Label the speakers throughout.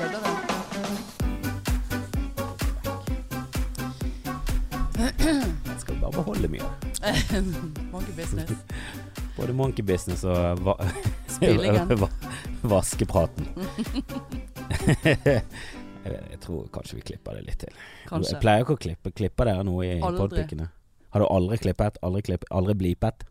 Speaker 1: opplevde det.
Speaker 2: Skal vi bare beholde mye.
Speaker 1: Monkey business.
Speaker 2: Både monkey business og va
Speaker 1: Spillingen.
Speaker 2: va vaskepraten. jeg, vet- jeg tror kanskje vi klipper det litt til.
Speaker 1: Kanskje.
Speaker 2: Jeg pleier ikke å klippe. Klipper dere noe i
Speaker 1: Aldri.
Speaker 2: podpikene? Har du aldri klippet? Aldri, klipp, aldri blipet?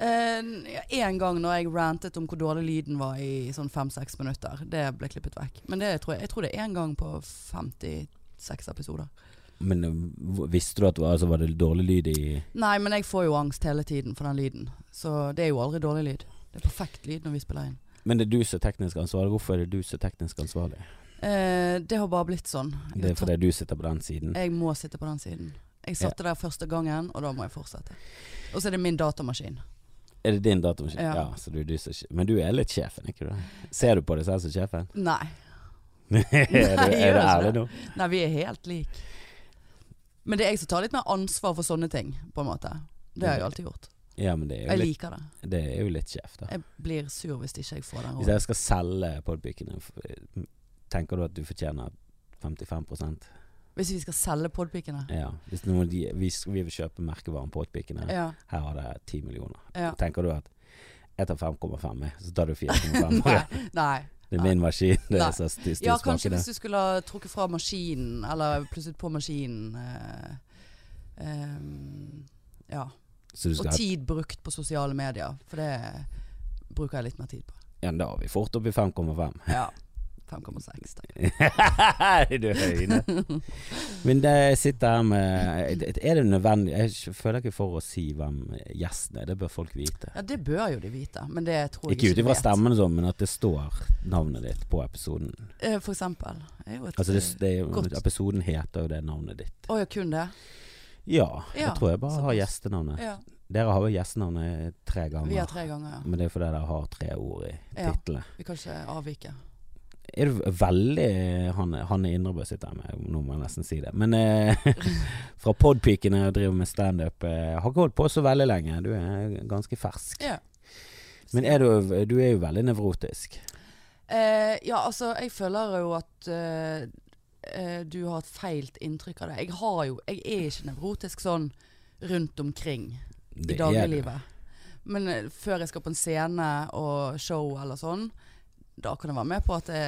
Speaker 1: Eh, ja, en gang når jeg rantet om hvor dårlig lyden var i sånn fem-seks minutter. Det ble klippet vekk. Men det tror jeg, jeg tror det er én gang på 56 episoder.
Speaker 2: Men øh, v- visste du at det var, altså, var det dårlig lyd i
Speaker 1: Nei, men jeg får jo angst hele tiden for den lyden. Så det er jo aldri dårlig lyd. Det er perfekt lyd når vi spiller inn.
Speaker 2: Men det er du som er teknisk ansvarlig. Hvorfor er det du som er teknisk ansvarlig?
Speaker 1: Eh, det har bare blitt sånn. Jeg,
Speaker 2: Det er
Speaker 1: har tatt-
Speaker 2: fordi du sitter på den siden.
Speaker 1: jeg må sitte på den siden. Jeg satte der første gangen, og da må jeg fortsette. Og så er det min datamaskin.
Speaker 2: Er det din datamaskin?
Speaker 1: Ja.
Speaker 2: Ja. så du, er du som er sjef- men du er litt sjefen, ikke du? det? Ser du på deg selv som sjefen?
Speaker 1: Nei.
Speaker 2: er du,
Speaker 1: jeg
Speaker 2: er du
Speaker 1: gjør ikke
Speaker 2: ærlig nå?
Speaker 1: Nei, vi er helt like. Men det er jeg som tar litt mer ansvar for sånne ting, på en måte. Det har jeg alltid gjort.
Speaker 2: Ja, men det er
Speaker 1: Jeg
Speaker 2: jo litt,
Speaker 1: liker det.
Speaker 2: det er jo litt sjef, da.
Speaker 1: Jeg blir sur hvis ikke jeg får den
Speaker 2: Hvis
Speaker 1: rollen.
Speaker 2: jeg skal selge podpikene, f- tenker du at du fortjener 55
Speaker 1: Hvis vi skal selge podpikene.
Speaker 2: Ja. Hvis noen de, vi, sk- vi vil kjøpe merkevaren Podpikene,
Speaker 1: Ja.
Speaker 2: her har det 10 millioner.
Speaker 1: ja.
Speaker 2: Tenker du at jeg tar 5,5, jeg, så tar du 4,5.
Speaker 1: Nei. nei.
Speaker 2: det er min maskin. Det
Speaker 1: Nei.
Speaker 2: er så styr, styr
Speaker 1: Ja, kanskje hvis du skulle ha trukket fra maskinen, eller plusset på maskinen. eh, ehm, ja.
Speaker 2: Så du
Speaker 1: Og
Speaker 2: skal ha
Speaker 1: tid brukt på sosiale medier, for det bruker jeg litt mer tid på.
Speaker 2: Ja, da er vi fort oppe i 5,5.
Speaker 1: Ja. 5,6. da.
Speaker 2: du høyne. Men det jeg sitter her med Er det nødvendig Jeg føler ikke for å si hvem gjesten er, det bør folk vite.
Speaker 1: Ja, det bør jo de vite, men det tror jeg
Speaker 2: Ikke
Speaker 1: ikke
Speaker 2: ut
Speaker 1: de
Speaker 2: ifra
Speaker 1: vet.
Speaker 2: stemmen, og sånn, men at det står navnet ditt på episoden.
Speaker 1: Eh, For eksempel. Det er jo et
Speaker 2: Altså det, det, er jo-
Speaker 1: Godt.
Speaker 2: episoden heter jo det navnet ditt.
Speaker 1: Å ja, kun det?
Speaker 2: Ja,
Speaker 1: Ja,
Speaker 2: jeg tror jeg bare har
Speaker 1: såpass.
Speaker 2: gjestenavnet.
Speaker 1: Ja.
Speaker 2: Dere har jo gjestenavnet tre
Speaker 1: Vi har
Speaker 2: ganger.
Speaker 1: tre ganger, ja.
Speaker 2: Men det er fordi dere har tre ord i
Speaker 1: Ja.
Speaker 2: titlene.
Speaker 1: Vi kan ikke avvike.
Speaker 2: Er du veldig eh, Han, han er Indrebø sitter jeg med, nå må jeg nesten si det. Men eh, fra podpikene og driver med standup, eh, har ikke holdt på så veldig lenge. Du er ganske fersk.
Speaker 1: Ja.
Speaker 2: Men er du, du er jo veldig nevrotisk.
Speaker 1: Eh, ja, altså, jeg føler jo at eh, eh, du har et feilt inntrykk av det. Jeg har jo Jeg er ikke nevrotisk sånn rundt omkring i
Speaker 2: Det er du.
Speaker 1: dagliglivet. Men eh, før jeg skal på en scene og show eller sånn, da kan jeg være med på at det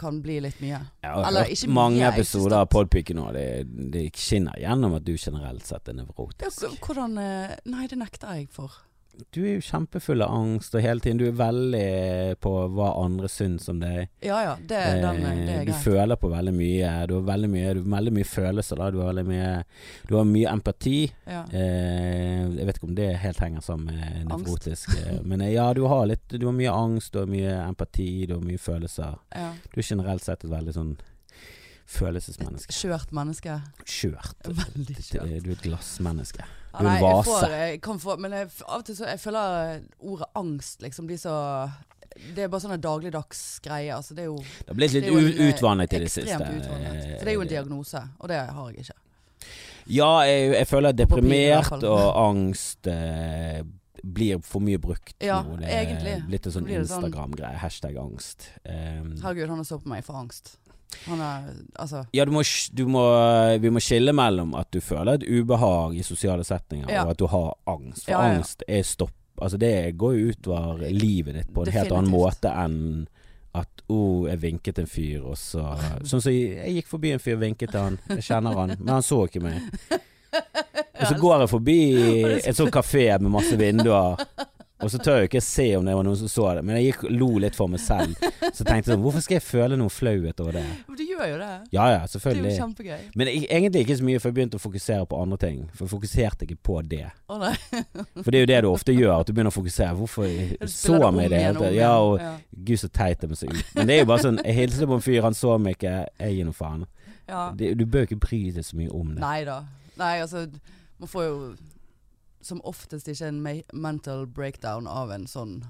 Speaker 1: kan bli litt mye.
Speaker 2: Ja, jeg har
Speaker 1: Eller
Speaker 2: hørt
Speaker 1: ikke mye,
Speaker 2: mange
Speaker 1: jeg
Speaker 2: episoder av Podpiken nå. Det, det skinner gjennom at du generelt sett er
Speaker 1: Ja,
Speaker 2: nevrotisk.
Speaker 1: k- hvordan eh, Nei, det nekter jeg for.
Speaker 2: Du er jo kjempefull av angst, og hele tiden du er veldig på hva andre syns om deg.
Speaker 1: Ja ja, det, den, eh, det
Speaker 2: Eh,
Speaker 1: er
Speaker 2: du
Speaker 1: greit.
Speaker 2: føler på veldig mye. Du har veldig mye, du har veldig mye følelser. Da. Du, har veldig mye, du har mye empati.
Speaker 1: Ja.
Speaker 2: Eh, jeg vet ikke om det helt henger sammen med
Speaker 1: Angst.
Speaker 2: nevrotisk. eh, Men eh, ja, du har, litt, du har mye angst, du har mye empati, du har mye følelser.
Speaker 1: ja.
Speaker 2: Du er generelt sett et veldig sånn følelsesmenneske.
Speaker 1: Skjørt menneske.
Speaker 2: Skjørt.
Speaker 1: Veldig
Speaker 2: eh, Du er et glassmenneske.
Speaker 1: Ja,
Speaker 2: Du er en
Speaker 1: nei, jeg
Speaker 2: vase.
Speaker 1: får, jeg kan få, men jeg, f- av og til så jeg føler ordet angst liksom blir så Det er bare sånne dagligdags greier. Altså det er jo
Speaker 2: Det har blitt
Speaker 1: det
Speaker 2: litt
Speaker 1: er jo
Speaker 2: u-
Speaker 1: en, eh,
Speaker 2: utvannet i det siste. eh,
Speaker 1: ekstremt utvannet. For det er jo en diagnose, og det har jeg ikke.
Speaker 2: Ja, jeg, jeg føler at
Speaker 1: På papiret i hvert
Speaker 2: deprimert
Speaker 1: fall.
Speaker 2: og angst eh, blir for mye brukt
Speaker 1: Ja,
Speaker 2: nå. Det er
Speaker 1: egentlig.
Speaker 2: Blitt en sånn
Speaker 1: Blir det sånn-
Speaker 2: Instagram-greie. Hashtag angst. Ehm,
Speaker 1: Herregud, han har så på meg for angst. Han er altså
Speaker 2: ja, du må, sk- du må, vi må skille mellom at du føler et ubehag i sosiale setninger,
Speaker 1: Ja.
Speaker 2: og at du har angst. For
Speaker 1: Ja, ja, ja.
Speaker 2: angst er stopp. Altså, det går jo utover livet ditt på en helt annen
Speaker 1: Definitivt.
Speaker 2: måte enn at oh, jeg vinket en fyr, og så Sånn som jeg, jeg gikk forbi en fyr, vinket til han, jeg kjenner han, men han så ikke meg. Og så går jeg forbi en sånn kafé med masse vinduer, og så tør jeg ikke se om det var noen som så det, men jeg gikk, lo litt for meg selv. Så tenkte jeg sånn, hvorfor skal jeg føle noe flauhet over det?
Speaker 1: Men du gjør jo det.
Speaker 2: Ja ja,
Speaker 1: Det er jo
Speaker 2: selvfølgelig.
Speaker 1: kjempegøy.
Speaker 2: Men jeg, egentlig ikke så mye, for jeg begynte å fokusere på andre ting. For jeg fokuserte ikke på det.
Speaker 1: Å nei.
Speaker 2: For det er jo det du ofte gjør, at du begynner å fokusere. Hvorfor
Speaker 1: Du
Speaker 2: så
Speaker 1: spiller det om
Speaker 2: meg det?
Speaker 1: igjen og om
Speaker 2: Ja,
Speaker 1: igjen.
Speaker 2: og
Speaker 1: ja.
Speaker 2: gud så teit jeg må se ut. Men det er jo bare sånn, jeg hilste på en fyr, han så meg ikke, jeg gir noe faen.
Speaker 1: ja.
Speaker 2: Det- Du bør ikke bry deg så mye om det.
Speaker 1: Nei da. Nei, altså Man får jo som oftest ikke en me mental breakdown av en sånn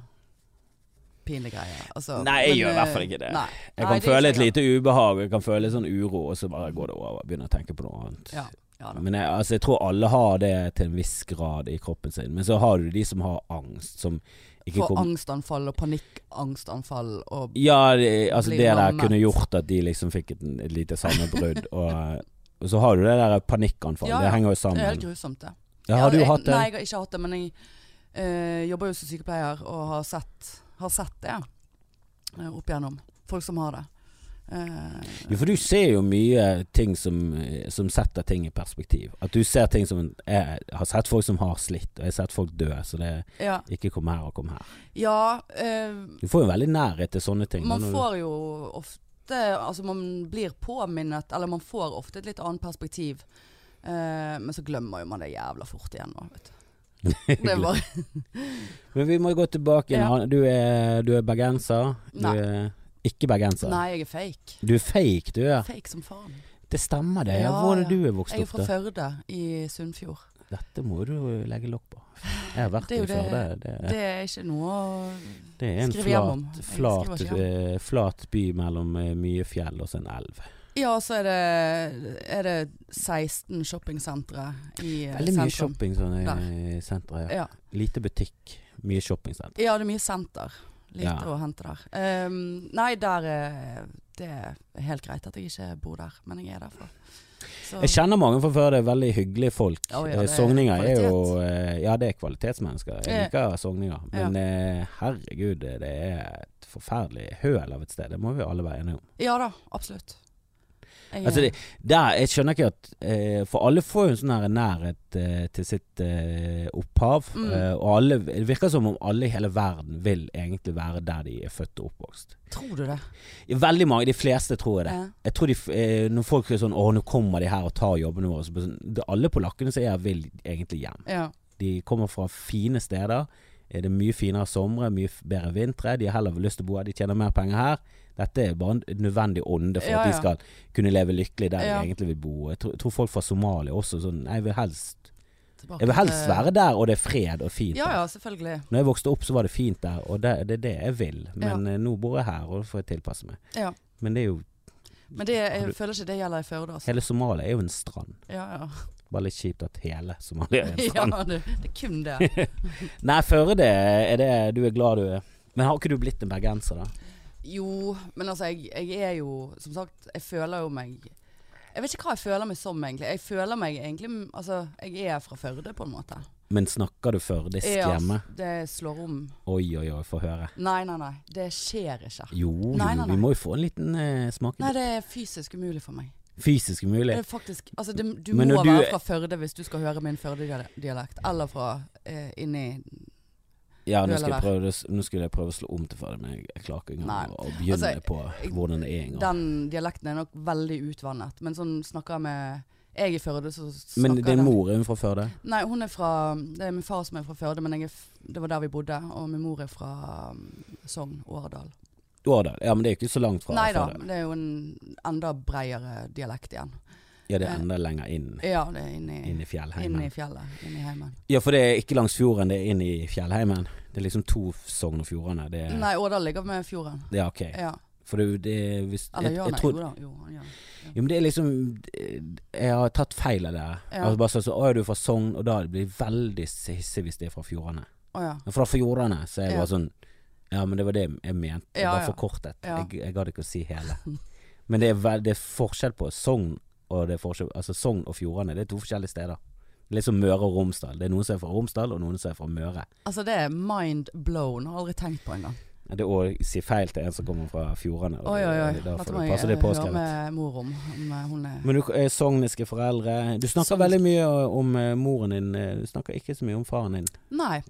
Speaker 1: pinlig greie. Altså,
Speaker 2: Nei, jeg gjør i hvert fall ikke det.
Speaker 1: Nei.
Speaker 2: Jeg
Speaker 1: Nei,
Speaker 2: kan
Speaker 1: det er
Speaker 2: føle
Speaker 1: ikke
Speaker 2: et lite ubehag, jeg kan føle sånn uro, og så bare går det over. Jeg Begynner å tenke på noe annet.
Speaker 1: Ja, ja da.
Speaker 2: Men jeg, altså, jeg tror alle har det til en viss grad i kroppen sin. Men så har du de som har angst, som Ikke
Speaker 1: Får
Speaker 2: kom-
Speaker 1: angstanfall og panikkangstanfall og
Speaker 2: Ja, det, altså
Speaker 1: Blir
Speaker 2: det der
Speaker 1: lammet.
Speaker 2: kunne gjort at de liksom fikk et, et lite sammenbrudd. Og, og så har du det der panikkanfallet.
Speaker 1: Ja, ja.
Speaker 2: Det henger jo
Speaker 1: Det er
Speaker 2: sammen.
Speaker 1: helt grusomt, det.
Speaker 2: Ja, har du
Speaker 1: jeg,
Speaker 2: hatt det?
Speaker 1: Nei, jeg har ikke hatt det, men jeg eh, jobber jo som sykepleier og har sett, har sett det eh, opp igjennom. Folk som har det. Eh,
Speaker 2: Jo, for du ser jo mye ting som, som setter ting i perspektiv. At du ser ting som Jeg har sett folk som har slitt, og jeg har sett folk dø, så det er
Speaker 1: ja,
Speaker 2: ikke kom her og kom her.
Speaker 1: ja eh,
Speaker 2: Du får jo veldig nærhet til sånne ting. da,
Speaker 1: Man
Speaker 2: når du-
Speaker 1: får jo ofte Altså man blir påminnet Eller man får ofte et litt annet perspektiv Eh, Men så glemmer jo man det jævla fort igjen nå, vet du Det er bare
Speaker 2: Men vi må jo gå tilbake igjen.
Speaker 1: Ja.
Speaker 2: Han- Du, er, du er bergenser. Du
Speaker 1: Nei.
Speaker 2: er ikke bergenser.
Speaker 1: Nei, jeg er fake
Speaker 2: Du er fake, du er.
Speaker 1: Fake som faen
Speaker 2: Det stemmer det. Ja,
Speaker 1: Ja,
Speaker 2: Hvor er det
Speaker 1: ja.
Speaker 2: du er vokst
Speaker 1: Jeg er
Speaker 2: opp,
Speaker 1: fra
Speaker 2: da?
Speaker 1: Førde i Sunnfjord
Speaker 2: Dette må du jo legge lokk på. Jeg har vært
Speaker 1: Det er
Speaker 2: i
Speaker 1: jo det-
Speaker 2: Førde. Det, det,
Speaker 1: Det er ikke noe å
Speaker 2: er en
Speaker 1: skriver hjem om.
Speaker 2: flat,
Speaker 1: Jeg
Speaker 2: flat,
Speaker 1: skriver ikke
Speaker 2: eh, flat by mellom eh, mye fjell og så en elv.
Speaker 1: Ja, så er det, er det 16 shoppingsentre i eh,
Speaker 2: Veldig mye
Speaker 1: sentrum.
Speaker 2: shopping sånn, i senteret. Ja.
Speaker 1: Ja.
Speaker 2: Lite butikk, mye shoppingsenter.
Speaker 1: ja, det er mye senter Lite
Speaker 2: Ja.
Speaker 1: å hente der Ehm, Nei, der eh, Det er helt greit at jeg ikke bor der Men jeg er derfra Så-
Speaker 2: Jeg kjenner mange fra før, det er veldig hyggelige folk.
Speaker 1: Å, ja,
Speaker 2: Eh,
Speaker 1: det er
Speaker 2: Sogninger er jo
Speaker 1: kvalitet.
Speaker 2: eh, Ja, det er kvalitetsmennesker. Jeg
Speaker 1: Eh,
Speaker 2: liker Sogninger. Men eh, herregud, det er et forferdelig høl av et sted. Det må vi alle være enige om.
Speaker 1: Ja da, absolutt. Jeg,
Speaker 2: Altså, det, der, jeg skjønner ikke at eh, For alle får jo en sånn her nærhet eh, til sitt eh, opphav.
Speaker 1: Mm.
Speaker 2: eh, og alle, det virker som om alle i hele verden vil egentlig være der de er født og oppvokst.
Speaker 1: eh, tror du det?
Speaker 2: Veldig mange, de fleste tror jeg det.
Speaker 1: Ja.
Speaker 2: Jeg tror de, f- eh, Når folk er sånn 'Å, nå kommer de her og tar jobbene våre' så blir det sånn, det, Alle polakkene som er her, vil egentlig hjem.
Speaker 1: ja.
Speaker 2: De kommer fra fine steder. Eh, Det er mye finere somre, mye f- bedre vintre. De har heller lyst til å bo her, de tjener mer penger her. Dette er bare en nødvendig ånde for
Speaker 1: Ja,
Speaker 2: at de
Speaker 1: ja.
Speaker 2: skal kunne leve lykkelig der
Speaker 1: Ja.
Speaker 2: de egentlig vil bo. Jeg tror, tror folk fra Somalia også sånn Jeg vil helst
Speaker 1: Tilbake
Speaker 2: Jeg vil helst
Speaker 1: til-
Speaker 2: være der, og det er fred og fint.
Speaker 1: Ja
Speaker 2: der.
Speaker 1: ja, selvfølgelig.
Speaker 2: Når jeg vokste opp, så var det fint der, og det, det er det jeg vil. Men eh, nå bor jeg her, og da får jeg tilpasse meg.
Speaker 1: Ja.
Speaker 2: Men det er jo
Speaker 1: Men det,
Speaker 2: Har du-
Speaker 1: jeg føler ikke det gjelder i Førde, altså.
Speaker 2: Hele Somalia er jo en strand.
Speaker 1: Ja, ja.
Speaker 2: Bare litt kjipt at hele Somalia er en
Speaker 1: ja
Speaker 2: strand.
Speaker 1: det, det er kun det.
Speaker 2: Nei, Førde er det du er glad du er. Men har ikke du blitt en bergenser, da?
Speaker 1: Jo, men altså, jeg, jeg er jo Som sagt, jeg føler jo meg Jeg vet ikke hva jeg føler meg som, egentlig. Jeg føler meg egentlig Altså, jeg er fra Førde, på en måte.
Speaker 2: Men snakker du førdisk
Speaker 1: Jeg, altså,
Speaker 2: hjemme?
Speaker 1: Det slår om.
Speaker 2: Oi, oi, oi, få høre.
Speaker 1: Nei, nei, nei. Det skjer ikke.
Speaker 2: Jo, jo,
Speaker 1: Nei, nei, nei.
Speaker 2: vi må jo få en liten eh,
Speaker 1: Nei,
Speaker 2: smakebit.
Speaker 1: det er fysisk umulig for meg.
Speaker 2: Fysisk
Speaker 1: Det
Speaker 2: mulig.
Speaker 1: er faktisk, altså det, du
Speaker 2: Men når
Speaker 1: må
Speaker 2: du-
Speaker 1: være fra Førde hvis du skal høre min Førde-dialekt. Eller fra eh, inni
Speaker 2: Ja, nå
Speaker 1: du
Speaker 2: skulle,
Speaker 1: eller
Speaker 2: jeg prøve, å s- nå skulle jeg prøve å slå om til Førde, men jeg jeg klarer ikke
Speaker 1: Nei.
Speaker 2: engang å- å begynne
Speaker 1: Altså,
Speaker 2: på hvordan det er engang.
Speaker 1: Den dialekten er nok veldig utvannet. Men sånn snakker jeg med Jeg er i Førde, så snakker
Speaker 2: Men din
Speaker 1: jeg-
Speaker 2: mor, er hun fra Førde?
Speaker 1: Nei, hun er fra Det er min far som er fra Førde, men jeg er, f- det var der vi bodde. Og min mor er fra um, Sogn, Årdal.
Speaker 2: Årdal? Ja, men det er jo ikke så langt fra
Speaker 1: Nei da,
Speaker 2: Førde.
Speaker 1: det er jo en enda bredere dialekt igjen.
Speaker 2: Ja, det er enda lenger inn,
Speaker 1: Ja, det er inni,
Speaker 2: inn
Speaker 1: inni,
Speaker 2: i fjellheimen.
Speaker 1: fjellet. Inni heimen.
Speaker 2: Ja, for det er ikke langs fjorden, det er inn i fjellheimen. Det er liksom to Sogn og Fjordane. Det er
Speaker 1: Nei, Årdal ligger med fjorden.
Speaker 2: Ja, ok.
Speaker 1: Ja.
Speaker 2: For det, det hvis,
Speaker 1: Eller
Speaker 2: jeg,
Speaker 1: gjør
Speaker 2: jeg
Speaker 1: han det?
Speaker 2: tror,
Speaker 1: Jo da. Jo, han gjør det.
Speaker 2: jo, men det er liksom Jeg har tatt feil av det.
Speaker 1: Ja.
Speaker 2: Altså bare sånn så, Å, er du fra Sogn? Og da blir det veldig hissig hvis det er fra Fjordane.
Speaker 1: Å ja.
Speaker 2: Men fra Fjordane så er jeg
Speaker 1: Ja.
Speaker 2: bare sånn Ja, men det var det jeg mente. Jeg
Speaker 1: Ja,
Speaker 2: bare
Speaker 1: ja.
Speaker 2: forkortet.
Speaker 1: Ja.
Speaker 2: Jeg, jeg gadd ikke å si hele. Men det er, vel- det er forskjell på Sogn og det er forskjell, Altså Sogn og Fjordane. Det er to forskjellige steder. Det er Litt som Møre og Romsdal. Det er noen som er fra Romsdal, og noen som er fra Møre.
Speaker 1: Altså det er mind blown, har jeg aldri tenkt på engang.
Speaker 2: Ja, Det å si feil til en som kommer fra Fjordane, og
Speaker 1: Oi, oi, oi.
Speaker 2: da
Speaker 1: Dette
Speaker 2: får
Speaker 1: må
Speaker 2: du
Speaker 1: jeg
Speaker 2: passe det
Speaker 1: eh, høre
Speaker 2: påskrevet.
Speaker 1: med mor om. om eh, hun er
Speaker 2: Men du er sogniske foreldre. Du snakker
Speaker 1: Sogniske.
Speaker 2: veldig mye om eh, moren din. eh, Du snakker ikke så mye om faren din.
Speaker 1: Nei.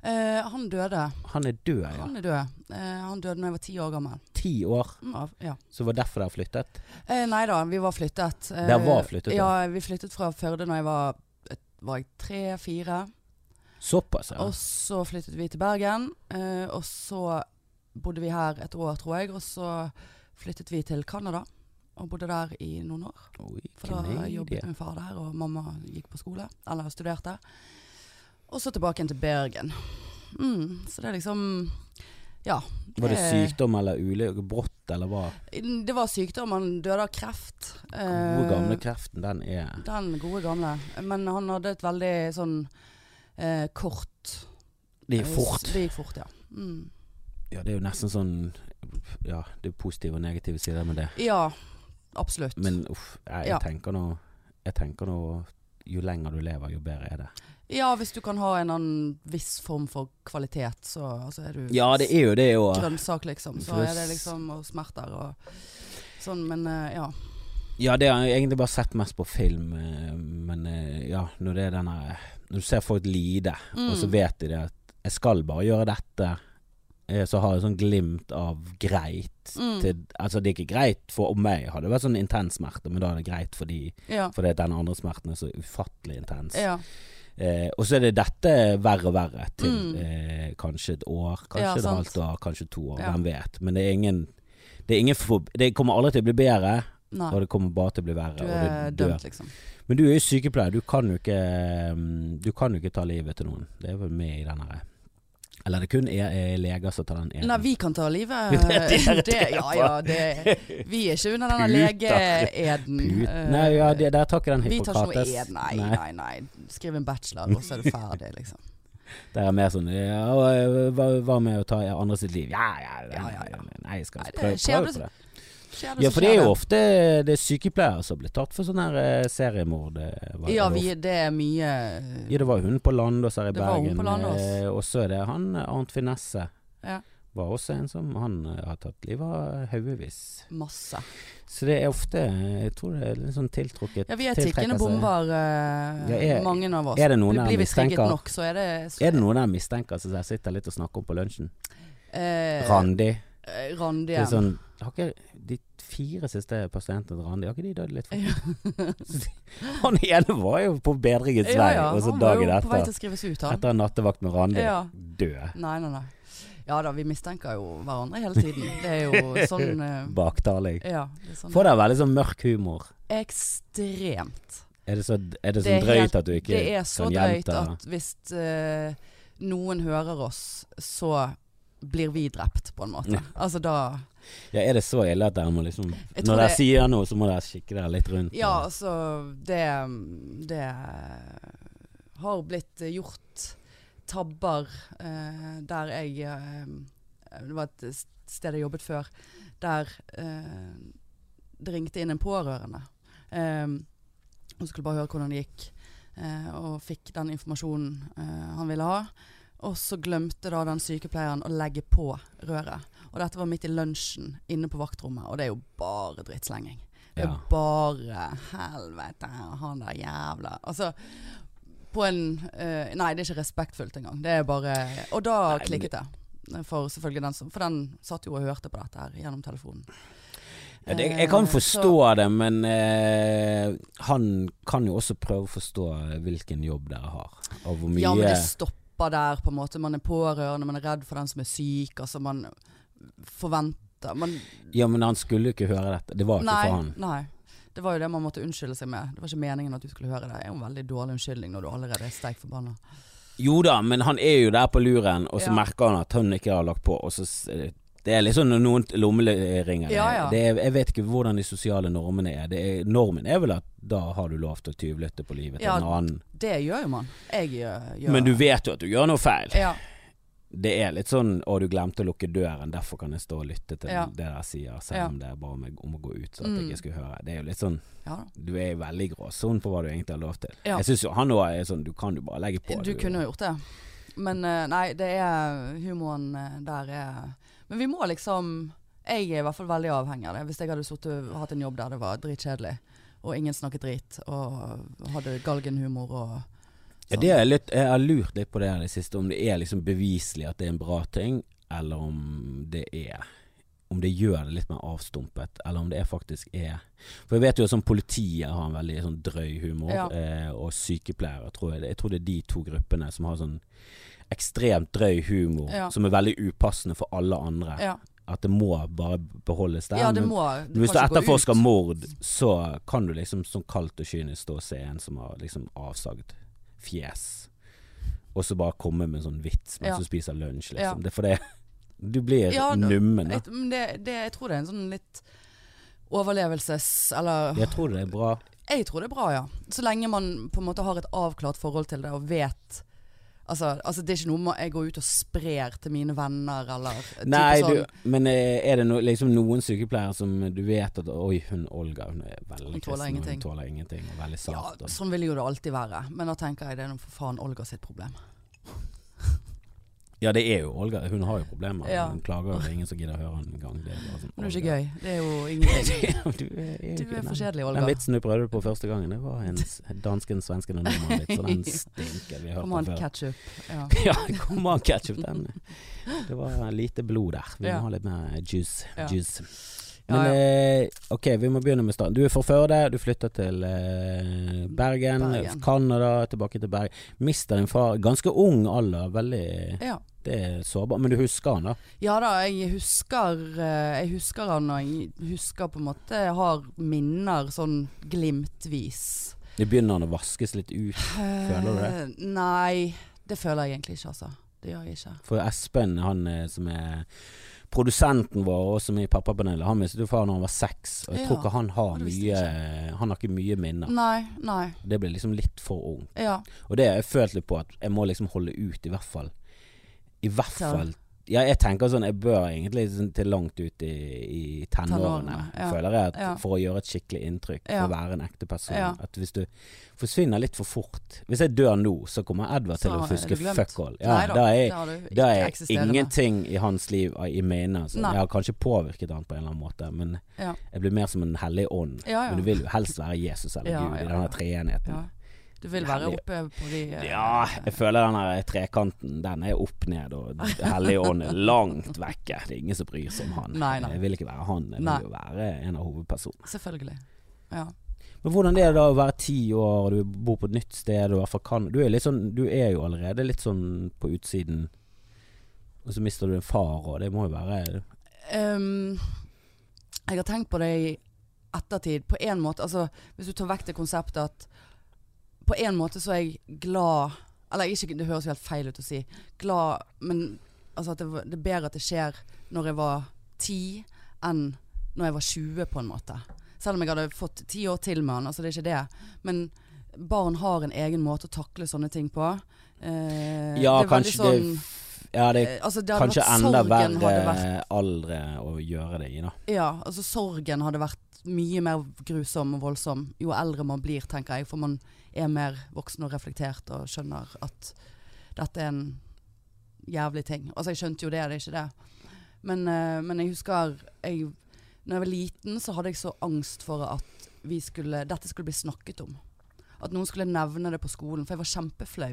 Speaker 1: Eh, han døde.
Speaker 2: Han er død, ja.
Speaker 1: Han er død. Eh, han døde da jeg var ti år gammel.
Speaker 2: Ti år.
Speaker 1: Mm, av- Ja.
Speaker 2: Så var derfor dere flyttet.
Speaker 1: Eh, nei da, vi var flyttet. Eh,
Speaker 2: Dere var flyttet,
Speaker 1: Ja, vi flyttet fra Førde da jeg var, var jeg tre-fire.
Speaker 2: Såpass, ja.
Speaker 1: Og så flyttet vi til Bergen. eh, og så bodde vi her et år, tror jeg. Og så flyttet vi til Canada og bodde der i noen år.
Speaker 2: Oi,
Speaker 1: For da
Speaker 2: Canadian.
Speaker 1: jobbet min far der, og mamma gikk på skole, eller studerte. Og så tilbake igjen til Bergen. Mm, så det er liksom
Speaker 2: Var det
Speaker 1: eh,
Speaker 2: sykdom eller ulykke? Brått, eller hva?
Speaker 1: Det var sykdom, han døde av kreft.
Speaker 2: Hvor
Speaker 1: Eh,
Speaker 2: gamle kreften den er?
Speaker 1: Den gode gamle. Men han hadde et veldig sånn eh, kort
Speaker 2: Det gikk fort.
Speaker 1: Det gikk fort, ja. Mm.
Speaker 2: Ja, det er jo nesten sånn Ja, det er positive og negative sider med det.
Speaker 1: Ja, absolutt.
Speaker 2: Men uff, jeg, jeg
Speaker 1: Ja.
Speaker 2: tenker nå Jeg tenker nå Jo lenger du lever, jo bedre er det.
Speaker 1: ja, hvis du kan ha en annen viss form for kvalitet, så altså, er du
Speaker 2: Ja, det er jo det òg.
Speaker 1: grønnsak, liksom. Så
Speaker 2: For-
Speaker 1: er det liksom og smerter og sånn, men eh, ja.
Speaker 2: Ja, det har jeg egentlig bare sett mest på film, eh, men eh, ja, når det er denne Når du ser folk lide, og så
Speaker 1: Mm.
Speaker 2: vet de det at 'jeg skal bare gjøre dette', eh, så har jeg sånn glimt av greit
Speaker 1: Mm.
Speaker 2: til Altså, det er ikke greit for meg, hadde det vært sånn intens smerte, men da er det greit for de,
Speaker 1: Ja.
Speaker 2: fordi at den andre smerten er så ufattelig intens.
Speaker 1: Ja,
Speaker 2: Eh, og så er det dette verre og verre til
Speaker 1: Mm.
Speaker 2: eh, kanskje et år,
Speaker 1: Ja,
Speaker 2: kanskje et
Speaker 1: sant.
Speaker 2: halvt år, kanskje to år,
Speaker 1: Ja.
Speaker 2: hvem vet. Men det er ingen det, er ingen for, det kommer aldri til å bli bedre,
Speaker 1: nei.
Speaker 2: og det kommer bare til å bli verre.
Speaker 1: Du
Speaker 2: og
Speaker 1: er
Speaker 2: du dør.
Speaker 1: dømt, liksom.
Speaker 2: Men du er jo sykepleier, du kan jo ikke mm, Du kan jo ikke ta livet til noen. Det er vel med i den her eh. Eller det kun er, er leger som tar den ene.
Speaker 1: Nei, vi kan ta livet.
Speaker 2: Det er det jeg
Speaker 1: Det, ja, ja, det, vi er ikke under denne
Speaker 2: Puter.
Speaker 1: legeeden.
Speaker 2: Put-
Speaker 1: eh,
Speaker 2: Nei, ja, det, der tar ikke den
Speaker 1: Vi tar ikke noe
Speaker 2: Hippokrates.
Speaker 1: ed, nei, nei, nei. Skriv en bachelor, og så er du ferdig, liksom.
Speaker 2: Det er mer sånn ja, og, eh, hva, hva med å ta andre sitt liv? Ja, ja, ja.
Speaker 1: Ja, ja, ja.
Speaker 2: Nei, jeg skal
Speaker 1: Nei, det
Speaker 2: prøve,
Speaker 1: skjer
Speaker 2: prøve
Speaker 1: det-
Speaker 2: på det.
Speaker 1: Skjer
Speaker 2: Ja,
Speaker 1: så
Speaker 2: for det
Speaker 1: skjer
Speaker 2: er jo ofte eh, det er sykepleiere som blir tatt for sånn her eh, seriemord. eh, var det
Speaker 1: Ja,
Speaker 2: ofte.
Speaker 1: vi, det er mye
Speaker 2: ja, det var hun på Landås her i
Speaker 1: Det var hun
Speaker 2: Bergen.
Speaker 1: på Landås.
Speaker 2: eh, Og så er det han eh, Arnt Finesse.
Speaker 1: Ja.
Speaker 2: Var også en som han eh, har tatt livet av eh, haugevis.
Speaker 1: masse.
Speaker 2: Så det er ofte eh, Jeg tror det er litt sånn tiltrukket
Speaker 1: Ja, vi er
Speaker 2: tiltrekker
Speaker 1: tikkende
Speaker 2: seg-
Speaker 1: bomber, eh,
Speaker 2: Ja, er-
Speaker 1: mange av oss.
Speaker 2: Er det noen
Speaker 1: Blir
Speaker 2: der
Speaker 1: vi trigget
Speaker 2: mistenker
Speaker 1: nok, så er det så,
Speaker 2: Er det noen der mistenker som jeg sitter litt og snakker om på lunsjen?
Speaker 1: eh,
Speaker 2: Randi.
Speaker 1: eh, Randi
Speaker 2: Det er
Speaker 1: igjen.
Speaker 2: sånn Har ikke de fire siste pasientene til Randi Har ikke de dødd litt for Han ene var jo på bedringens
Speaker 1: Ja,
Speaker 2: vei,
Speaker 1: ja,
Speaker 2: og så
Speaker 1: han var jo
Speaker 2: dagen
Speaker 1: på vei til
Speaker 2: etter
Speaker 1: å skrives ut, han.
Speaker 2: Etter en nattevakt med Randi.
Speaker 1: Ja.
Speaker 2: Død.
Speaker 1: Nei, nei, nei. Ja da, vi mistenker jo hverandre hele tiden. Det er jo sånn eh,
Speaker 2: Baktaling.
Speaker 1: Ja. Det er sånn
Speaker 2: Får dere veldig sånn mørk humor?
Speaker 1: Ekstremt.
Speaker 2: Er det så, er det så
Speaker 1: Det er
Speaker 2: drøyt
Speaker 1: helt-
Speaker 2: at du ikke
Speaker 1: Det er så
Speaker 2: kan
Speaker 1: drøyt
Speaker 2: gjenta
Speaker 1: at hvis eh, noen hører oss, så blir vi drept, på en måte.
Speaker 2: Ja.
Speaker 1: Altså da
Speaker 2: Ja, Er det så ille at dere må liksom
Speaker 1: Jeg tror
Speaker 2: Når dere
Speaker 1: det-
Speaker 2: sier noe, så må dere kikke dere litt rundt?
Speaker 1: Ja,
Speaker 2: og-
Speaker 1: altså det Det har blitt gjort tabber eh, der jeg eh, Det var et sted jeg jobbet før, der eh, det ringte inn en pårørende. Eh, og skulle bare høre hvordan det gikk, eh, og fikk den informasjonen eh, han ville ha. Og så glemte da den sykepleieren å legge på røret. Og dette var midt i lunsjen inne på vaktrommet, og det er jo bare drittslenging. Det er
Speaker 2: ja.
Speaker 1: bare helvete, han der jævla Altså på en eh, Nei, det er ikke respektfullt engang. Det er bare Og da
Speaker 2: Nei, men
Speaker 1: klikket det. For selvfølgelig den som For den satt jo og hørte på dette her gjennom telefonen. Eh,
Speaker 2: Ja, det, jeg kan forstå det, men eh, han kan jo også prøve å forstå hvilken jobb dere har, og hvor mye
Speaker 1: Ja, men det stopper der, på en måte. Man er pårørende, man er redd for den som er syk. Altså, man forventer Man
Speaker 2: han skulle jo ikke høre dette. Det var ikke
Speaker 1: Nei,
Speaker 2: for han.
Speaker 1: nei. Det var jo det man måtte unnskylde seg med. Det var ikke meningen at du skulle høre det. Det er jo en veldig dårlig unnskyldning når du allerede er steik forbanna.
Speaker 2: Jo da, men han er jo der på luren, og så
Speaker 1: Ja.
Speaker 2: merker han at han ikke har lagt på. Og så, s- det er liksom noen lommeringer.
Speaker 1: Ja, ja.
Speaker 2: Det er, jeg vet ikke hvordan de sosiale normene er. Det er. Normen er vel at da har du lov til å tyvlytte på livet til
Speaker 1: Ja,
Speaker 2: en annen.
Speaker 1: Det gjør jo man. Jeg gjør, gjør
Speaker 2: Men du vet jo at du gjør noe feil.
Speaker 1: ja.
Speaker 2: Det er litt sånn 'Å, du glemte å lukke døren, derfor kan jeg stå og lytte til
Speaker 1: Ja.
Speaker 2: det dere sier', selv
Speaker 1: Ja.
Speaker 2: om det er bare om, jeg, om å gå ut, så at
Speaker 1: Mm.
Speaker 2: jeg ikke skulle høre. Det er jo litt sånn
Speaker 1: ja da.
Speaker 2: Du er i veldig gråsonen på hva du egentlig har lov til.
Speaker 1: Ja.
Speaker 2: Jeg syns jo han òg er sånn Du kan jo bare legge på.
Speaker 1: Du kunne jo gjort det. Men eh, nei, det er humoren eh, der er Men vi må liksom Jeg er i hvert fall veldig avhengig av det. Hvis jeg hadde suttet, hatt en jobb der det var dritkjedelig, og ingen snakket drit, og hadde galgenhumor og
Speaker 2: Ja, det er litt, jeg har lurt litt på det her i det siste, om det er liksom beviselig at det er en bra ting, eller om det er Om det gjør det litt mer avstumpet, eller om det er faktisk er For jeg vet jo at sånn politiet har en veldig sånn drøy humor,
Speaker 1: Ja.
Speaker 2: eh, og sykepleiere, tror jeg. det- Jeg tror det er de to gruppene som har sånn ekstremt drøy humor,
Speaker 1: Ja.
Speaker 2: som er veldig upassende for alle andre.
Speaker 1: sånn. Ja,
Speaker 2: At det må bare beholdes der.
Speaker 1: ja det
Speaker 2: men-
Speaker 1: må
Speaker 2: men hvis du
Speaker 1: kan ikke gå
Speaker 2: etterforsker
Speaker 1: ut.
Speaker 2: mord, så kan du liksom sånn kaldt og kynisk stå og se en som har liksom avsagd fjes, og så bare komme med en sånn vits mens
Speaker 1: Ja.
Speaker 2: du spiser lunsj, liksom.
Speaker 1: Ja.
Speaker 2: Det er for det Du blir
Speaker 1: Ja, da-
Speaker 2: nummen. Da.
Speaker 1: Jeg, men det, det, jeg tror det er en sånn litt overlevelses... Eller
Speaker 2: Jeg tror det er bra.
Speaker 1: Jeg tror det er bra, ja. Så lenge man på en måte har et avklart forhold til det og vet Altså, altså det er ikke noe må- jeg går ut og sprer til mine venner, eller eh, type
Speaker 2: Nei,
Speaker 1: sånn.
Speaker 2: du, men eh, er det no, liksom noen sykepleiere som du vet at Oi, hun Olga hun er veldig
Speaker 1: Hun tåler
Speaker 2: kristen, og
Speaker 1: ingenting.
Speaker 2: hun tåler ingenting. Og veldig
Speaker 1: Ja,
Speaker 2: sart. og-
Speaker 1: sånn vil jo det alltid være. Men da tenker jeg det er noe for faen Olga sitt problem.
Speaker 2: Ja, det er jo Olga. Hun har jo problemer.
Speaker 1: Ja.
Speaker 2: Hun klager jo, det er ingen som gidder å høre henne engang. Det er bare sånn,
Speaker 1: Men det er jo
Speaker 2: Olga.
Speaker 1: ikke gøy. Det er jo ingenting.
Speaker 2: du er, jo
Speaker 1: Du
Speaker 2: ikke
Speaker 1: er
Speaker 2: den.
Speaker 1: for kjedelig,
Speaker 2: Den
Speaker 1: Olga.
Speaker 2: vitsen du prøvde på første gangen, det var en s- dansken, svensken og nordmann-vits, og den stinker. Vi har
Speaker 1: Kom
Speaker 2: hørt
Speaker 1: an,
Speaker 2: den før.
Speaker 1: ketchup. Ja.
Speaker 2: Ja, kom an, ketchup. Den. Det var lite blod der. Vi
Speaker 1: Ja.
Speaker 2: må ha litt mer eh, juice.
Speaker 1: Ja.
Speaker 2: juice.
Speaker 1: Ja,
Speaker 2: Men
Speaker 1: ja.
Speaker 2: Eh, ok, vi må begynne med starten. Du er fra Førde, du flytter til eh, Bergen,
Speaker 1: Bergen.
Speaker 2: Canada, tilbake til Bergen. Mister din far ganske ung alder, veldig
Speaker 1: ja.
Speaker 2: Det er sårbart. Men du husker han, da?
Speaker 1: Ja da, jeg husker eh, Jeg husker han, og jeg husker på en måte Jeg har minner sånn glimtvis.
Speaker 2: Det begynner han å vaskes litt ut.
Speaker 1: Føler
Speaker 2: du
Speaker 1: Nei, det føler jeg egentlig ikke, altså. Det gjør jeg ikke.
Speaker 2: For Espen, han eh, som er produsenten vår og som er i pappapanelet, han mistet jo far når han var seks. Og jeg
Speaker 1: Ja,
Speaker 2: tror ikke han har
Speaker 1: det visste jeg
Speaker 2: mye eh, Han har ikke mye minner.
Speaker 1: Nei, nei.
Speaker 2: Det blir liksom litt for ung.
Speaker 1: Ja.
Speaker 2: Og det har jeg følt litt på, at jeg må liksom holde ut, i hvert fall. I hvert
Speaker 1: Ja.
Speaker 2: fall Ja, jeg tenker sånn, jeg bør egentlig sånn til langt ut i, i tenårene,
Speaker 1: Tenårene, ja.
Speaker 2: føler jeg, at
Speaker 1: Ja.
Speaker 2: for å gjøre et skikkelig inntrykk, for
Speaker 1: Ja.
Speaker 2: å være en ekte person.
Speaker 1: Ja.
Speaker 2: At hvis du forsvinner litt for fort Hvis jeg dør nå, så kommer Edvard til
Speaker 1: Så
Speaker 2: å
Speaker 1: er det
Speaker 2: huske
Speaker 1: glemt.
Speaker 2: fuck all. Ja,
Speaker 1: Neida,
Speaker 2: da er
Speaker 1: det har du
Speaker 2: det
Speaker 1: ikke
Speaker 2: er
Speaker 1: eksisterende.
Speaker 2: ingenting i hans liv i- i minnet. Så
Speaker 1: Nei.
Speaker 2: jeg har kanskje påvirket han på en eller annen måte, men
Speaker 1: Ja. Ah,
Speaker 2: jeg blir mer som en hellig ånd.
Speaker 1: Ja, ja.
Speaker 2: Men du vil jo helst være Jesus eller
Speaker 1: Ja,
Speaker 2: Gud i
Speaker 1: ja,
Speaker 2: denne
Speaker 1: ja.
Speaker 2: treenigheten.
Speaker 1: ja.
Speaker 2: Ja.
Speaker 1: Du vil være oppe på de eh,
Speaker 2: jeg føler den der trekanten, den er opp ned, og Hellig ånd er langt vekke. Det er ingen som bryr seg om han.
Speaker 1: Nei, nei.
Speaker 2: Jeg vil ikke være han, jeg
Speaker 1: Nei.
Speaker 2: vil jo være en av hovedpersonene.
Speaker 1: Selvfølgelig. Ja.
Speaker 2: Men hvordan er det da å være ti år, du bor på et nytt sted, du er fra Canada du, er litt sånn, du er jo allerede litt sånn på utsiden, og så mister du en far, og det må jo være
Speaker 1: Ehm, jeg har tenkt på det i ettertid. På en måte, altså hvis du tar vekk det konseptet at På en måte så er jeg glad Eller jeg er ikke, det høres jo helt feil ut å si. Glad, men altså at det, var- det er bedre at det skjer når jeg var ti, enn når jeg var 20, på en måte. Selv om jeg hadde fått ti år til med han, altså det er ikke det. Men barn har en egen måte å takle sånne ting på. Eh,
Speaker 2: Ja,
Speaker 1: det er veldig
Speaker 2: kanskje det Ja, det
Speaker 1: eh, altså, det hadde
Speaker 2: kanskje
Speaker 1: vært-
Speaker 2: enda
Speaker 1: sorgen hadde vært
Speaker 2: verre aldre å gjøre det i, da.
Speaker 1: Ja, altså sorgen hadde vært mye mer grusom og voldsom jo eldre man blir, tenker jeg. For man er mer voksen og reflektert og skjønner at dette er en jævlig ting. Altså jeg skjønte jo det, det er ikke det. Men, eh, men jeg husker jeg, Når jeg var liten så hadde jeg så angst for at vi skulle, dette skulle bli snakket om. At noen skulle nevne det på skolen, for jeg var kjempeflau.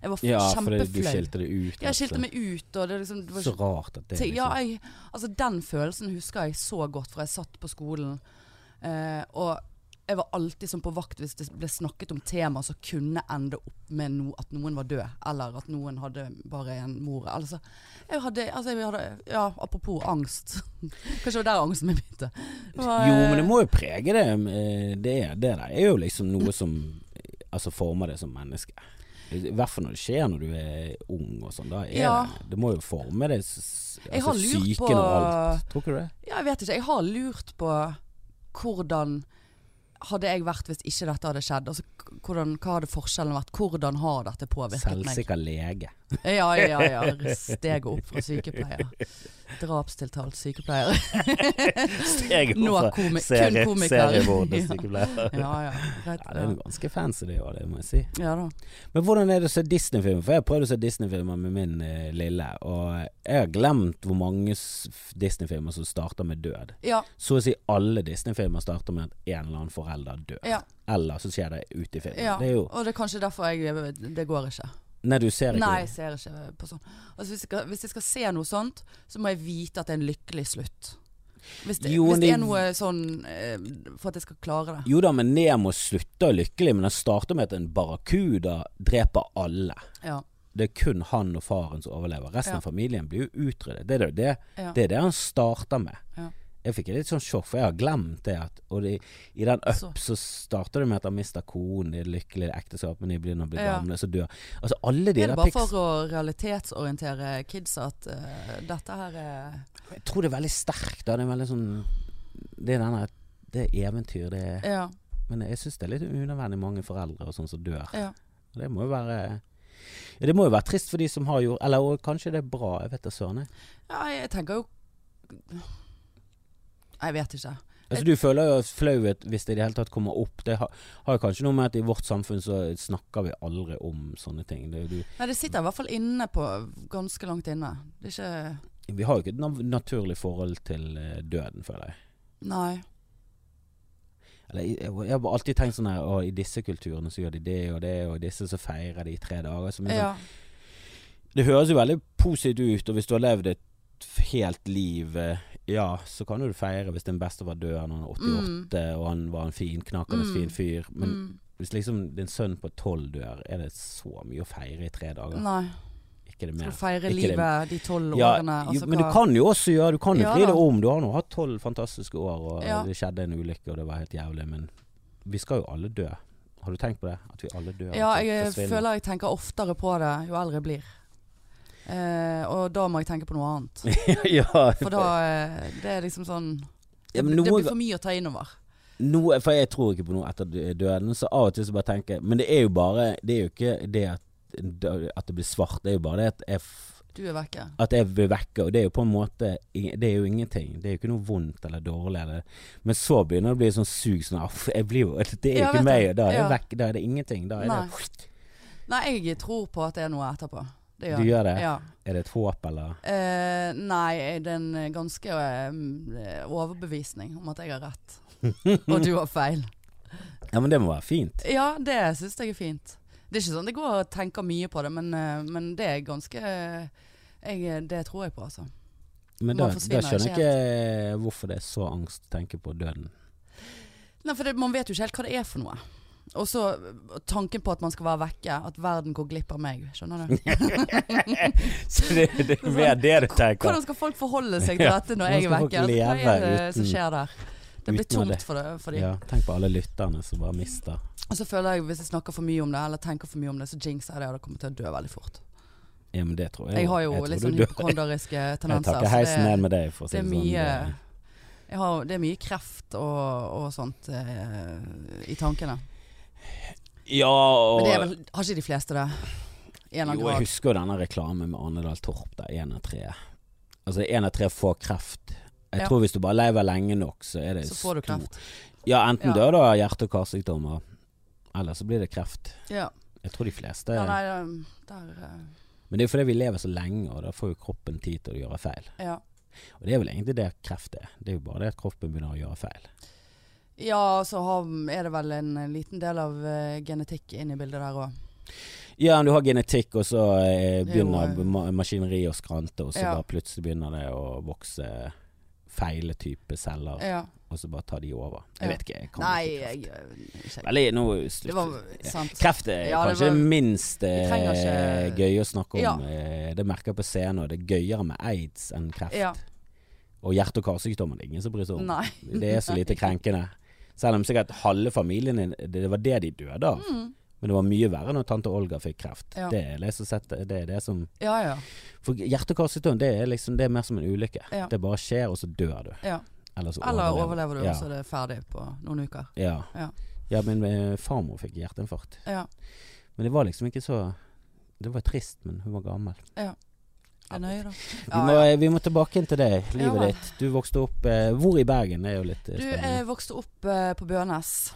Speaker 1: Jeg var
Speaker 2: Ja, fordi
Speaker 1: kjempeflau.
Speaker 2: du skilte det ut. altså.
Speaker 1: jeg skilte meg ut, og det, er liksom, det var
Speaker 2: Så rart at det
Speaker 1: Ti-
Speaker 2: liksom
Speaker 1: Ja, jeg, altså den følelsen husker jeg så godt fra jeg satt på skolen. Eh, og jeg var alltid sånn på vakt hvis det ble snakket om temaer som kunne ende opp med no, at noen var død, eller at noen hadde bare en mor. Altså, jeg hadde, altså jeg hadde Ja, apropos angst. Kanskje det var der angsten min begynte. Det var,
Speaker 2: Jo, men det må jo prege det. eh, Det, er- det der er jo liksom noe som eh, altså, former deg som menneske. I hvert fall når det skjer når du er ung og sånn. Da er
Speaker 1: Ja.
Speaker 2: det, det må jo forme deg. s-
Speaker 1: Jeg har
Speaker 2: Altså,
Speaker 1: lurt
Speaker 2: psyken
Speaker 1: på-
Speaker 2: og alt. Tror ikke du det?
Speaker 1: eh, Ja, jeg vet ikke. Jeg har lurt på hvordan hadde jeg vært hvis ikke dette hadde skjedd? Altså, k- hvordan, hva hadde forskjellen vært? Hvordan har dette påvirket meg?
Speaker 2: Selvsikker lege.
Speaker 1: Ja, ja, ja. Steget opp fra sykepleier. Drapstiltalt sykepleier.
Speaker 2: Steget
Speaker 1: Nå
Speaker 2: over
Speaker 1: komi kun
Speaker 2: serie-
Speaker 1: komiker.
Speaker 2: serievordens
Speaker 1: ja.
Speaker 2: sykepleier.
Speaker 1: ja, ja. Greit.
Speaker 2: Ja, det er jo ganske fancy det òg, det må jeg si.
Speaker 1: Ja da.
Speaker 2: Men hvordan er det å se Disney-filmer? For jeg har prøvd å se Disney-filmer med min eh, lille, og jeg har glemt hvor mange s- f- Disney-filmer som starter med død.
Speaker 1: Ja,
Speaker 2: Så å si alle Disney-filmer starter med at en eller annen forelder dør.
Speaker 1: ja,
Speaker 2: Eller så skjer det ute i filmen.
Speaker 1: ja.
Speaker 2: Det er jo
Speaker 1: Og det er kanskje derfor jeg Det går ikke.
Speaker 2: Nei, du ser ikke
Speaker 1: Nei, jeg
Speaker 2: det.
Speaker 1: ser ikke på sånn. Altså, hvis, jeg skal, hvis jeg skal se noe sånt, så må jeg vite at det er en lykkelig slutt. Hvis det,
Speaker 2: Jo,
Speaker 1: hvis det
Speaker 2: det-
Speaker 1: er noe sånn eh, For at jeg skal klare det.
Speaker 2: Jo da, men Nemo slutter lykkelig, men han starter med at en barrakuda dreper alle.
Speaker 1: Ja.
Speaker 2: Det er kun han og faren som overlever. Resten
Speaker 1: Ja.
Speaker 2: av familien blir jo utryddet. Det er jo det
Speaker 1: ja.
Speaker 2: Det er det han starter med.
Speaker 1: Ja.
Speaker 2: Jeg fikk et litt sånn sjokk, for jeg har glemt det. At, og det, I den up så,
Speaker 1: Så.
Speaker 2: starter det med at han mister konen, de er lykkelige i ekteskap, men de blir når de blir
Speaker 1: Ja.
Speaker 2: gamle, så dør Altså alle de
Speaker 1: Er det
Speaker 2: der
Speaker 1: bare
Speaker 2: pics
Speaker 1: for å realitetsorientere kids at eh, dette her er
Speaker 2: Jeg tror det er veldig sterkt. Da. Det er veldig sånn Det er denne det er eventyr, det er
Speaker 1: Ja.
Speaker 2: Men jeg syns det er litt unødvendig mange foreldre og sånn som dør.
Speaker 1: ja.
Speaker 2: Det må jo være Ja, det må jo være trist for de som har gjort Eller og kanskje det er bra, jeg vet da søren. jeg.
Speaker 1: Ja, jeg tenker jo Jeg vet ikke.
Speaker 2: Altså, du føler jo flauhet hvis det i det hele tatt kommer opp. Det har, har kanskje noe med at i vårt samfunn så snakker vi aldri om sånne ting. Det, er jo du,
Speaker 1: Nei, det sitter i hvert fall inne på ganske langt inne. Det er ikke
Speaker 2: vi har jo ikke et nav- naturlig forhold til eh, døden, føler jeg.
Speaker 1: Nei.
Speaker 2: Eller, jeg, jeg har bare alltid tenkt sånn her «Å, I disse kulturene så gjør de det og det, og i disse så feirer de i tre dager. Som er sånn,
Speaker 1: Ja.
Speaker 2: Det høres jo veldig positivt ut, og hvis du har levd et f- helt liv eh, Ja, så kan jo du feire hvis din beste var død når han var 88, og han var en fin, knakende
Speaker 1: Mm.
Speaker 2: fin fyr. Men
Speaker 1: Mm.
Speaker 2: hvis liksom din sønn på tolv dør, er det så mye å feire i tre dager?
Speaker 1: Mm. Nei.
Speaker 2: Ikke det
Speaker 1: Skal
Speaker 2: mer.
Speaker 1: du feire
Speaker 2: Ikke det-
Speaker 1: livet de tolv
Speaker 2: Ja,
Speaker 1: årene? og
Speaker 2: jo,
Speaker 1: så
Speaker 2: men du
Speaker 1: hva-
Speaker 2: kan jo også gjøre Du kan jo
Speaker 1: Ja
Speaker 2: vri det
Speaker 1: da.
Speaker 2: om. Du har nå hatt tolv fantastiske år, og
Speaker 1: Ja.
Speaker 2: det skjedde en ulykke, og det var helt jævlig, men vi skal jo alle dø. Har du tenkt på det? At vi alle dør?
Speaker 1: Ja,
Speaker 2: at vi
Speaker 1: jeg
Speaker 2: forsvinner?
Speaker 1: føler jeg tenker oftere på det jo eldre jeg blir. Eh, og da må jeg tenke på noe annet.
Speaker 2: ja,
Speaker 1: For da eh, Det er liksom sånn
Speaker 2: ja,
Speaker 1: Det
Speaker 2: men
Speaker 1: blir- det
Speaker 2: noe-
Speaker 1: blir for mye å ta innover.
Speaker 2: Noe, for jeg tror ikke på noe etter dø- døden, så av og til så bare tenker jeg Men det er jo bare Det er jo ikke det at, at det blir svart, det er jo bare det at jeg, f-
Speaker 1: Du er vekke.
Speaker 2: at jeg blir vekke, og det er jo på en måte ing- Det er jo ingenting. Det er jo ikke noe vondt eller dårlig eller Men så begynner det å bli sånn sug sånn Aff, jeg blir jo Det er jo
Speaker 1: Ja, vet
Speaker 2: ikke meg,
Speaker 1: du.
Speaker 2: og da er jeg
Speaker 1: Ja.
Speaker 2: vekk, da er det ingenting. Da er det
Speaker 1: Nei, jeg tror på at det er noe etterpå. Det gjør
Speaker 2: Du
Speaker 1: jeg.
Speaker 2: gjør det?
Speaker 1: Ja.
Speaker 2: Er det et håp, eller?
Speaker 1: Eh, nei, det er en ganske eh, mm, overbevisning om at jeg har rett. Og du har feil.
Speaker 2: Ja, men det må være fint.
Speaker 1: Ja, det syns jeg er fint. Det er ikke sånn det går og tenker mye på det, men, eh, men det er ganske eh, jeg, Det tror jeg på, altså.
Speaker 2: Men da,
Speaker 1: Man
Speaker 2: da
Speaker 1: forsvinner
Speaker 2: skjønner jeg
Speaker 1: ikke
Speaker 2: ikke hvorfor det er så angst å tenke på døden.
Speaker 1: Nei, for det, Man vet jo ikke helt hva det er for noe. Og så øh, tanken på at man skal være vekke. At verden går glipp av meg. Skjønner du?
Speaker 2: Så det, det er mer det du tenker.
Speaker 1: Hvordan skal folk forholde seg til
Speaker 2: Ja,
Speaker 1: dette når
Speaker 2: hvordan
Speaker 1: jeg er
Speaker 2: skal folk
Speaker 1: vekke? Altså, hva er
Speaker 2: leve
Speaker 1: det som
Speaker 2: uten-
Speaker 1: skjer der? Det blir
Speaker 2: uten av
Speaker 1: tomt
Speaker 2: det?
Speaker 1: for, det, for de.
Speaker 2: Ja, tenk på alle lytterne som bare mister.
Speaker 1: Og så føler jeg hvis jeg snakker for mye om det, eller tenker for mye om det, så jinxer jeg det, og det kommer til å dø veldig fort.
Speaker 2: Ja, men det tror jeg.
Speaker 1: Jeg har jo
Speaker 2: tror
Speaker 1: litt
Speaker 2: du
Speaker 1: sånn
Speaker 2: dør.
Speaker 1: hypokonderiske
Speaker 2: Jeg
Speaker 1: tendenser.
Speaker 2: tar ikke
Speaker 1: så
Speaker 2: heisen ned med deg, for å si
Speaker 1: det
Speaker 2: det
Speaker 1: er
Speaker 2: sånn.
Speaker 1: mye
Speaker 2: Det-
Speaker 1: jeg har, Det er mye kreft og, og sånt eh, i tankene.
Speaker 2: Ja, og
Speaker 1: Men det er vel, har ikke de fleste det? I en eller annen
Speaker 2: Jo, jeg
Speaker 1: grad.
Speaker 2: husker jo denne reklamen med Arne Dahl Torp, der én av tre Altså én av tre får kreft. Jeg
Speaker 1: Ja.
Speaker 2: tror hvis du bare lever lenge nok, så er det
Speaker 1: Så får du
Speaker 2: stor-
Speaker 1: kreft.
Speaker 2: Ja, enten
Speaker 1: Ja.
Speaker 2: dør du av hjerte- og karsykdommer, eller så blir det kreft.
Speaker 1: Ja.
Speaker 2: Jeg tror de fleste
Speaker 1: Ja, nei, um, der uh,
Speaker 2: Men det er jo fordi vi lever så lenge, og da får jo kroppen tid til å gjøre feil.
Speaker 1: Ja.
Speaker 2: Og det er vel egentlig det kreft er. Det er jo bare det at kroppen begynner å gjøre feil.
Speaker 1: Ja, så har, er det vel en eh, liten del av eh, genetikk inne i bildet der òg.
Speaker 2: Ja, men du har genetikk, og så eh,
Speaker 1: Det er jo,
Speaker 2: begynner
Speaker 1: eh,
Speaker 2: ma maskineriet å skrante, og så
Speaker 1: Ja.
Speaker 2: bare plutselig begynner det å vokse feile type celler,
Speaker 1: Ja.
Speaker 2: og så bare tar de over.
Speaker 1: Ja.
Speaker 2: Jeg vet ikke. Jeg kan
Speaker 1: Nei,
Speaker 2: ikke
Speaker 1: jeg
Speaker 2: kreft.
Speaker 1: eh, ikke-
Speaker 2: Veldig, nå
Speaker 1: Det
Speaker 2: slutter
Speaker 1: var sant.
Speaker 2: Kreft er
Speaker 1: Ja, det
Speaker 2: kanskje
Speaker 1: var-
Speaker 2: det minst eh,
Speaker 1: trenger ikke-
Speaker 2: gøy å snakke om.
Speaker 1: Ja.
Speaker 2: Eh, Det merker jeg på scenen, og det er gøyere med aids enn kreft.
Speaker 1: Ja.
Speaker 2: Og hjerte- og karsykdommer, det er ingen som bryr seg om.
Speaker 1: Nei.
Speaker 2: Det er så lite krenkende. Selv om sikkert halve familien din Det var det de døde av.
Speaker 1: Mm.
Speaker 2: Men det var mye verre når tante Olga fikk kreft.
Speaker 1: Ja.
Speaker 2: Det, er det, som setter, det er det som
Speaker 1: Ja, ja.
Speaker 2: For hjerte- og karsykdom det er liksom Det er mer som en ulykke.
Speaker 1: Ja.
Speaker 2: Det bare skjer, og så dør du.
Speaker 1: Ja.
Speaker 2: Eller så
Speaker 1: Eller overlever du,
Speaker 2: ja.
Speaker 1: og så er det ferdig på noen uker.
Speaker 2: Ja.
Speaker 1: Ja.
Speaker 2: ja, min eh, farmor fikk hjerteinfarkt.
Speaker 1: Ja.
Speaker 2: Men det var liksom ikke så Det var trist, men hun var gammel.
Speaker 1: Er det nøye, da?
Speaker 2: Vi,
Speaker 1: Ja,
Speaker 2: må, eh,
Speaker 1: ja.
Speaker 2: vi må tilbake inn til deg, livet
Speaker 1: vel.
Speaker 2: ditt. Du vokste opp eh, Hvor i Bergen? Det er jo litt eh,
Speaker 1: Du,
Speaker 2: spennende.
Speaker 1: jeg vokste opp eh, på Bønes.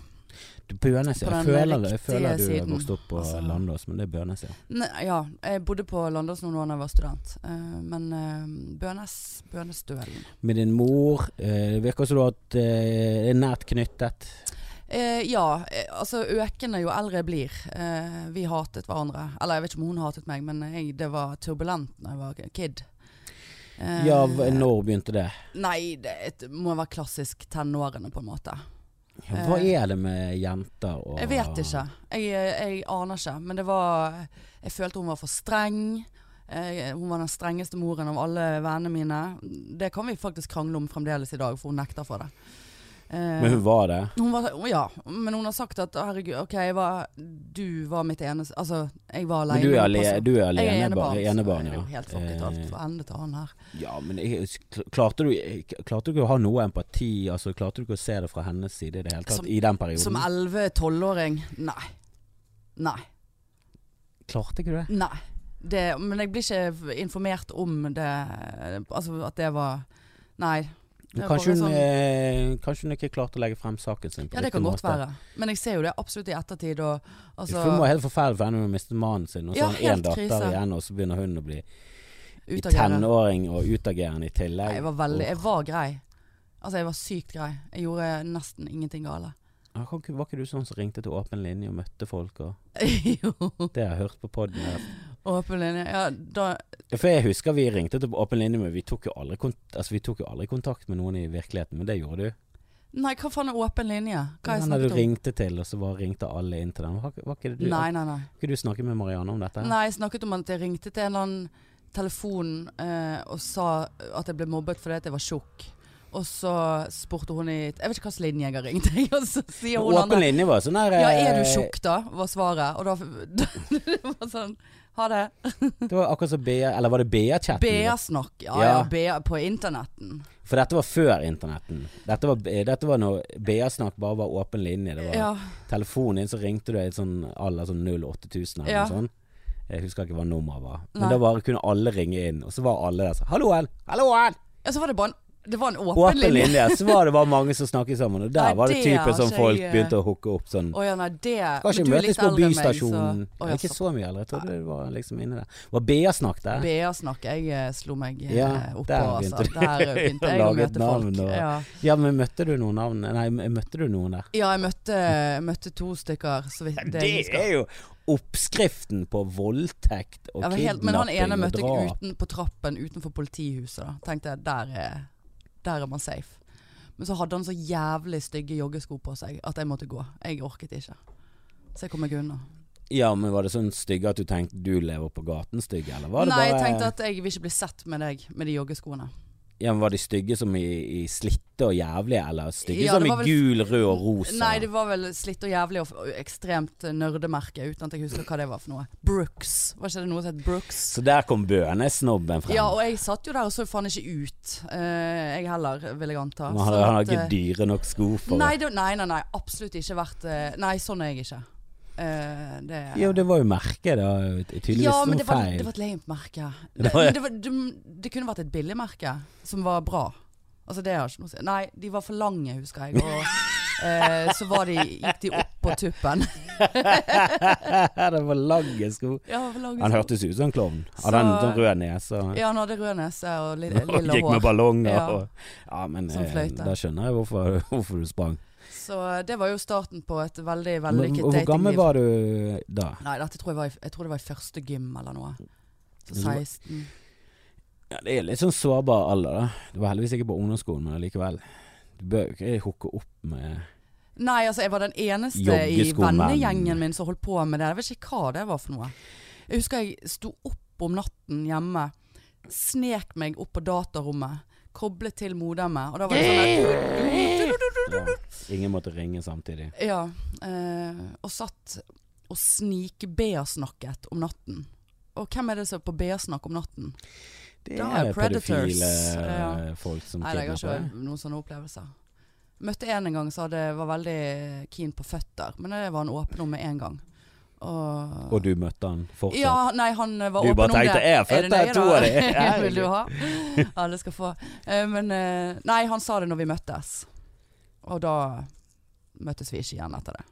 Speaker 2: Du, Bønes, ja.
Speaker 1: på
Speaker 2: Jeg
Speaker 1: den
Speaker 2: føler, jeg
Speaker 1: riktige
Speaker 2: føler du
Speaker 1: siden.
Speaker 2: vokste opp på
Speaker 1: Altså-
Speaker 2: Landås, men det er Bønes, ja.
Speaker 1: Ne, ja, jeg bodde på Landås noen år da jeg var student. Eh, men eh, Bønes Bønesduellen.
Speaker 2: Med din mor. Eh, det virker som du har hatt eh, er nært knyttet.
Speaker 1: Eh, ja, eh, altså økende jo eldre jeg blir. Eh, vi hatet hverandre. Eller jeg vet ikke om hun hatet meg, men jeg, det var turbulent da jeg var kid. Eh,
Speaker 2: Ja, v- når begynte det?
Speaker 1: Nei, det et- må være klassisk tenårene, på en måte.
Speaker 2: Hva
Speaker 1: Eh,
Speaker 2: er det med jenter og
Speaker 1: Jeg vet ikke. Jeg, jeg aner ikke. Men det var Jeg følte hun var for streng. Eh, Hun var den strengeste moren av alle vennene mine. Det kan vi faktisk krangle om fremdeles i dag, for hun nekter for det. Eh,
Speaker 2: Men hun var det?
Speaker 1: hun var, ja, men hun har sagt at herregud, ok, jeg var, du var mitt eneste Altså, jeg var
Speaker 2: Men
Speaker 1: aleine.
Speaker 2: du er, ale du er alene,
Speaker 1: jeg er enebarn.
Speaker 2: enebarn, enebarn
Speaker 1: så det
Speaker 2: ja.
Speaker 1: er jo helt fucket alt
Speaker 2: Eh,
Speaker 1: fra ende til annen her.
Speaker 2: ja, men jeg, klarte, du, eh, klarte du ikke å ha noe empati? Altså, klarte du ikke å se det fra hennes side i det hele tatt?
Speaker 1: Som-
Speaker 2: I den perioden?
Speaker 1: Som 11-12-åring? Nei. Nei.
Speaker 2: Klarte ikke du det?
Speaker 1: Nei. Det, men jeg blir ikke informert om det Altså at det var Nei.
Speaker 2: Men
Speaker 1: Det er
Speaker 2: Kanskje
Speaker 1: bare
Speaker 2: hun,
Speaker 1: sånn-
Speaker 2: eh, kanskje hun ikke klarte å legge frem saken sin på
Speaker 1: Ja, det
Speaker 2: riktig
Speaker 1: kan godt
Speaker 2: måte.
Speaker 1: være. Men jeg ser jo det absolutt i ettertid. Og, altså,
Speaker 2: For hun var helt forferdelig for henne hun mistet mannen sin, og så
Speaker 1: Ja,
Speaker 2: har hun én
Speaker 1: helt
Speaker 2: datter
Speaker 1: krise.
Speaker 2: igjen, og så begynner hun å bli i
Speaker 1: utagerende.
Speaker 2: tenåring og utagerende i
Speaker 1: Nei,
Speaker 2: tillegg.
Speaker 1: jeg var veldig Jeg var grei. Altså, jeg var sykt grei. Jeg gjorde nesten ingenting gale.
Speaker 2: Ja, kan ikke- Var ikke du sånn som ringte til Åpen linje og møtte folk og
Speaker 1: jo.
Speaker 2: Det har jeg hørt på poden.
Speaker 1: Åpen linje. Ja, da
Speaker 2: For jeg husker vi ringte til Åpen linje, men vi tok, jo aldri kont altså, vi tok jo aldri kontakt med noen i virkeligheten. Men det gjorde du.
Speaker 1: Nei, hva faen er åpen linje? Hva har jeg
Speaker 2: Den der du
Speaker 1: snakket om?
Speaker 2: ringte til, og så bare ringte alle inn til den. Var, var ikke det du,
Speaker 1: Nei, nei, nei.
Speaker 2: har ikke du snakket med Marianne om dette?
Speaker 1: Nei, jeg snakket om at jeg ringte til en eller annen telefon eh, og sa at jeg ble mobbet fordi at jeg var tjukk. Og så spurte hun i Jeg vet ikke hvilken linje jeg har ringt, jeg. Og så sier hun
Speaker 2: Åpen
Speaker 1: andre
Speaker 2: linje var sånn der
Speaker 1: Ja,
Speaker 2: eh,
Speaker 1: er du tjukk, da? var svaret. Og da Det var sånn Ha det.
Speaker 2: Det var akkurat som Bea Eller var det Bea-chatten?
Speaker 1: BA-snakk. Ja,
Speaker 2: Ja.
Speaker 1: ja, BA på internetten.
Speaker 2: For dette var før internetten. Dette var, eh, dette var når BA-snakk bare var åpen linje. Det var
Speaker 1: Ja.
Speaker 2: telefonen din, så ringte du i et sånn alder sånn 08000 eller
Speaker 1: Ja.
Speaker 2: noe sånt. Jeg husker ikke hva nummeret var. Men
Speaker 1: Nei.
Speaker 2: da bare kunne alle ringe inn, og så var alle der sånn Halloen! Halloen!
Speaker 1: ja, så var det bare en Det var en åpen,
Speaker 2: Åpen
Speaker 1: linje.
Speaker 2: linje. Så var det bare mange som snakket sammen, og der
Speaker 1: Nei,
Speaker 2: var det
Speaker 1: det har
Speaker 2: typen som
Speaker 1: ikke
Speaker 2: folk
Speaker 1: jeg, eh,
Speaker 2: begynte å hooke opp sånn.
Speaker 1: Å ja, nei, det
Speaker 2: Skal ikke
Speaker 1: men du er litt
Speaker 2: møtes på
Speaker 1: eldre enn meg, så-
Speaker 2: Bystasjonen.
Speaker 1: Å, ja,
Speaker 2: ikke
Speaker 1: så
Speaker 2: så mye eldre, jeg trodde du var liksom inne der. Var BA-snakk der?
Speaker 1: BA-snakk. Jeg eh, slo meg eh,
Speaker 2: Ja,
Speaker 1: oppå,
Speaker 2: der
Speaker 1: altså.
Speaker 2: begynte du.
Speaker 1: Der begynte jeg å
Speaker 2: Laget
Speaker 1: møte folk.
Speaker 2: navn og-
Speaker 1: Ja.
Speaker 2: Ja, men møtte du noen navn? Nei, m- møtte du noen der?
Speaker 1: ja, jeg møtte, møtte to stykker, så vidt
Speaker 2: Det
Speaker 1: jeg husker.
Speaker 2: er jo oppskriften på voldtekt og
Speaker 1: Jeg var helt,
Speaker 2: kidnapping
Speaker 1: men han ene
Speaker 2: og
Speaker 1: møtte jeg
Speaker 2: drap.
Speaker 1: uten, på trappen utenfor politihuset. Da. Tenkte jeg, der er, der er man safe. Men så hadde han så jævlig stygge joggesko på seg at jeg måtte gå. Jeg orket ikke. Så jeg kom meg unna.
Speaker 2: Ja, men var det sånn stygge at du tenkte du lever på gaten stygge, eller var det
Speaker 1: Nei,
Speaker 2: bare
Speaker 1: jeg tenkte at jeg vil ikke bli sett med deg med de joggeskoene.
Speaker 2: Ja, men Var de stygge som i, i slitte og jævlige, eller stygge
Speaker 1: Ja,
Speaker 2: som
Speaker 1: det
Speaker 2: i
Speaker 1: var vel-
Speaker 2: gul, rød og rosa?
Speaker 1: Nei, det var vel slitt og jævlig og f- og ekstremt eh, nerdemerke, uten at jeg husker hva det var for noe. Brooks. Var ikke det noe som het Brooks?
Speaker 2: Så der kom bønesnobben frem.
Speaker 1: Ja, og jeg satt jo der og så faen ikke ut. eh, jeg heller, vil jeg anta.
Speaker 2: men han,
Speaker 1: Sånn
Speaker 2: han har
Speaker 1: at,
Speaker 2: ikke
Speaker 1: eh,
Speaker 2: dyre nok sko for
Speaker 1: Nei, det, nei, nei, nei, absolutt ikke vært eh, Nei, sånn er jeg ikke. Eh, det,
Speaker 2: Jo, det var jo merket, da. Tydeligvis
Speaker 1: ja,
Speaker 2: noe
Speaker 1: men det var,
Speaker 2: feil.
Speaker 1: det var et lame merke.
Speaker 2: Det
Speaker 1: Det,
Speaker 2: var-
Speaker 1: men det, var, det, det kunne vært et billig merke som var bra. Altså det har ikke noe å si. Nei, de var for lange, husker jeg. Og eh, så var de, gikk de opp på tuppen.
Speaker 2: det var lange sko.
Speaker 1: Ja, for lange
Speaker 2: Han
Speaker 1: sko.
Speaker 2: hørtes ut som en klovn.
Speaker 1: Så-
Speaker 2: Hadde han sånn rød nese og,
Speaker 1: Ja, han hadde rød nese og li,
Speaker 2: og
Speaker 1: lilla
Speaker 2: gikk med
Speaker 1: hår.
Speaker 2: ballonger
Speaker 1: Ja.
Speaker 2: og Ja, men
Speaker 1: Som
Speaker 2: eh,
Speaker 1: fløyte.
Speaker 2: da skjønner jeg hvorfor, hvorfor du sprang.
Speaker 1: Så eh, det var jo starten på et veldig
Speaker 2: Men,
Speaker 1: vellykket
Speaker 2: hvor
Speaker 1: datingliv.
Speaker 2: gammel var du da?
Speaker 1: Nei, dette tror jeg var i, jeg tror det var i første gym eller noe. Så
Speaker 2: Mm. Men du var-
Speaker 1: 16.
Speaker 2: Ja, det er litt sånn sårbar alder, da. Du var heldigvis ikke på ungdomsskolen, men likevel. Du bør jo ikke hooke opp med
Speaker 1: Nei, altså jeg var den eneste i
Speaker 2: Joggeskomenn.
Speaker 1: vennegjengen min som holdt på med det. Jeg vet ikke hva det var for noe. Jeg husker jeg sto opp om natten hjemme, snek meg opp på datarommet, koblet til modemet, og da var det sånn at
Speaker 2: ja. Ingen måtte ringe samtidig.
Speaker 1: Ja. Eh, og satt og snikbeasnakket om natten. Og hvem er det som er på beasnakk om natten?
Speaker 2: Det
Speaker 1: Da
Speaker 2: er
Speaker 1: er predators,
Speaker 2: pedofile eh,
Speaker 1: ja.
Speaker 2: folk som
Speaker 1: Nei, jeg har
Speaker 2: kidnapper.
Speaker 1: ikke noen sånne opplevelser. Møtte en en gang som hadde- var veldig keen på føtter, men det var han åpen om med en gang. Og,
Speaker 2: Og du møtte han fortsatt?
Speaker 1: Ja, nei, han var
Speaker 2: Du
Speaker 1: åpen
Speaker 2: bare
Speaker 1: om det.
Speaker 2: tenkte, «Jeg er
Speaker 1: det
Speaker 2: født, jeg
Speaker 1: nøye,
Speaker 2: tror
Speaker 1: da?»
Speaker 2: det.
Speaker 1: Vil du ha? Alle skal få. Eh, Men eh, nei, han sa det når vi møttes. Og da møttes vi ikke igjen etter det.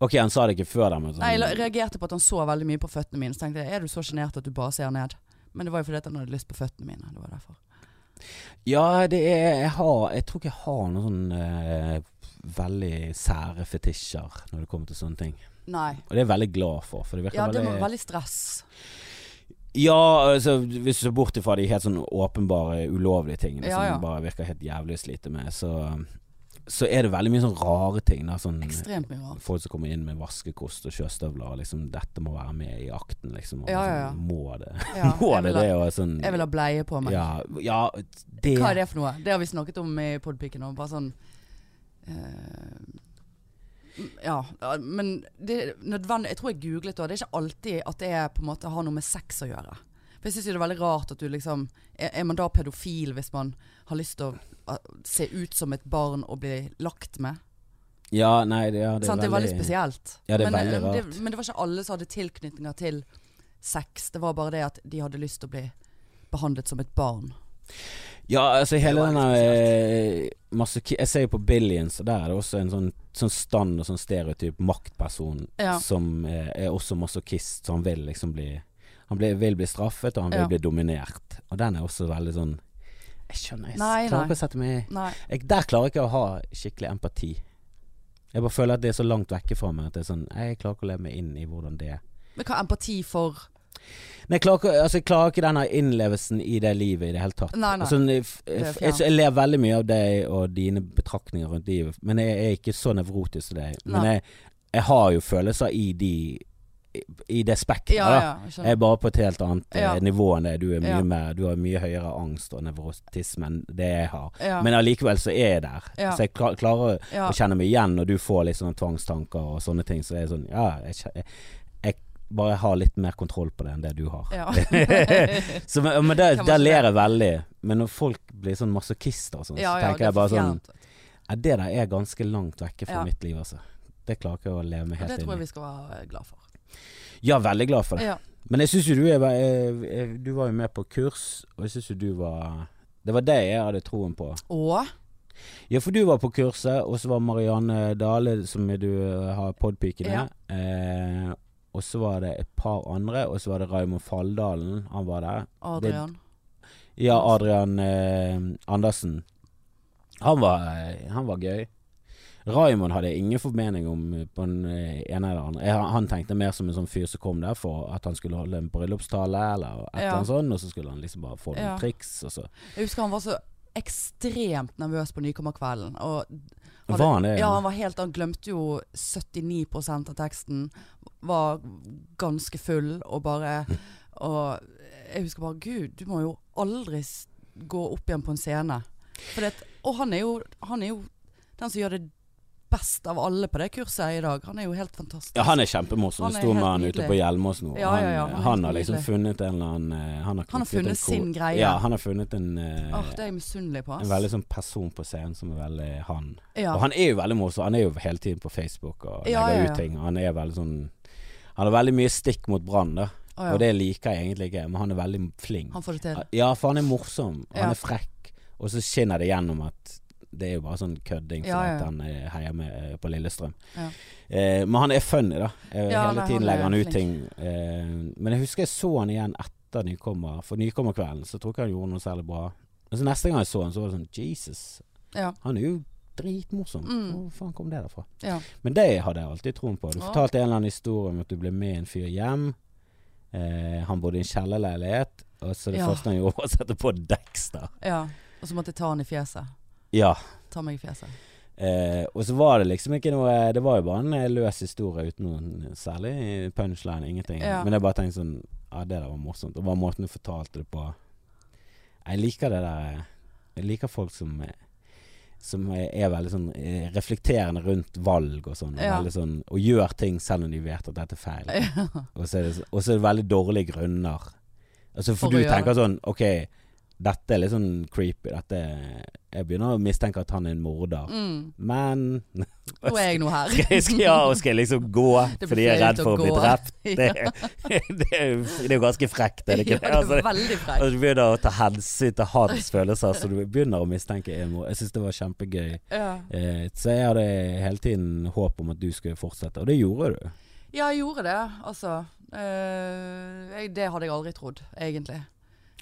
Speaker 2: Ok, han sa det ikke før der, men sånn
Speaker 1: Nei, jeg reagerte på at han så veldig mye på føttene mine. Så tenkte jeg, er du så sjenert at du bare ser ned? Men det var jo fordi at han hadde lyst på føttene mine. Det var derfor.
Speaker 2: Ja, det er Jeg, har, jeg tror ikke jeg har noen sånn eh, veldig sære fetisjer når det kommer til sånne ting.
Speaker 1: Nei.
Speaker 2: Og det er jeg veldig glad for, for det virker
Speaker 1: Ja, det
Speaker 2: veldig
Speaker 1: var veldig stress.
Speaker 2: Ja, altså, hvis du ser bort ifra de helt sånn åpenbare ulovlige tingene
Speaker 1: Ja,
Speaker 2: som
Speaker 1: ja.
Speaker 2: bare virker helt jævlig å slite med, så, så er det veldig mye sånn rare ting. Da, sånn,
Speaker 1: Ekstremt mye rart.
Speaker 2: folk som kommer inn med vaskekost og sjøstøvler, og liksom dette må være med i akten, liksom. Og,
Speaker 1: Ja, ja, ja.
Speaker 2: Sånn, må det
Speaker 1: Ja,
Speaker 2: Må
Speaker 1: jeg
Speaker 2: det
Speaker 1: vil ha-
Speaker 2: det? Og sånn
Speaker 1: Jeg vil ha bleie på meg.
Speaker 2: ja, ja, det
Speaker 1: Hva er det for noe? Det har vi snakket om i podpiken òg. Bare sånn eh, Ja, ja, men det er nødvendig Jeg tror jeg googlet det. og Det er ikke alltid at det er, på en måte, har noe med sex å gjøre. For Jeg syns det er veldig rart at du liksom er, er man da pedofil hvis man har lyst til å eh, se ut som et barn og bli lagt med?
Speaker 2: Ja, nei, det, ja, det er
Speaker 1: sant? Det er veldig spesielt.
Speaker 2: Ja, det er
Speaker 1: men,
Speaker 2: veldig
Speaker 1: eh,
Speaker 2: rart.
Speaker 1: Det, men det var ikke alle som hadde tilknytninger til sex. Det var bare det at de hadde lyst til å bli behandlet som et barn.
Speaker 2: Ja, altså
Speaker 1: Det er
Speaker 2: hele
Speaker 1: jo
Speaker 2: denne
Speaker 1: veldig
Speaker 2: eh, masoki... Jeg ser jo på Billions, og der er det også en sånn, sånn stand og sånn stereotyp maktperson
Speaker 1: Ja.
Speaker 2: som eh, er også masochist, så han vil liksom bli Han blir- vil bli straffet, og han vil
Speaker 1: Ja.
Speaker 2: bli dominert. Og den er også veldig sånn Jeg skjønner, jeg s-
Speaker 1: Nei,
Speaker 2: klarer
Speaker 1: nei.
Speaker 2: ikke å sette meg i
Speaker 1: Nei.
Speaker 2: jeg, Der klarer jeg ikke å ha skikkelig empati. Jeg bare føler at det er så langt vekke fra meg at det er sånn Jeg klarer ikke å leve meg inn i hvordan det er.
Speaker 1: Men hva er empati for
Speaker 2: Nei, jeg klarer, ikke, altså, jeg klarer ikke denne innlevelsen i det livet i det hele tatt.
Speaker 1: Nei, nei.
Speaker 2: Altså, jeg, f- jeg,
Speaker 1: er
Speaker 2: f- jeg,
Speaker 1: fjernt.
Speaker 2: jeg ler veldig mye av deg og dine betraktninger rundt livet, men jeg, er ikke så nevrotisk til deg. Men
Speaker 1: Nei.
Speaker 2: jeg, jeg har jo følelser i de I, i det spekteret.
Speaker 1: Ja,
Speaker 2: da.
Speaker 1: ja. jeg skjønner.
Speaker 2: Jeg er bare på et helt annet eh,
Speaker 1: Ja.
Speaker 2: nivå enn det. Du, er mye
Speaker 1: Ja.
Speaker 2: mer, du har mye høyere angst og nevrotisme enn det jeg har.
Speaker 1: Ja,
Speaker 2: Men allikevel så er jeg der.
Speaker 1: Ja.
Speaker 2: Så jeg kla- klarer
Speaker 1: ja.
Speaker 2: å kjenne meg igjen når du får litt sånne tvangstanker og sånne ting. Så er jeg sånn Ja, jeg, kje- jeg, jeg bare har litt mer kontroll på det enn det du har.
Speaker 1: ja.
Speaker 2: Så, men men
Speaker 1: Kan man
Speaker 2: der, der
Speaker 1: ikke
Speaker 2: ler jeg veldig. Men når folk blir sånn masochister og sånn,
Speaker 1: Ja,
Speaker 2: så
Speaker 1: ja, det er
Speaker 2: tenker jeg bare
Speaker 1: for
Speaker 2: sånn
Speaker 1: fjernt.
Speaker 2: ja, Det der er ganske langt vekke fra
Speaker 1: Ja.
Speaker 2: mitt liv, altså. Det klarer ikke jeg å leve meg
Speaker 1: Og Det
Speaker 2: helt
Speaker 1: tror jeg
Speaker 2: inn i.
Speaker 1: vi skal være eh, glad for.
Speaker 2: Ja, veldig glad for det.
Speaker 1: Ja.
Speaker 2: Men jeg syns jo du er ve- eh, eh, Du var jo med på kurs, og jeg syns jo du var Det var deg jeg hadde troen på.
Speaker 1: Og
Speaker 2: Ja, for du var på kurset, og så var Marianne Dale, som du eh, har podpikene. Eh, og så var det et par andre, og så var det Raymond Falldalen, han var der.
Speaker 1: Adrian.
Speaker 2: Ja, Adrian eh, Andersen. Han var, eh, han var gøy. Raymond hadde jeg ingen formening om eh, på den eh, ene eller andre. Jeg, han tenkte mer som en sånn fyr som kom der for at han skulle holde en bryllupstale eller et
Speaker 1: Ja.
Speaker 2: eller annet sånt, og så skulle han liksom bare få noen
Speaker 1: Ja.
Speaker 2: triks, og så
Speaker 1: Jeg husker han var så ekstremt nervøs på Nykommerkvelden. Og Hadde-
Speaker 2: var han det.
Speaker 1: ja, han var helt Han glemte jo 79 av teksten. Var ganske full og bare Og jeg husker bare Gud, du må jo aldri s- gå opp igjen på en scene. For det, og han er, jo, han er jo den som gjør det best av alle på det kurset i dag. Han er jo helt fantastisk.
Speaker 2: Ja, han er kjempemorsom.
Speaker 1: Han
Speaker 2: Jeg
Speaker 1: er
Speaker 2: sto med
Speaker 1: helt
Speaker 2: han ute
Speaker 1: nydelig.
Speaker 2: på Hjelmås nå.
Speaker 1: Ja, ja, ja, han er
Speaker 2: han, han
Speaker 1: helt
Speaker 2: har liksom
Speaker 1: nydelig.
Speaker 2: funnet en eller annen eh, Han har,
Speaker 1: Han har
Speaker 2: knyttet en
Speaker 1: funnet
Speaker 2: ko-
Speaker 1: sin greie.
Speaker 2: Ja, han har funnet en, eh,
Speaker 1: Åh, det er jeg misunnelig på. ass.
Speaker 2: en veldig sånn person på scenen som er veldig han.
Speaker 1: ja.
Speaker 2: Og han er jo veldig morsom. Han er jo hele tiden på Facebook og legger
Speaker 1: Ja, ja, ja.
Speaker 2: ut ting. Han er veldig sånn Han har veldig mye stikk mot Brann, da.
Speaker 1: Å, ja.
Speaker 2: Og det liker jeg egentlig ikke, men han er veldig flink.
Speaker 1: Han får det til.
Speaker 2: Ah, Ja, for han er morsom. og
Speaker 1: Ja.
Speaker 2: Han er frekk. Og så skinner det gjennom at det er jo bare sånn kødding fordi
Speaker 1: Ja, ja, ja.
Speaker 2: at han eh, heier med eh, på Lillestrøm.
Speaker 1: Ja.
Speaker 2: Eh, men han er funny, da. Eh,
Speaker 1: Ja,
Speaker 2: Hele
Speaker 1: nei, han
Speaker 2: tiden
Speaker 1: er
Speaker 2: legger han ut
Speaker 1: flink.
Speaker 2: ting. Eh, men jeg husker jeg så han igjen etter nykommer. For nykommerkvelden så tror jeg ikke han gjorde noe særlig bra. Men så neste gang jeg så han, så var det sånn Jesus.
Speaker 1: Ja.
Speaker 2: Han er jo dritmorsom.
Speaker 1: Mm.
Speaker 2: Hvor faen kom det derfra?
Speaker 1: Ja.
Speaker 2: Men det hadde jeg alltid troen på. Du
Speaker 1: Ja.
Speaker 2: fortalte en eller annen historie om at du ble med en fyr hjem. Eh, han bodde i en kjellerleilighet, og så det
Speaker 1: Ja.
Speaker 2: første han gjorde, var å sette på Dexter.
Speaker 1: ja. Og så måtte jeg ta han i fjeset.
Speaker 2: Ja.
Speaker 1: Ta meg i fjeset.
Speaker 2: Eh, og så var det liksom ikke noe Det var jo bare en eh, løs historie uten noen særlig punchline, ingenting.
Speaker 1: Ja.
Speaker 2: Men jeg bare tenkte sånn Ja, det der var morsomt. Og bare måten du fortalte det på. Jeg liker det der eh, Jeg liker folk som eh, som eh, er veldig sånn eh, reflekterende rundt valg og sånn. Og,
Speaker 1: Ja.
Speaker 2: veldig sånn, og gjør ting selv om de vet at dette er feil.
Speaker 1: Ja.
Speaker 2: Og så er det, så- og så er det veldig dårlige grunner. Altså for,
Speaker 1: For å
Speaker 2: du
Speaker 1: gjøre
Speaker 2: tenker sånn Ok, dette er litt sånn creepy. Dette, jeg begynner å mistenke at han er en morder.
Speaker 1: Mm.
Speaker 2: Men
Speaker 1: Nå er jeg nå her.
Speaker 2: skal jeg, skal, ja, og skal jeg liksom gå
Speaker 1: Det blir
Speaker 2: fordi jeg er redd
Speaker 1: flaut å
Speaker 2: for å bli
Speaker 1: gå.
Speaker 2: drept? Det,
Speaker 1: Ja.
Speaker 2: det, er jo- det er jo ganske frekt, er det ikke det?
Speaker 1: Ja, det
Speaker 2: Altså,
Speaker 1: er veldig
Speaker 2: og
Speaker 1: frekt.
Speaker 2: du begynner å ta hensyn til hans følelser, så du begynner å mistenke en mor. Jeg syns det var kjempegøy.
Speaker 1: Ja.
Speaker 2: Eh, så jeg hadde hele tiden håp om at du skulle fortsette, og det gjorde du.
Speaker 1: ja, jeg gjorde det, altså. Eh, jeg, det hadde jeg aldri trodd, egentlig.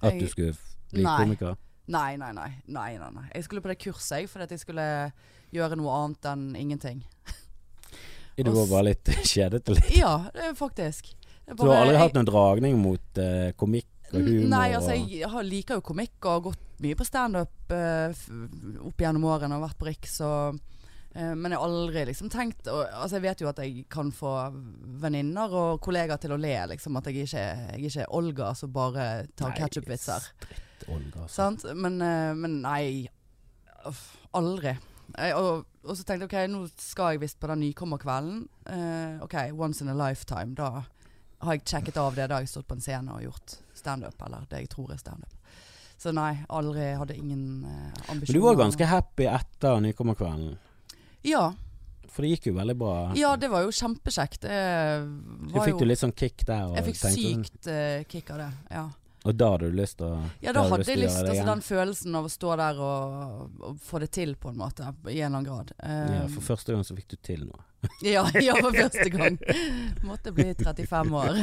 Speaker 2: At
Speaker 1: Jeg-
Speaker 2: du skulle bli
Speaker 1: Nei.
Speaker 2: komiker.
Speaker 1: Nei, nei, nei. nei, nei, nei. Jeg skulle på det kurset jeg, fordi at jeg skulle gjøre noe annet enn ingenting.
Speaker 2: Du var bare litt kjedete. litt.
Speaker 1: Ja, det er faktisk. Det er
Speaker 2: Du har
Speaker 1: bare-
Speaker 2: aldri
Speaker 1: jeg-
Speaker 2: hatt noen dragning mot eh, komikk og humor?
Speaker 1: Nei, altså
Speaker 2: og-
Speaker 1: jeg har, liker jo komikk og har gått mye på standup eh, f- opp gjennom årene og vært på Riks og eh, men jeg har aldri liksom tenkt og, Altså Jeg vet jo at jeg kan få venninner og kollegaer til å le. Liksom At jeg ikke, jeg ikke er Olga som bare tar
Speaker 2: Nei,
Speaker 1: ketsjup-vitser.
Speaker 2: Olga, altså.
Speaker 1: Sant? Men, eh, men nei, uff, aldri. Jeg, og, og så tenkte jeg ok, nå skal jeg visst på den nykommerkvelden. Eh, ok, once in a lifetime. Da har jeg sjekket av det. Da har jeg stått på en scene og gjort standup, eller det jeg tror er standup. Så nei, aldri hadde ingen eh, ambisjoner.
Speaker 2: Men du var ganske happy etter Nykommerkvelden.
Speaker 1: Ja.
Speaker 2: For det gikk jo veldig bra.
Speaker 1: Ja, det var jo kjempekjekt. Det
Speaker 2: Du
Speaker 1: var
Speaker 2: fikk
Speaker 1: jo
Speaker 2: jo litt sånn kick der. Og
Speaker 1: Jeg fikk
Speaker 2: tenkte sånn-
Speaker 1: sykt eh, kick av det. Ja,
Speaker 2: Og da hadde du lyst til å
Speaker 1: ja da
Speaker 2: hadde du
Speaker 1: hadde jeg
Speaker 2: til å
Speaker 1: lyst
Speaker 2: gjøre det
Speaker 1: altså,
Speaker 2: igjen.
Speaker 1: Den følelsen av å stå der og, og få det til, på en måte. I en eller annen grad. Eh,
Speaker 2: Ja, for første gang så fikk du til noe.
Speaker 1: ja, ja, for første gang. Måtte bli 35 år.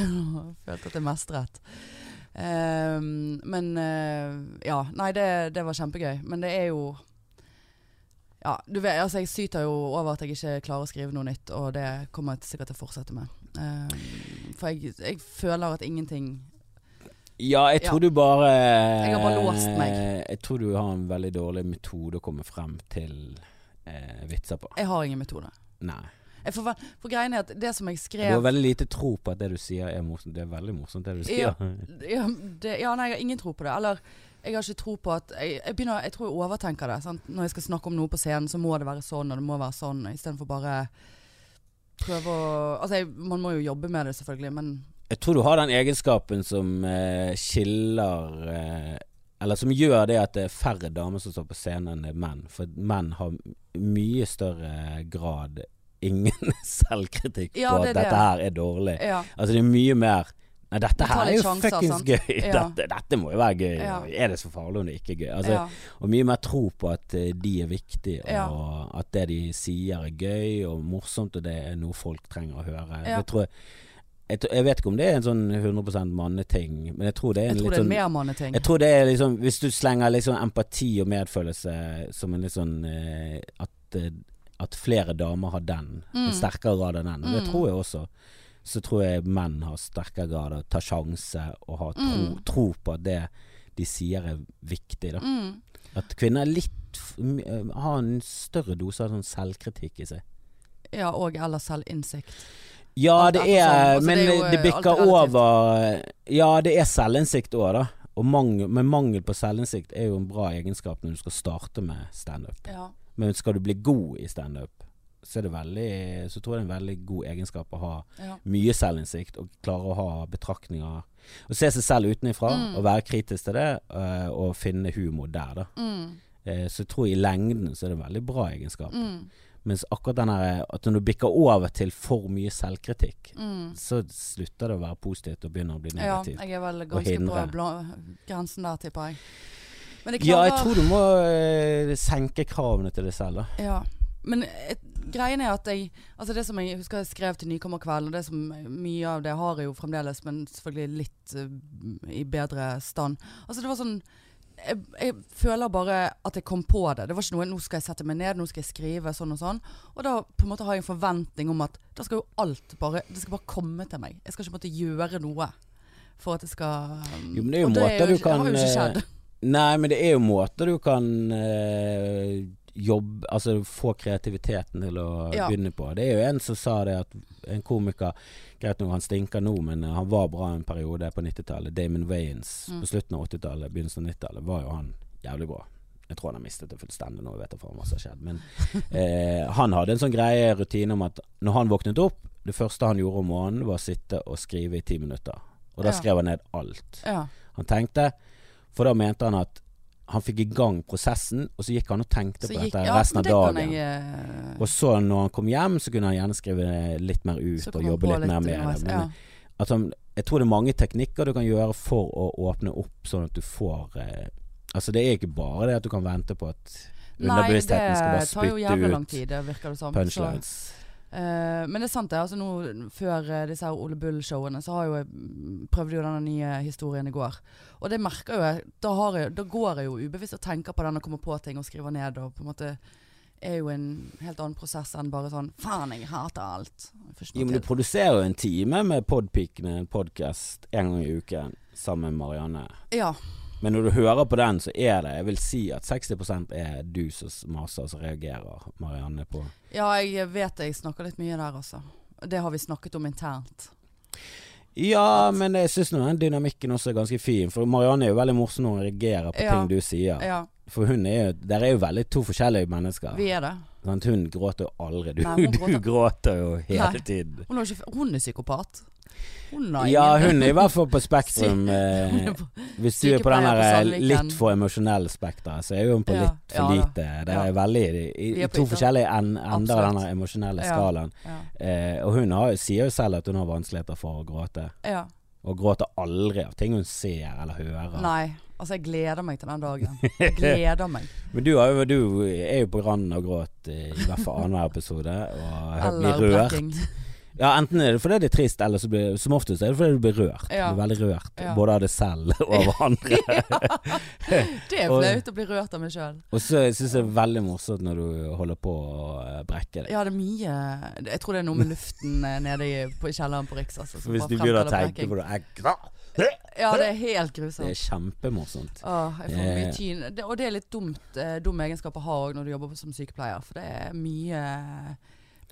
Speaker 1: Følte at jeg mestret. Eh, men eh, ja. Nei, det, det var kjempegøy. Men det er jo ja, du vet, altså Jeg syter jo over at jeg ikke klarer å skrive noe nytt, og det kommer jeg sikkert til å fortsette med. Eh, for jeg, jeg føler at ingenting
Speaker 2: Ja, jeg
Speaker 1: Ja.
Speaker 2: tror du bare eh,
Speaker 1: Jeg har bare låst meg.
Speaker 2: Jeg tror du har en veldig dårlig metode å komme frem til eh, vitser på.
Speaker 1: Jeg har ingen metode.
Speaker 2: Nei.
Speaker 1: Jeg får, vel- for greien er at det som jeg
Speaker 2: Du har
Speaker 1: skrev
Speaker 2: veldig lite tro på at det du sier er morsomt. Det er veldig morsomt, det du
Speaker 1: Ja.
Speaker 2: sier.
Speaker 1: ja, det, ja, nei, jeg har ingen tro på det. Eller jeg har ikke tro på at Jeg, jeg, begynner, jeg tror jeg overtenker det. Sant? Når jeg skal snakke om noe på scenen, så må det være sånn, og det må være sånn, istedenfor bare prøve å Altså, jeg, man må jo jobbe med det, selvfølgelig, men
Speaker 2: Jeg tror du har den egenskapen som eh, skiller eh, Eller som gjør det at det er færre damer som står på scenen enn det er menn. For menn har m- mye større grad ingen selvkritikk
Speaker 1: Ja,
Speaker 2: på at
Speaker 1: det er det.
Speaker 2: dette her er dårlig.
Speaker 1: ja.
Speaker 2: Altså det er mye mer Nei, dette
Speaker 1: Du tar
Speaker 2: her er
Speaker 1: litt
Speaker 2: jo
Speaker 1: sjanser,
Speaker 2: fuckings
Speaker 1: sant?
Speaker 2: gøy.
Speaker 1: Ja.
Speaker 2: Dette, dette må jo være gøy.
Speaker 1: Ja.
Speaker 2: Er det så farlig om det ikke er gøy? Altså,
Speaker 1: ja.
Speaker 2: Og mye mer tro på at eh, de er viktige, og at det de sier er gøy og morsomt, og det er noe folk trenger å høre.
Speaker 1: Ja.
Speaker 2: Det tror jeg, jeg, tror- jeg vet ikke om det er en sånn 100 manneting, men jeg tror det er
Speaker 1: Jeg
Speaker 2: en
Speaker 1: tror
Speaker 2: litt
Speaker 1: det er
Speaker 2: sånn
Speaker 1: mer manneting.
Speaker 2: jeg tror det er liksom Hvis du slenger liksom empati og medfølelse som en litt sånn eh, at, eh, at flere damer har den,
Speaker 1: Mm.
Speaker 2: en sterkere grad enn den, og det
Speaker 1: Mm.
Speaker 2: tror jeg også. Så tror jeg menn har sterkere grad av å ta sjanse og ha tro,
Speaker 1: Mm.
Speaker 2: tro på at det de sier er viktig. Da.
Speaker 1: Mm.
Speaker 2: At kvinner er litt f- m- eh, har en større dose av sånn selvkritikk i seg.
Speaker 1: Ja, og eller selvinnsikt.
Speaker 2: Ja,
Speaker 1: Alt
Speaker 2: det
Speaker 1: ettersom.
Speaker 2: er
Speaker 1: Altså,
Speaker 2: Men
Speaker 1: det
Speaker 2: det,
Speaker 1: er jo, eh, alt
Speaker 2: bikker
Speaker 1: er relativt.
Speaker 2: over eh, Ja, det er selvinnsikt òg, da. Og mangel, men mangel på selvinnsikt er jo en bra egenskap når du skal starte med standup.
Speaker 1: Ja.
Speaker 2: Men skal du bli god i standup, så, er det veldig- så tror jeg det er en veldig god egenskap å ha
Speaker 1: ja.
Speaker 2: mye selvinnsikt og klare å ha betraktninger. Å se seg selv utenfra
Speaker 1: Mm.
Speaker 2: og være kritisk til det, eh, og finne humor der, da.
Speaker 1: Mm.
Speaker 2: Eh, Så jeg tror i lengden så er det en veldig bra egenskap.
Speaker 1: Mm.
Speaker 2: Mens akkurat den her at når du bikker over til for mye selvkritikk,
Speaker 1: Mm.
Speaker 2: så slutter det å være positivt og begynner å bli
Speaker 1: Ja,
Speaker 2: negativt. Ja,
Speaker 1: jeg er vel ganske på
Speaker 2: hindre.
Speaker 1: bla- grensen der, tipper jeg. Men jeg
Speaker 2: jeg,
Speaker 1: klarer
Speaker 2: tror du må eh, senke kravene til deg selv, da.
Speaker 1: Ja. Men et, greien er at jeg Altså det som jeg husker jeg skrev til Nykommerkvelden, og det som mye av det har jeg jo fremdeles, men selvfølgelig litt eh, i bedre stand. Altså det var sånn jeg, jeg føler bare at jeg kom på det. Det var ikke noe 'nå skal jeg sette meg ned', 'nå skal jeg skrive', sånn og sånn. Og da på en måte har jeg en forventning om at da skal jo alt bare Det skal bare komme til meg. Jeg skal ikke måtte gjøre noe for at det skal
Speaker 2: Jo, men det er jo
Speaker 1: og
Speaker 2: måter du
Speaker 1: ikke- Det har jo ikke
Speaker 2: kan, eh,
Speaker 1: skjedd.
Speaker 2: Nei, men det er jo måter du kan eh, jobbe Altså få kreativiteten til å
Speaker 1: Ja.
Speaker 2: begynne på. Det er jo en som sa det at en komiker Greit nok, han stinker nå, men eh, han var bra en periode på 90-tallet. Damon Wayans
Speaker 1: Mm.
Speaker 2: på slutten av 80-tallet, begynnelsen av 90-tallet, var jo han jævlig bra. Jeg tror han har mistet det fullstendig nå, jeg vet da faen hva som har skjedd. Men eh, han hadde en sånn greie rutine om at når han våknet opp, det første han gjorde om morgenen, var å sitte og skrive i ti minutter. Og da
Speaker 1: Ja.
Speaker 2: skrev han ned alt
Speaker 1: Ja.
Speaker 2: han tenkte. For da mente han at han fikk i gang prosessen, og så gikk han og tenkte
Speaker 1: Så
Speaker 2: på
Speaker 1: gikk-
Speaker 2: dette
Speaker 1: ja,
Speaker 2: resten
Speaker 1: men
Speaker 2: av
Speaker 1: det kan
Speaker 2: dagen.
Speaker 1: jeg, eh,
Speaker 2: Og så når han kom hjem, så kunne han gjerne skrive litt mer ut
Speaker 1: så kom
Speaker 2: og
Speaker 1: jeg på
Speaker 2: jobbe litt, mer med
Speaker 1: underveis.
Speaker 2: det. Men
Speaker 1: Ja.
Speaker 2: at han, jeg tror det er mange teknikker du kan gjøre for å åpne opp, sånn at du får eh, Altså, det er ikke bare det at du kan vente på at underbevisstheten skal bare
Speaker 1: Nei, det tar jo jævlig
Speaker 2: spytte
Speaker 1: lang
Speaker 2: ut
Speaker 1: tid, det virker det som.
Speaker 2: punchlines.
Speaker 1: Så, eh, men det er sant det. Altså nå, før eh, disse her Ole Bull-showene, så har jo jeg mm, prøvde jo denne nye historien i går. Og det merker jo jeg. Da, har jeg, da går jeg jo ubevisst og tenker på den og kommer på ting og skriver ned og på en måte er jo en helt annen prosess enn bare sånn Faen, jeg hater alt. Jeg får ikke noe
Speaker 2: Jo, men du
Speaker 1: til.
Speaker 2: produserer jo en time med Podpikene, en podkast, en gang i uken sammen med Marianne.
Speaker 1: Ja.
Speaker 2: Men når du hører på den, så er det Jeg vil si at 60 er du som maser og som reagerer, Marianne, på
Speaker 1: ja, jeg vet jeg snakker litt mye der, altså. Det har vi snakket om internt.
Speaker 2: Ja, men jeg syns den dynamikken også er ganske fin, for Marianne er jo veldig morsom når hun reagerer på
Speaker 1: Ja.
Speaker 2: ting du sier.
Speaker 1: Ja.
Speaker 2: For hun er jo Dere er jo veldig to forskjellige mennesker.
Speaker 1: Vi er det.
Speaker 2: Sant? Hun gråter jo aldri. Du,
Speaker 1: Nei, hun
Speaker 2: du
Speaker 1: gråter-
Speaker 2: gråter jo hele
Speaker 1: Nei.
Speaker 2: tiden.
Speaker 1: Hun er, ikke, hun er psykopat. Hun har
Speaker 2: Ja,
Speaker 1: ingen-
Speaker 2: hun er i hvert fall på spektrum. Eh, hvis du er
Speaker 1: sykepleier på
Speaker 2: på den der eh,
Speaker 1: Sandviken.
Speaker 2: litt for emosjonell spekter, så er jo hun på
Speaker 1: Ja,
Speaker 2: litt for
Speaker 1: ja da,
Speaker 2: lite. Det er veldig i, i,
Speaker 1: Vi er
Speaker 2: i
Speaker 1: på
Speaker 2: to
Speaker 1: ytter.
Speaker 2: forskjellige en- ender av
Speaker 1: Absolutt.
Speaker 2: den emosjonelle
Speaker 1: Ja.
Speaker 2: skalaen.
Speaker 1: Ja.
Speaker 2: Eh, og hun har, sier jo selv at hun har vanskeligheter for å gråte.
Speaker 1: ja.
Speaker 2: Og gråter aldri av ting hun ser eller hører.
Speaker 1: Nei. Altså, jeg gleder meg til den dagen. Jeg gleder meg.
Speaker 2: Men du, har jo, du er jo på randen av gråt eh, i hvert fall annenhver episode. Og
Speaker 1: Eller
Speaker 2: blir rørt.
Speaker 1: blacking.
Speaker 2: Ja, enten er det fordi det er trist, eller så blir, som oftest er det fordi du blir rørt.
Speaker 1: Ja.
Speaker 2: Du blir veldig rørt,
Speaker 1: Ja.
Speaker 2: både av deg selv og av andre.
Speaker 1: Det er
Speaker 2: Og-
Speaker 1: flaut å bli rørt av meg sjøl.
Speaker 2: Og så syns jeg det er veldig morsomt når du holder på å eh, brekke deg.
Speaker 1: Ja, det er mye Jeg tror det er noe med luften eh, nede i på kjelleren på Riks. Altså, som
Speaker 2: Hvis
Speaker 1: bare
Speaker 2: du begynner å
Speaker 1: fremkaller
Speaker 2: tenke på det jeg,
Speaker 1: breaking. Ja, det er helt
Speaker 2: Det
Speaker 1: grusomt.
Speaker 2: er kjempemorsomt.
Speaker 1: Åh, jeg får
Speaker 2: Eh.
Speaker 1: mye tyn. Det, og det er litt dumt, eh, dum egenskap å ha òg når du jobber som sykepleier, for det er mye eh,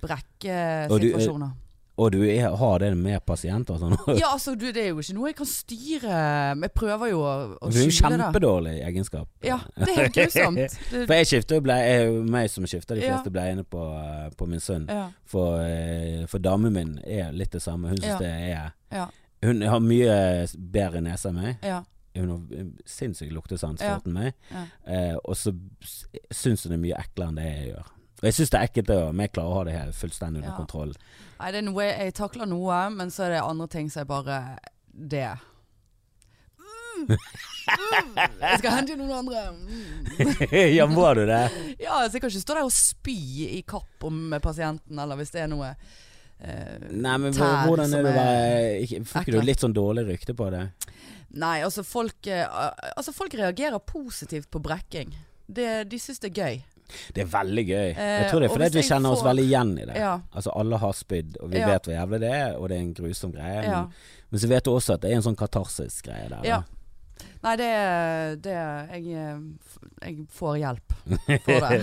Speaker 2: Og du eh, er-
Speaker 1: brekkesituasjoner.
Speaker 2: Og du er, har det med pasienter og sånn.
Speaker 1: Ja, altså, du, det er jo ikke noe jeg kan styre. Jeg prøver jo å, å
Speaker 2: det er jo
Speaker 1: skjule det.
Speaker 2: kjempedårlig egenskap.
Speaker 1: Ja, det er helt grusomt. Det,
Speaker 2: For jeg skifter jo bleie, jeg er jo meg som skifter de
Speaker 1: Ja.
Speaker 2: fleste bleiene på, eh, på min sønn.
Speaker 1: ja,
Speaker 2: For, eh, for damen min er litt det samme. Hun syns
Speaker 1: Ja.
Speaker 2: det er
Speaker 1: Ja.
Speaker 2: Hun har mye bedre nese enn meg.
Speaker 1: ja,
Speaker 2: Hun har eh, sinnssyk luktesans
Speaker 1: Ja.
Speaker 2: for meg.
Speaker 1: Ja.
Speaker 2: Eh, og så s- syns hun det er mye eklere enn det jeg gjør. Og jeg syns det er ekkelt, det òg, men jeg klarer å ha det helt fullstendig under
Speaker 1: Ja.
Speaker 2: kontroll.
Speaker 1: Nei, det er noe jeg, jeg takler noe, men så er det andre ting som er bare det. Mm. Mm. Jeg skal hente inn noen andre. Mm.
Speaker 2: ja, må du det?
Speaker 1: Ja, så jeg kan ikke stå der og spy i kapp om pasienten, eller hvis det er noe eh,
Speaker 2: Nei, men
Speaker 1: Tær
Speaker 2: hvordan
Speaker 1: som
Speaker 2: er det å
Speaker 1: er
Speaker 2: være ikke- Får ikke
Speaker 1: ekle.
Speaker 2: du litt sånn dårlig rykte på det?
Speaker 1: Nei, altså folk, eh, altså folk reagerer positivt på brekking. Det, de syns det er gøy.
Speaker 2: Det er veldig gøy. Jeg
Speaker 1: Eh,
Speaker 2: tror det er
Speaker 1: og
Speaker 2: fordi
Speaker 1: hvis
Speaker 2: at vi
Speaker 1: jeg
Speaker 2: kjenner oss
Speaker 1: får-
Speaker 2: veldig igjen i det.
Speaker 1: Ja.
Speaker 2: Altså alle har spydd, og vi
Speaker 1: Ja.
Speaker 2: vet hvor jævlig det er, og det er en grusom greie. Men,
Speaker 1: ja.
Speaker 2: men så vet du også at det er en sånn katarsisk greie der. da.
Speaker 1: Ja. Nei, det, det jeg, eh, f- jeg får hjelp for det.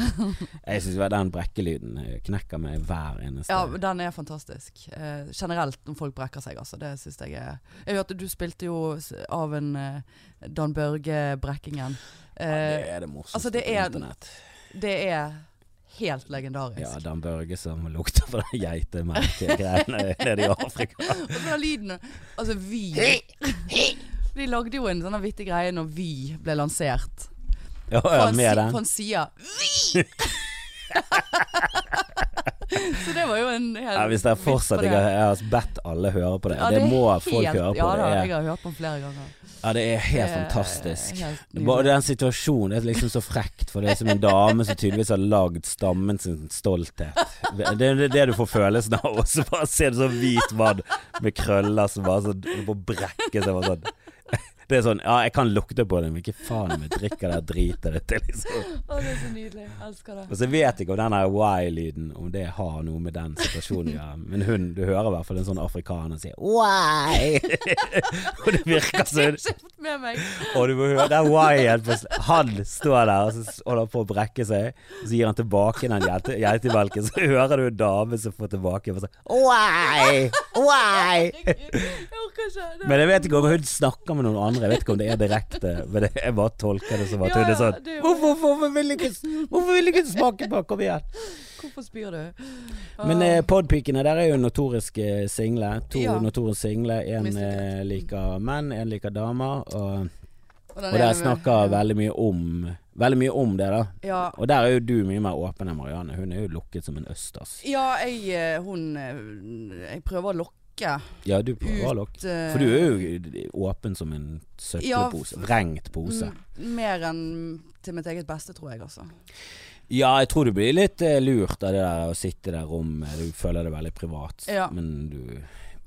Speaker 2: Jeg syns den brekkelyden eh, knekker meg hver eneste
Speaker 1: Ja, den er fantastisk. Eh, generelt når folk brekker seg, altså. Det syns jeg er Jeg hørte du spilte jo s- av en eh, Dan Børge-brekkingen.
Speaker 2: Ja,
Speaker 1: Eh,
Speaker 2: det er det morsomste
Speaker 1: altså, det
Speaker 2: på
Speaker 1: er-
Speaker 2: internett.
Speaker 1: det er helt legendarisk.
Speaker 2: Ja, Dan Børge som lukter på den geitemerkegreiene nede i Afrika.
Speaker 1: Og så den lyden Altså, Vy De lagde jo en sånn vittig greie når Vy ble lansert.
Speaker 2: Ja,
Speaker 1: For
Speaker 2: ja,
Speaker 1: han,
Speaker 2: med
Speaker 1: si- for
Speaker 2: den.
Speaker 1: han sier Vy! Så det var jo en hel
Speaker 2: Ja, hvis dere
Speaker 1: vits på
Speaker 2: fortsetter, jeg, har- jeg har bedt alle høre på det. det, må folk
Speaker 1: helt-
Speaker 2: høre på.
Speaker 1: Ja Eh, da,
Speaker 2: det,
Speaker 1: jeg
Speaker 2: er,
Speaker 1: har hørt på den flere ganger.
Speaker 2: ja, det er helt
Speaker 1: Det er
Speaker 2: fantastisk.
Speaker 1: helt
Speaker 2: Det er
Speaker 1: nydelig.
Speaker 2: Bare den situasjonen det er liksom så frekt, for det er som en dame som tydeligvis har lagd stammen sin stolthet. Det er det du får følelsen av, og så bare ser du sånn hvit mann med krøller som bare sånn holder på å brekke seg. Bare sånn. Det er sånn Ja, jeg kan lukte på det, men ikke faen om jeg drikker det driter det til, liksom.
Speaker 1: Å, det er så nydelig. Jeg elsker det.
Speaker 2: Og så vet jeg ikke om den her why-lyden Om det har noe med den situasjonen å gjøre. Men hun, du hører i hvert fall en sånn afrikaner si why. og det virker
Speaker 1: Jeg
Speaker 2: som
Speaker 1: har ikke fått med meg.
Speaker 2: og du må høre den wyen på sl- Han står der og så s- holder på å brekke seg, og så gir han tilbake den geite- geitemelken. Så hører du en dame som får tilbake og bare sånn Why? Why?
Speaker 1: Herregud, Jeg orker ikke. Det-
Speaker 2: Men jeg vet ikke om hun snakker med noen andre, jeg vet ikke om det er direkte. Men det, jeg bare tolker det som at
Speaker 1: Ja,
Speaker 2: hun er
Speaker 1: ja,
Speaker 2: sånn
Speaker 1: det gjør jeg.
Speaker 2: Hvorfor, hvorfor, vil, ikke, hvorfor vil ikke smake på? Kom igjen.
Speaker 1: Hvorfor spyr du?
Speaker 2: Men
Speaker 1: Ah,
Speaker 2: eh, podpikene der er jo notoriske single. To
Speaker 1: Ja.
Speaker 2: notoriske single. En
Speaker 1: Mislykkes.
Speaker 2: eh, liker menn, en liker damer. Og,
Speaker 1: den
Speaker 2: og
Speaker 1: ene
Speaker 2: der
Speaker 1: med-
Speaker 2: snakker veldig mye om Veldig mye om det, da.
Speaker 1: Ja.
Speaker 2: Og der er jo du mye mer åpen enn Marianne. Hun er jo lukket som en østers.
Speaker 1: Ja, jeg eh, Hun eh, Jeg prøver å lokke
Speaker 2: Ja, du prøver å
Speaker 1: ut
Speaker 2: lukke. For du er jo åpen som en søppelpose.
Speaker 1: Ja,
Speaker 2: Vrengt pose.
Speaker 1: Mm, Mer enn til mitt eget beste, tror jeg, altså.
Speaker 2: Ja, jeg tror du blir litt eh, lurt av det der å sitte i det rommet. Du føler det veldig privat.
Speaker 1: Ja.
Speaker 2: Men du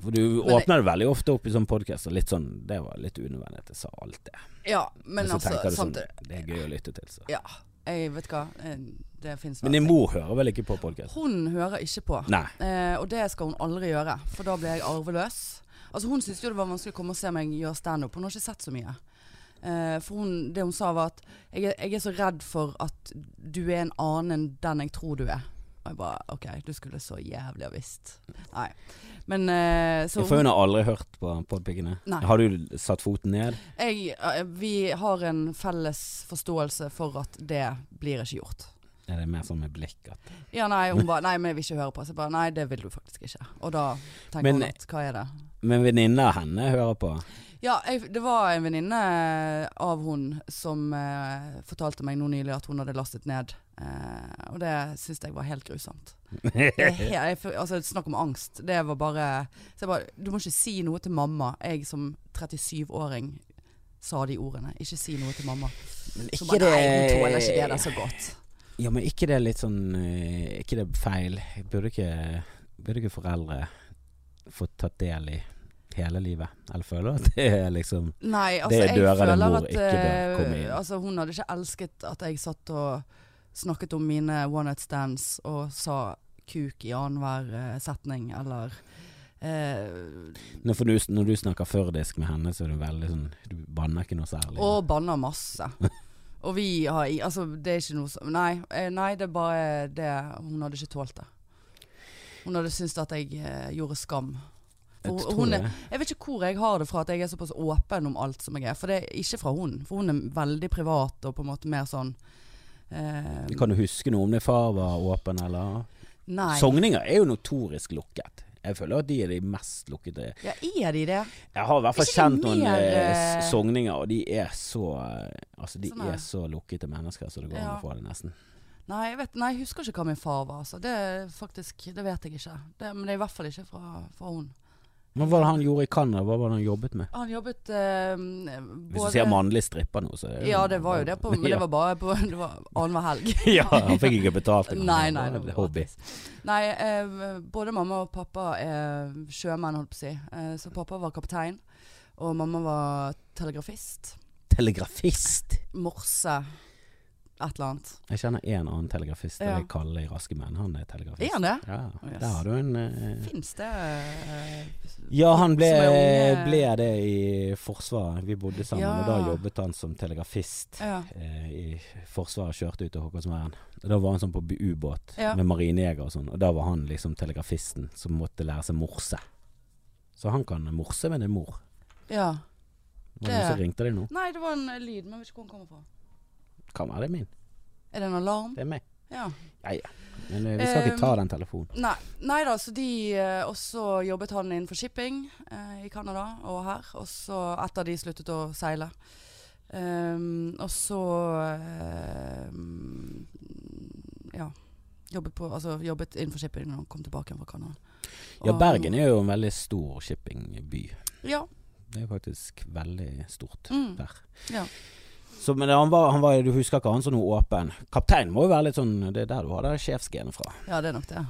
Speaker 2: for du
Speaker 1: Men det-
Speaker 2: åpner det veldig ofte opp i sånne podkaster. Litt sånn Det var litt unødvendig at jeg sa alt det.
Speaker 1: Ja, men
Speaker 2: Men så
Speaker 1: altså
Speaker 2: tenker du sånn
Speaker 1: samtidig
Speaker 2: Det er gøy å lytte til, så.
Speaker 1: Ja. Jeg vet hva. eh, Det fins
Speaker 2: Men din mor hører vel ikke på podkast?
Speaker 1: Hun hører ikke på.
Speaker 2: Nei.
Speaker 1: Eh, og det skal hun aldri gjøre, for da blir jeg arveløs. Altså Hun syntes jo det var vanskelig å komme og se meg gjøre standup, hun har ikke sett så mye. Eh, for hun, det hun sa var at jeg er, jeg er så redd for at du er en annen enn den jeg tror du er. Og jeg bare OK, du skulle så jævlig ha visst. Nei. Men eh, så
Speaker 2: Jeg får jo nå aldri hørt på podpikene.
Speaker 1: Nei.
Speaker 2: Har du satt foten ned?
Speaker 1: jeg, eh, Vi har en felles forståelse for at det blir ikke gjort.
Speaker 2: Er det mer sånn med blikk at
Speaker 1: Ja, nei, hun bare Nei, men jeg vil ikke høre på. Så jeg bare Nei, det vil du faktisk ikke. Og da tenker
Speaker 2: Men-
Speaker 1: hun at hva er det?
Speaker 2: Men venninna av henne hører på.
Speaker 1: Ja, jeg, det var en venninne av hun som eh, fortalte meg nå nylig at hun hadde lastet ned. Eh, og det syns jeg var helt grusomt. Det er he- jeg, f- altså, snakk om angst. Det var bare Så jeg bare Du må ikke si noe til mamma. Jeg som 37-åring sa de ordene. Ikke si noe til mamma. Så bare, nei, hun tåler ikke det altså. der så godt.
Speaker 2: Ja, men ikke det litt sånn eh, Ikke det feil? Burde ikke, burde ikke foreldre få tatt del i hele livet? Eller føler at det er liksom
Speaker 1: Nei, altså,
Speaker 2: Det er
Speaker 1: jeg
Speaker 2: dører der
Speaker 1: føler
Speaker 2: mor
Speaker 1: at
Speaker 2: ikke bør
Speaker 1: eh,
Speaker 2: komme inn.
Speaker 1: altså, Hun hadde ikke elsket at jeg satt og snakket om mine one night stands og sa kuk i annenhver eh, setning, eller eh,
Speaker 2: Når, for du, når du snakker førdisk med henne, så er du veldig sånn Du banner ikke noe særlig.
Speaker 1: Og banna masse. Og vi har i- Altså, det er ikke noe som Nei, eh, nei det er bare det Hun hadde ikke tålt det. Hun hadde syntes at jeg eh, gjorde skam.
Speaker 2: Jeg
Speaker 1: og-
Speaker 2: tror
Speaker 1: hun er-
Speaker 2: det.
Speaker 1: Jeg vet ikke hvor jeg har det fra at jeg er såpass åpen om alt som jeg er. For det er ikke fra hun. For hun er veldig privat og på en måte mer sånn eh,
Speaker 2: Kan du huske noe om din far var åpen, eller?
Speaker 1: Nei.
Speaker 2: Sogninger er jo notorisk lukket. Jeg føler at de er de mest lukkede.
Speaker 1: Ja, er de det?
Speaker 2: Jeg har i hvert fall
Speaker 1: Ikke
Speaker 2: kjent
Speaker 1: de
Speaker 2: noen
Speaker 1: mer,
Speaker 2: eh,
Speaker 1: eh,
Speaker 2: sogninger, og de er så eh, Altså, de
Speaker 1: Sånn er
Speaker 2: er så lukkete mennesker, så det går an
Speaker 1: Ja.
Speaker 2: å få det, nesten.
Speaker 1: Nei, jeg vet, nei, jeg husker ikke hva min far var. Altså. Det er faktisk, det vet jeg ikke. Det, men det er i hvert fall ikke fra, fra hun.
Speaker 2: Men hva var det han gjorde i Canada? Hva var det han jobbet med?
Speaker 1: Han jobbet eh,
Speaker 2: Hvis
Speaker 1: både
Speaker 2: du ser mannlig stripper nå, så er jo-
Speaker 1: Ja, det var jo det, på, men det var bare på det var annenhver helg.
Speaker 2: ja, han fikk ikke betalt engang.
Speaker 1: Nei, nei.
Speaker 2: Det
Speaker 1: det
Speaker 2: var
Speaker 1: var
Speaker 2: hobby.
Speaker 1: gratis. Nei, eh, både mamma og pappa er sjømenn, holdt på å si. Eh, så pappa var kaptein, og mamma var telegrafist.
Speaker 2: Telegrafist.
Speaker 1: Morse et eller annet.
Speaker 2: Jeg kjenner en annen telegrafist, og det
Speaker 1: Ja.
Speaker 2: er Kalle i Raske menn. Han er telegrafist.
Speaker 1: Er han det?
Speaker 2: Ja,
Speaker 1: Yes.
Speaker 2: der har du en eh,
Speaker 1: Fins det eh,
Speaker 2: Ja, han ble,
Speaker 1: Som er unge-
Speaker 2: ble det i Forsvaret. Vi bodde sammen,
Speaker 1: Ja.
Speaker 2: og da jobbet han som telegrafist.
Speaker 1: Ja.
Speaker 2: eh, I Forsvaret kjørte ut til Håkonsvern. Og Da var han sånn på bu- ubåt
Speaker 1: Ja.
Speaker 2: med marinejeger og sånn, og da var han liksom telegrafisten som måtte lære seg morse. Så han kan morse med din mor.
Speaker 1: ja.
Speaker 2: Var det noen som ringte deg nå?
Speaker 1: Nei, det var en eh, lyd, men jeg vet ikke hvor den kommer fra.
Speaker 2: Kan være det er min.
Speaker 1: Er det en alarm?
Speaker 2: Det er meg.
Speaker 1: Ja.
Speaker 2: Ja ja. Men eh, vi skal
Speaker 1: Um,
Speaker 2: ikke ta den telefonen.
Speaker 1: Nei, nei da, så de eh, også jobbet han innenfor shipping eh, i Canada og her. Og så etter de sluttet å seile. Ehm, og så ehm, ja. Jobbet, på, altså, jobbet innenfor shipping når han kom tilbake igjen fra Canada.
Speaker 2: Ja, Bergen er jo en veldig stor shippingby.
Speaker 1: Ja.
Speaker 2: Det er faktisk veldig stort
Speaker 1: Mm,
Speaker 2: der.
Speaker 1: ja.
Speaker 2: Så, men han var, han var, du husker ikke han som noe åpen. Kaptein må jo være litt sånn Det er der du har det sjefsgenet fra.
Speaker 1: ja, det er nok det.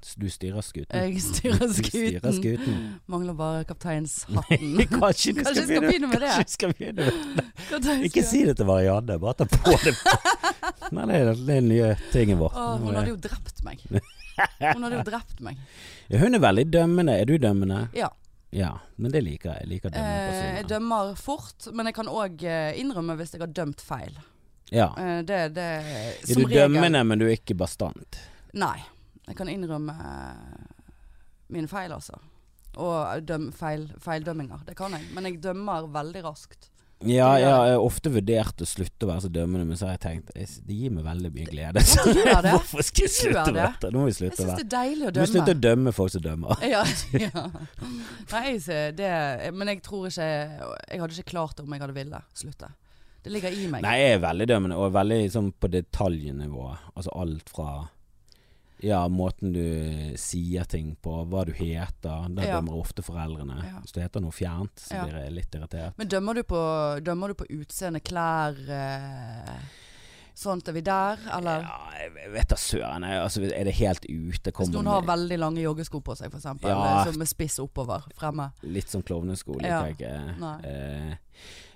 Speaker 2: S- Du styrer skuten.
Speaker 1: Jeg styrer
Speaker 2: Mm. Du styrer
Speaker 1: skuten.
Speaker 2: skuten.
Speaker 1: Mangler bare kapteinshatten.
Speaker 2: Kanskje du
Speaker 1: Kanskje jeg skal begynne med det.
Speaker 2: Kanskje vi skal begynne med det.
Speaker 1: Kapteinskap.
Speaker 2: Ikke si det til Marianne, bare ta på det. Nei, det er det er den nye tingen vår.
Speaker 1: Å, Hun hadde jo drept meg. Hun hadde jo drept meg.
Speaker 2: Hun er veldig dømmende. Er du dømmende?
Speaker 1: Ja.
Speaker 2: Ja, men det liker jeg. Jeg liker dømmende
Speaker 1: Eh, jeg
Speaker 2: personer.
Speaker 1: dømmer fort, men jeg kan òg innrømme hvis jeg har dømt feil.
Speaker 2: Ja.
Speaker 1: Eh, det, det
Speaker 2: Ah. Er du dømmende, men du er ikke bastant?
Speaker 1: Nei. Jeg kan innrømme eh, mine feil, altså. Og døm, feil, feildømminger. Det kan jeg. Men jeg dømmer veldig raskt.
Speaker 2: Ja,
Speaker 1: Det gjør
Speaker 2: jeg har eh, ofte vurdert å slutte å være så dømmende, men så har jeg tenkt jeg s- det gir meg veldig mye glede. Så
Speaker 1: Du gjør det.
Speaker 2: hvorfor skal
Speaker 1: Du gjør
Speaker 2: jeg slutte med
Speaker 1: det.
Speaker 2: dette? Nå må vi
Speaker 1: Jeg
Speaker 2: slutte å
Speaker 1: syns
Speaker 2: være
Speaker 1: det er deilig å
Speaker 2: Du må slutte
Speaker 1: dømme.
Speaker 2: å dømme folk som dømmer.
Speaker 1: Ja, ja. Nei, jeg ser det Men jeg tror ikke Jeg hadde ikke klart det om jeg hadde ville slutte. Det ligger i meg.
Speaker 2: Nei, jeg er veldig dømmende, og veldig sånn på detaljnivå. Altså alt fra ja, måten du sier ting på, hva du heter. Der
Speaker 1: Ja.
Speaker 2: dømmer ofte foreldrene.
Speaker 1: Ja.
Speaker 2: Hvis du heter noe fjernt, så
Speaker 1: Ja.
Speaker 2: blir jeg litt irritert.
Speaker 1: Men dømmer du på, dømmer du på utseende, klær eh, Sånt er vi der, eller?
Speaker 2: Ja, jeg vet da søren. jeg- Altså, er det helt ute?
Speaker 1: Hvis
Speaker 2: Kommer
Speaker 1: noen har
Speaker 2: med
Speaker 1: veldig lange joggesko på seg, f.eks., eksempel eh,
Speaker 2: Ja.
Speaker 1: som er spiss oppover, fremme.
Speaker 2: litt sånn klovnesko, liker
Speaker 1: Ja.
Speaker 2: jeg ikke.
Speaker 1: Nei.
Speaker 2: Eh,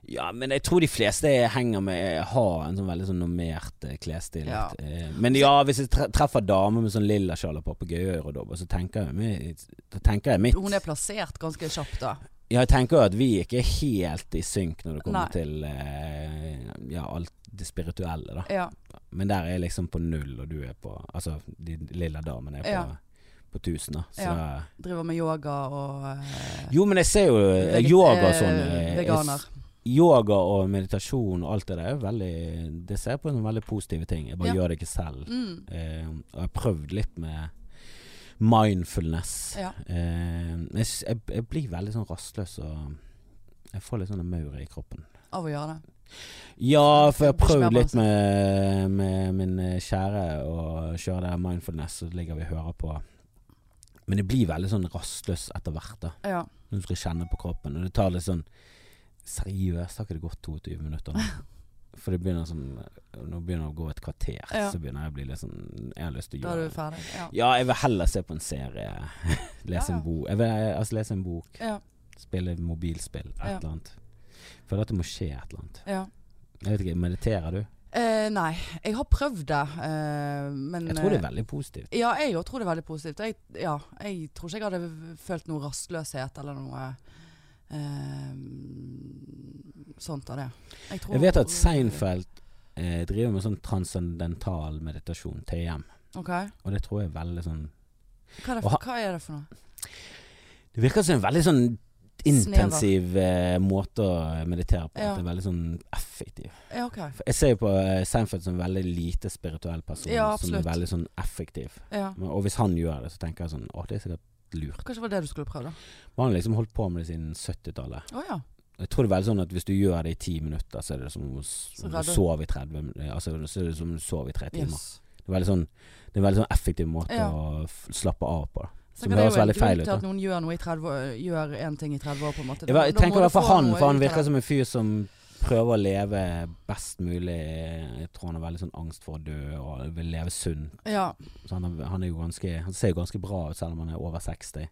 Speaker 2: ja, men jeg tror de fleste jeg henger med, har en sånn veldig sånn normert eh, klesstil.
Speaker 1: Ja.
Speaker 2: Eh, men ja, hvis jeg tre- treffer damer med sånn lilla sjal og papegøyeøredobber, så tenker jeg, mitt- da tenker jeg mitt.
Speaker 1: Hun er plassert ganske kjapt da.
Speaker 2: Ja, jeg tenker jo at vi ikke er helt i synk når det kommer
Speaker 1: Nei.
Speaker 2: til eh, ja, alt det spirituelle, da.
Speaker 1: Ja.
Speaker 2: Men der er jeg liksom på null, og du er på Altså, de lilla damene er på,
Speaker 1: Ja.
Speaker 2: på tusen, da. Så
Speaker 1: Ja. Driver med yoga og eh,
Speaker 2: Jo, men jeg ser jo eh,
Speaker 1: veget-
Speaker 2: yoga og
Speaker 1: eh,
Speaker 2: sånn eh,
Speaker 1: Veganer.
Speaker 2: Yoga og meditasjon og alt det der er jo veldig Det ser jeg på som veldig positive ting. Jeg bare
Speaker 1: Ja.
Speaker 2: gjør det ikke selv.
Speaker 1: Mm.
Speaker 2: Eh, og jeg har prøvd litt med mindfulness.
Speaker 1: Ja.
Speaker 2: Eh, jeg, sy- jeg, jeg blir veldig sånn rastløs og jeg får litt sånne maur i kroppen.
Speaker 1: Av å gjøre det.
Speaker 2: Ja, for jeg har
Speaker 1: Det blir ikke sånn.
Speaker 2: prøvd
Speaker 1: mer
Speaker 2: litt med, med min eh, kjære å kjøre det her mindfulness, så ligger vi og hører på. Men det blir veldig sånn rastløs etter hvert, da.
Speaker 1: Ja.
Speaker 2: Når du skal kjenne på kroppen. Og det tar litt sånn Seriøst har ikke det gått 22 minutter nå? For det begynner sånn Nå begynner det å gå et kvarter,
Speaker 1: Ja.
Speaker 2: så begynner jeg å bli litt sånn Jeg har lyst til å
Speaker 1: Da er
Speaker 2: gjøre
Speaker 1: du ferdig. Ja.
Speaker 2: ja, jeg vil heller se på en serie. lese
Speaker 1: Ja, ja.
Speaker 2: en bok. Jeg vil, eh, altså lese en bok,
Speaker 1: Ja.
Speaker 2: spille mobilspill, et
Speaker 1: Ja.
Speaker 2: eller annet. For at det må skje et eller annet.
Speaker 1: ja.
Speaker 2: Jeg vet ikke, Mediterer du?
Speaker 1: Eh, nei, jeg har prøvd det, eh, men
Speaker 2: Jeg tror det
Speaker 1: eh,
Speaker 2: er veldig positivt.
Speaker 1: Ja, jeg òg tror det er veldig positivt. Jeg, ja, jeg tror ikke jeg hadde v- følt noe rastløshet eller noe eh, sånt av det. tror-
Speaker 2: Jeg vet at Seinfeld eh, driver med sånn transcendental meditasjon, TM,
Speaker 1: Ok, Hva
Speaker 2: og det tror jeg er veldig sånn
Speaker 1: er det for,
Speaker 2: Og ha-
Speaker 1: hva er det for noe?
Speaker 2: Det virker som en veldig sånn intensiv eh, måte å meditere på.
Speaker 1: Ja.
Speaker 2: At det er veldig sånn effektiv.
Speaker 1: Ja, ok.
Speaker 2: For Jeg ser jo på eh, Seinfeld som en veldig lite spirituell person,
Speaker 1: Ja,
Speaker 2: som er
Speaker 1: absolutt.
Speaker 2: veldig sånn effektiv.
Speaker 1: Ja.
Speaker 2: Men, og hvis han gjør det, så tenker jeg sånn Å, det er sikkert lurt.
Speaker 1: Kanskje det var det du skulle prøve, da.
Speaker 2: Men han har liksom holdt på med det siden 70-tallet.
Speaker 1: Å ja.
Speaker 2: Jeg tror det er veldig sånn at hvis du gjør det i ti minutter, så er det som om du s-
Speaker 1: Så
Speaker 2: om du
Speaker 1: redder-
Speaker 2: sover i 30 min- Altså, så er det som om du sover i tre timer.
Speaker 1: Yes.
Speaker 2: Det er veldig sånn Det er en veldig sånn effektiv måte
Speaker 1: Ja.
Speaker 2: å f slappe av på.
Speaker 1: Så
Speaker 2: Som
Speaker 1: kan det
Speaker 2: høres
Speaker 1: jo en
Speaker 2: veldig feil
Speaker 1: grunn
Speaker 2: ut,
Speaker 1: til
Speaker 2: da.
Speaker 1: at noen gjør noe i 30 år, gjør en ting i 30 år, på en måte.
Speaker 2: Jeg,
Speaker 1: Da-
Speaker 2: jeg
Speaker 1: da må
Speaker 2: tenker i
Speaker 1: du
Speaker 2: hvert fall
Speaker 1: få
Speaker 2: han,
Speaker 1: noe
Speaker 2: for han
Speaker 1: ut av
Speaker 2: virker
Speaker 1: det.
Speaker 2: som en fyr som prøver å leve best mulig. Jeg tror han har veldig sånn angst for å dø, og vil leve sunt.
Speaker 1: Ja.
Speaker 2: Så han, er- han er jo ganske Han ser jo ganske bra ut, selv om han er over 60.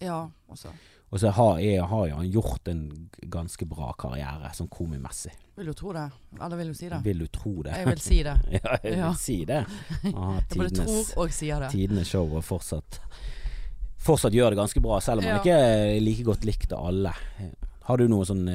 Speaker 1: ja også.
Speaker 2: Og så har, er, har jo han gjort en g- ganske bra karriere, sånn komimessig.
Speaker 1: Vil jo tro det. Eller vil jo si det.
Speaker 2: Vil du tro det?
Speaker 1: Jeg vil si det.
Speaker 2: ja, jeg vil
Speaker 1: Ja.
Speaker 2: si det. Han har
Speaker 1: Jeg både
Speaker 2: tidenes,
Speaker 1: tror og sier det.
Speaker 2: tidenes show og fortsatt Fortsatt gjør det ganske bra, selv om han
Speaker 1: Ja.
Speaker 2: ikke er like godt likt av alle. Har du noen sånne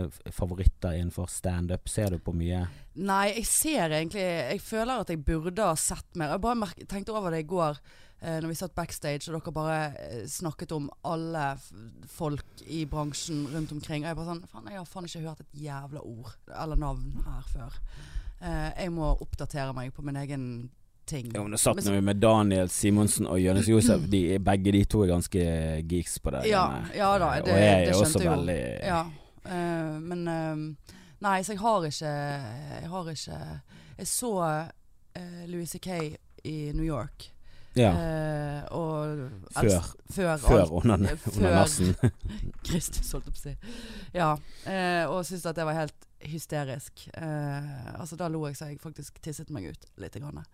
Speaker 2: eh, f- favoritter innenfor standup? Ser du på mye?
Speaker 1: Nei, jeg ser egentlig Jeg føler at jeg burde ha sett mer. Jeg bare merk, tenkte over det i går eh, Når vi satt backstage og dere bare eh, snakket om alle f folk i bransjen rundt omkring. Og jeg bare sånn Faen, jeg har faen ikke hørt et jævla ord eller navn her før. Eh, jeg må oppdatere meg på min egen ting.
Speaker 2: Jo, men det satt
Speaker 1: Men
Speaker 2: nå
Speaker 1: så-
Speaker 2: vi med Daniel Simonsen og Jonis Josef. De, begge de to er ganske geeks på det.
Speaker 1: Ja,
Speaker 2: greiene.
Speaker 1: ja da, det-
Speaker 2: og jeg
Speaker 1: det
Speaker 2: er også
Speaker 1: skjønte jeg jo.
Speaker 2: veldig
Speaker 1: Ja, eh, men eh, Nei, så jeg har ikke Jeg har ikke Jeg så eh, Louis C.K. i New York.
Speaker 2: Ja,
Speaker 1: Eh, og
Speaker 2: Før,
Speaker 1: før,
Speaker 2: før
Speaker 1: Eh, alt.
Speaker 2: onan-
Speaker 1: Før.
Speaker 2: onanassen.
Speaker 1: Kristus, holdt jeg på å si. Ja, eh, og syntes at det var helt hysterisk. Eh, altså Da lo jeg så jeg faktisk tisset meg ut litt. Grann.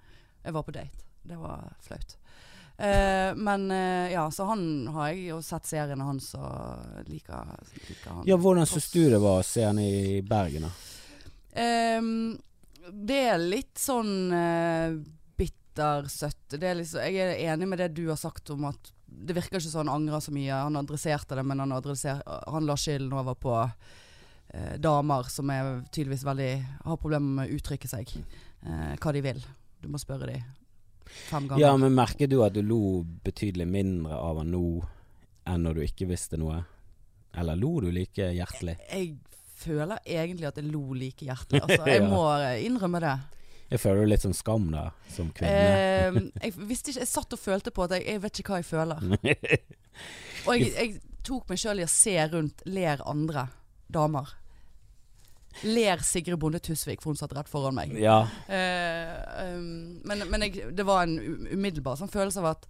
Speaker 1: Jeg var på date. Det var flaut. Eh, men eh, ja, så han har jeg jo sett seriene hans og liker, liker han.
Speaker 2: Ja, hvordan syns du det var å se han i Bergen, da?
Speaker 1: Ehm, det er litt sånn uh, bittersøtt. Det er liksom, jeg er enig med det du har sagt om at det virker ikke som han angrer så mye. Han adresserte det, men han, adresser, han la skylden over på eh, damer som er tydeligvis veldig har problemer med å uttrykke seg. eh, hva de vil. Du må spørre de fem ganger.
Speaker 2: Ja, men merker du at du lo betydelig mindre av han nå enn når du ikke visste noe? Eller lo du like hjertelig?
Speaker 1: Jeg føler egentlig at jeg lo like hjertelig. Altså, jeg
Speaker 2: Ja.
Speaker 1: må innrømme det.
Speaker 2: Jeg føler jo litt sånn skam da, som kvinne.
Speaker 1: Eh, jeg visste ikke Jeg satt og følte på at jeg, jeg vet ikke hva jeg føler. Og jeg, jeg tok meg sjøl i å se rundt ler andre damer. Ler Sigrid Bonde Tusvik, for hun satt rett foran meg.
Speaker 2: ja.
Speaker 1: Eh, um, men men jeg, det var en u- umiddelbar sånn følelse av at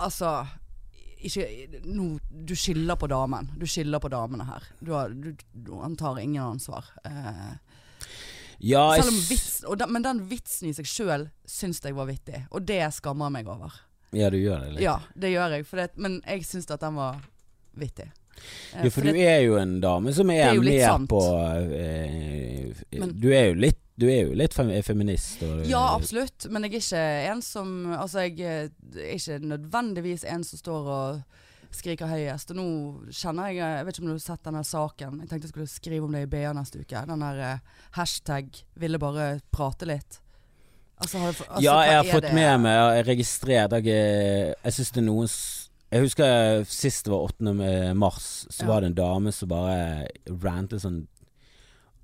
Speaker 1: Altså ikke, no, du skylder på damen. Du skylder på damene her. Du har, du, du, han tar ingen ansvar. Eh,
Speaker 2: ja jeg
Speaker 1: selv om
Speaker 2: s-
Speaker 1: vits, og den- men den vitsen i seg sjøl syns jeg var vittig, og det skammer jeg meg over.
Speaker 2: Ja, du gjør det litt.
Speaker 1: Ja, det gjør jeg, for det, men jeg syns at den var vittig. Eh,
Speaker 2: Ja, for du
Speaker 1: det,
Speaker 2: er jo en dame som
Speaker 1: er
Speaker 2: er,
Speaker 1: jo litt
Speaker 2: mer
Speaker 1: sant.
Speaker 2: på eh, f-
Speaker 1: Men-
Speaker 2: Du er jo litt du er jo litt fem, feminist. Og,
Speaker 1: ja, absolutt, men jeg er ikke en som Altså, jeg eh, er ikke nødvendigvis en som står og skriker høyest. Og nå kjenner jeg Jeg vet ikke om du har sett denne saken. Jeg tenkte jeg skulle skrive om det i BA neste uke. Den der eh, hashtag 'ville bare prate litt'. Altså, har du, altså,
Speaker 2: ja,
Speaker 1: hva
Speaker 2: jeg har
Speaker 1: er
Speaker 2: fått
Speaker 1: det?
Speaker 2: med meg, jeg har registrert Jeg, eh, jeg syns det er noen s- Jeg husker sist det var 8. m- mars, så
Speaker 1: Ja.
Speaker 2: var det en dame som bare rantet sånn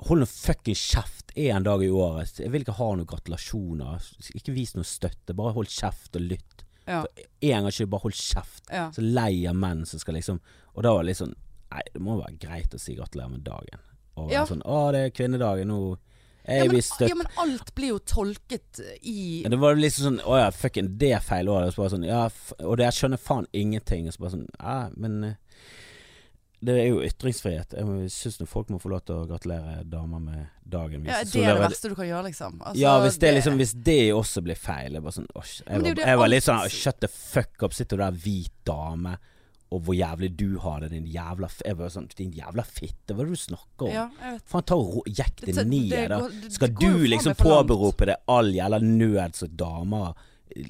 Speaker 2: Hold nå fucking kjeft én dag i året. Jeg vil ikke ha noen gratulasjoner. Ikke vis noe støtte. Bare hold kjeft og lytt.
Speaker 1: Ja,
Speaker 2: Én gang ikke, bare hold kjeft.
Speaker 1: ja.
Speaker 2: Så lei av menn som skal liksom Og da var det litt sånn Nei, det må være greit å si gratulerer med dagen. Og være
Speaker 1: Ja.
Speaker 2: sånn Å, det er kvinnedagen nå.
Speaker 1: Ja,
Speaker 2: Jeg
Speaker 1: men,
Speaker 2: vil støtte
Speaker 1: ja, men alt blir jo tolket i
Speaker 2: men det var liksom sånn Å ja, fucken, det er feil år. Og, så bare sånn, ja, f og det jeg skjønner faen ingenting. Og så bare sånn Ja, men eh, Det er jo ytringsfrihet. Jeg syns folk må få lov til å gratulere damer med dagen.
Speaker 1: ja,
Speaker 2: Hvis
Speaker 1: Det er det
Speaker 2: så-
Speaker 1: verste du kan gjøre, liksom. Altså,
Speaker 2: ja, hvis det, liksom Hvis det også blir feil Jeg, bare sånn, «Åsj». jeg,
Speaker 1: Men det er jo
Speaker 2: var,
Speaker 1: det
Speaker 2: jeg var
Speaker 1: alt-
Speaker 2: litt sånn Shut the fuck up, sitter du der hvit dame, og hvor jævlig du har det, din jævla f Jeg var sånn Din jævla fitte, hva er det du snakker om?
Speaker 1: ja, jeg vet.
Speaker 2: Faen, ta og ro- jekk det ned, da.
Speaker 1: går- det- det
Speaker 2: Skal
Speaker 1: går jo
Speaker 2: du
Speaker 1: faen
Speaker 2: liksom
Speaker 1: meg for langt.
Speaker 2: påberope deg all jævla nød som damer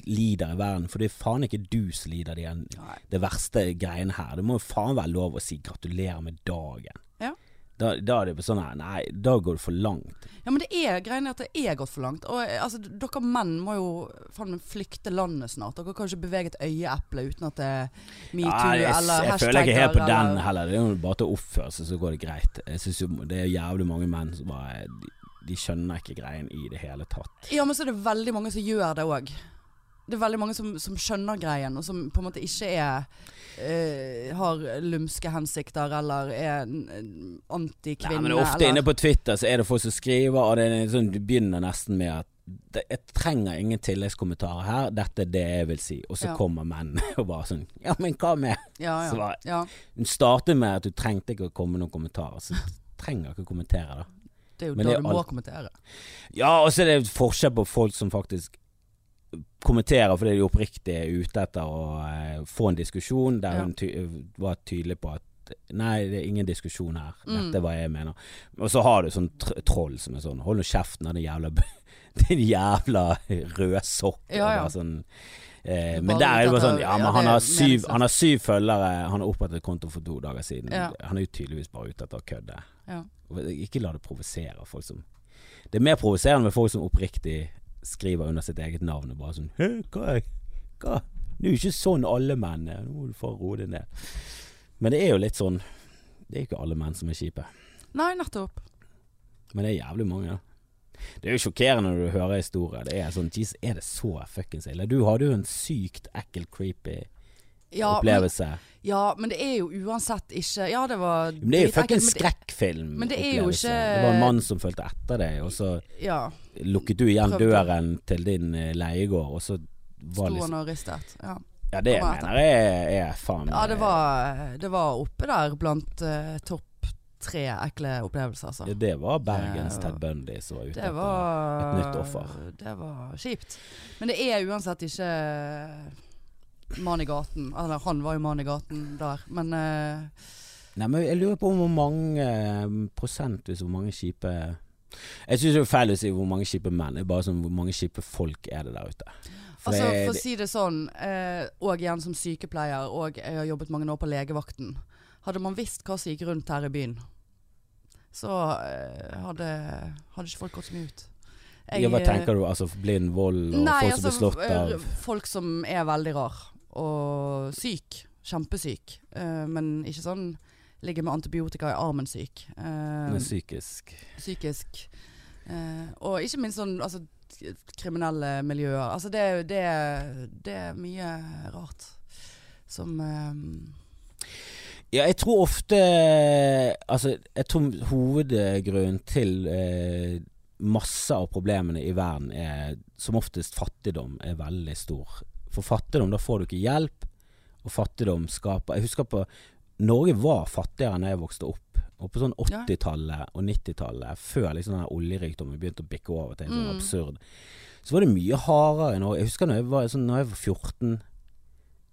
Speaker 2: lider i verden? For det er faen ikke du som lider det,
Speaker 1: Nei.
Speaker 2: det verste greiene her. Det må jo faen være lov å si gratulerer med dagen.
Speaker 1: Ja.
Speaker 2: Da, da er det bare sånn her Nei, da går det for langt.
Speaker 1: Ja, men det er greien er at det er gått for langt. Og eh, altså, d- dere menn må jo faen meg flykte landet snart. Dere kan ikke bevege et øyeeple uten at det er metoo
Speaker 2: Ja, jeg,
Speaker 1: eller
Speaker 2: jeg
Speaker 1: hashtagger.
Speaker 2: føler ikke helt på den
Speaker 1: eller-
Speaker 2: heller. Det er jo bare til å oppføre seg, så går det greit. Jeg synes jo Det er jævlig mange menn som bare de, de skjønner ikke greien i det hele tatt.
Speaker 1: Ja, men så er det veldig mange som gjør det òg. Det er veldig mange som, som skjønner greien, og som på en måte ikke er eh, Har lumske hensikter eller er en- en
Speaker 2: Nei,
Speaker 1: antikvinne.
Speaker 2: men ofte
Speaker 1: eller-
Speaker 2: inne på Twitter så er det folk som skriver, og det er sånn, du begynner nesten med at det, jeg trenger ingen tilleggskommentarer her, dette er det jeg vil si. Og så
Speaker 1: Ja.
Speaker 2: kommer menn og bare sånn Ja, men hva med
Speaker 1: ja, ja.
Speaker 2: Svar.
Speaker 1: ja,
Speaker 2: Hun startet med at du trengte ikke å komme med noen kommentarer, så du trenger ikke å kommentere, da.
Speaker 1: det er jo
Speaker 2: Men
Speaker 1: da
Speaker 2: det er
Speaker 1: du må
Speaker 2: alt-
Speaker 1: kommentere.
Speaker 2: Ja, og så er det forskjell på folk som faktisk kommenterer fordi de oppriktig er ute etter å eh, få en diskusjon, der
Speaker 1: Ja.
Speaker 2: hun ty eh, var tydelig på at Nei, det er ingen diskusjon her.
Speaker 1: Mm.
Speaker 2: Dette er hva jeg mener. Og så har du sånn tr troll som er sånn Hold nå kjeften av din jævla b- Din jævla rødsokk. og
Speaker 1: Ja, ja.
Speaker 2: bare Sånn, eh,
Speaker 1: Bare
Speaker 2: men der er det
Speaker 1: ute
Speaker 2: bare sånn
Speaker 1: etter-
Speaker 2: Ja, men
Speaker 1: ja, det
Speaker 2: han
Speaker 1: er
Speaker 2: har, syv,
Speaker 1: meningsløst.
Speaker 2: han har syv følgere. Han har opprettet konto for to dager siden.
Speaker 1: Ja.
Speaker 2: Han er jo tydeligvis bare ute etter å kødde.
Speaker 1: Ja.
Speaker 2: Og Ikke la det provosere folk som Det er mer provoserende med folk som oppriktig skriver under sitt eget navn og bare sånn Hø, hva, er- hva? Det er jo ikke sånn alle menn er. Nå må du få roe deg ned. Men det er jo litt sånn Det er jo ikke alle menn som er kjipe.
Speaker 1: Nei, nettopp.
Speaker 2: Men det er jævlig mange, da. Det er jo sjokkerende når du hører historier. Det er sånn Jeez, er det så fuckings ille? Du hadde jo en sykt ekkel, creepy
Speaker 1: Ja, men,
Speaker 2: opplevelse.
Speaker 1: ja, men det er jo uansett ikke Ja, det var
Speaker 2: Men det er jo
Speaker 1: dritekkelt,
Speaker 2: fuckings
Speaker 1: men det-
Speaker 2: skrekkfilm.
Speaker 1: men det er jo
Speaker 2: opplevelse.
Speaker 1: ikke-
Speaker 2: Det var en mann som fulgte etter deg, og så
Speaker 1: Ja.
Speaker 2: lukket du igjen
Speaker 1: Prøvde.
Speaker 2: døren til din eh, leiegård, og så var
Speaker 1: Sto
Speaker 2: liksom
Speaker 1: han og ristet. Ja.
Speaker 2: Ja, det
Speaker 1: kom etter.
Speaker 2: mener jeg er, er faen
Speaker 1: Ja, det var, det var oppe der blant eh, topp tre ekle opplevelser, altså.
Speaker 2: Ja, det var Bergens
Speaker 1: Det-
Speaker 2: Ted Bundy som var ute
Speaker 1: Det
Speaker 2: etter
Speaker 1: var
Speaker 2: et nytt offer.
Speaker 1: Det var kjipt. Men det er uansett ikke mann i gaten. Eller han var jo mann i gaten der, men eh,
Speaker 2: Nei, men jeg lurer på om hvor mange eh, prosentvis hvor mange kjipe Jeg syns det er feil å si hvor mange kjipe menn, det er bare sånn hvor mange kjipe folk er det der ute. For
Speaker 1: Altså,
Speaker 2: det-
Speaker 1: for å si det sånn, eh, og igjen som sykepleier, og jeg har jobbet mange år på legevakten. Hadde man visst hva som gikk rundt her i byen, så eh, hadde, hadde ikke folk gått så mye ut. Jeg,
Speaker 2: ja, hva
Speaker 1: eh,
Speaker 2: tenker du? Altså blind vold og
Speaker 1: Nei,
Speaker 2: folk som
Speaker 1: altså,
Speaker 2: blir slått av
Speaker 1: eh, folk som er veldig rar og syk. Kjempesyk. eh, men ikke sånn ligger med antibiotika i armen syk. eh,
Speaker 2: med psykisk
Speaker 1: psykisk. eh, og ikke minst sånn altså, k- kriminelle miljøer. Altså det, er jo- det, er- det er mye rart som eh,
Speaker 2: Ja, jeg tror ofte Altså, jeg tror hovedgrunnen til eh, masse av problemene i verden er som oftest fattigdom er veldig stor. For fattigdom, da får du ikke hjelp, og fattigdom skaper Jeg husker på Norge var fattigere enn jeg vokste opp. Og på sånn
Speaker 1: Ja.
Speaker 2: 80-tallet og 90-tallet, før liksom den oljerikdommen begynte å bikke over til en sånn
Speaker 1: Mm.
Speaker 2: absurd, så var det mye hardere i Norge. Jeg husker når jeg var, sånn, når jeg var 14,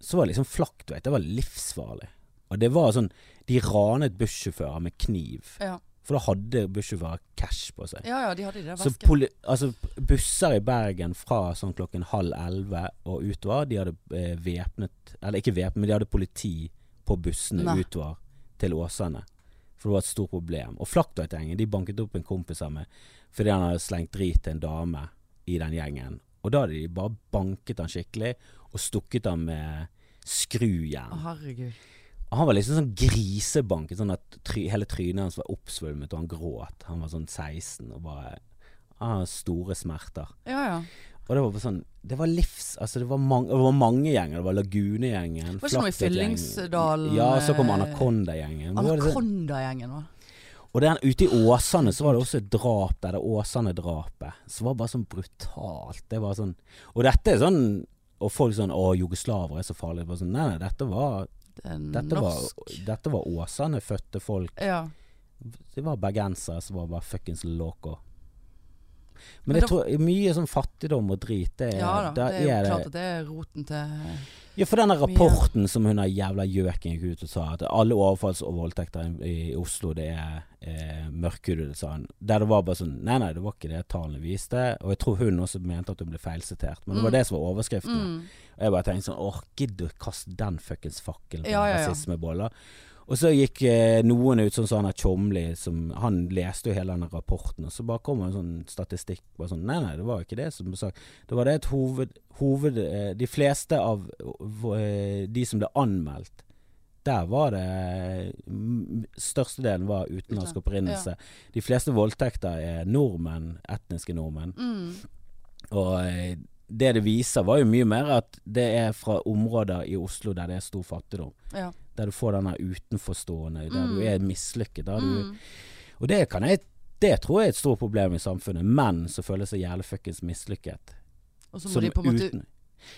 Speaker 2: så var det liksom flakt, vet du. Det var livsfarlig. Og det var sånn De ranet bussjåfører med kniv.
Speaker 1: ja,
Speaker 2: For da hadde bussjåfører cash på seg.
Speaker 1: ja, ja, de hadde i det
Speaker 2: Så
Speaker 1: vesken.
Speaker 2: poli, altså busser i Bergen fra sånn klokken halv elleve og utover, de hadde eh, væpnet Eller ikke væpnet, men de hadde politi på bussene
Speaker 1: Nei.
Speaker 2: utover til Åsane. For det var et stort problem. Og Flaktveit-gjengen de banket opp en kompis av meg fordi han hadde slengt drit til en dame i den gjengen. Og da hadde de bare banket han skikkelig og stukket han med
Speaker 1: Å,
Speaker 2: skrujern.
Speaker 1: herregud.
Speaker 2: Og Han var liksom sånn grisebanket, sånn at try, hele trynet hans var oppsvulmet, og han gråt. Han var sånn 16 og bare ah, Store smerter.
Speaker 1: Ja, ja.
Speaker 2: Og det var bare sånn Det var livs Altså, det var, mang, det var mange gjenger. Det var Lagunegjengen,
Speaker 1: Var ikke noe i
Speaker 2: Flaktetgjengen.
Speaker 1: Fyllingsdalen,
Speaker 2: Ja, så kom
Speaker 1: eh,
Speaker 2: Anakondagjengen. Hvor var det sånn-
Speaker 1: Anakondagjengen, hva?
Speaker 2: Og den ute i Åsane så var det også et drap der, det Åsane-drapet. Som var bare sånn brutalt. Det var sånn Og dette er sånn Og folk sånn Å, jugoslaver er så farlige. Bare sånn, nei, nei, dette var
Speaker 1: Den
Speaker 2: Dette
Speaker 1: Norsk.
Speaker 2: var, dette var Åsane fødte folk.
Speaker 1: Ja.
Speaker 2: Det var bergensere som var bare fuckings loco.
Speaker 1: Men
Speaker 2: Men, jeg
Speaker 1: da-
Speaker 2: tror mye sånn fattigdom og drit, det, er-
Speaker 1: ja da, det er
Speaker 2: der
Speaker 1: jo
Speaker 2: eh, er det
Speaker 1: klart at det er roten til
Speaker 2: Ja, for denne
Speaker 1: Mye.
Speaker 2: rapporten som hun der jævla gjøken gikk ut og sa, at alle overfalls- og voldtekter i- i Oslo, det er eh, mørkhudede, sa han. Der det var bare sånn Nei, nei, det var ikke det tallene viste. Og jeg tror hun også mente at hun ble feilsitert, men det var
Speaker 1: Mm.
Speaker 2: det som var overskriften.
Speaker 1: mm.
Speaker 2: Og jeg bare tenkte sånn Åh, gidd å kaste den fuckings fakkelen på
Speaker 1: Ja, ja, ja.
Speaker 2: rasismeboller. Og så gikk eh, noen ut sånn sånn at Tjomli, som han leste jo hele denne rapporten, og så bare kom en sånn statistikk bare sånn Nei, nei, det var jo ikke det som ble sagt. Det var det at hoved... hoved eh, de fleste av eh, de som ble anmeldt, der var det mm, Størstedelen var utenlandsk opprinnelse. De fleste voldtekter er nordmenn, etniske nordmenn.
Speaker 1: Mm.
Speaker 2: Og eh, det det viser var jo mye mer at det er fra områder i Oslo der det er stor fattigdom.
Speaker 1: Ja.
Speaker 2: Der du får denne utenforstående, der
Speaker 1: Mm.
Speaker 2: du er mislykket. Der du,
Speaker 1: Mm.
Speaker 2: og det kan jeg det tror jeg er et stort problem i samfunnet. Menn som føler seg jævlig fuckings mislykket.
Speaker 1: Og så må
Speaker 2: Som
Speaker 1: de på en måte
Speaker 2: uten-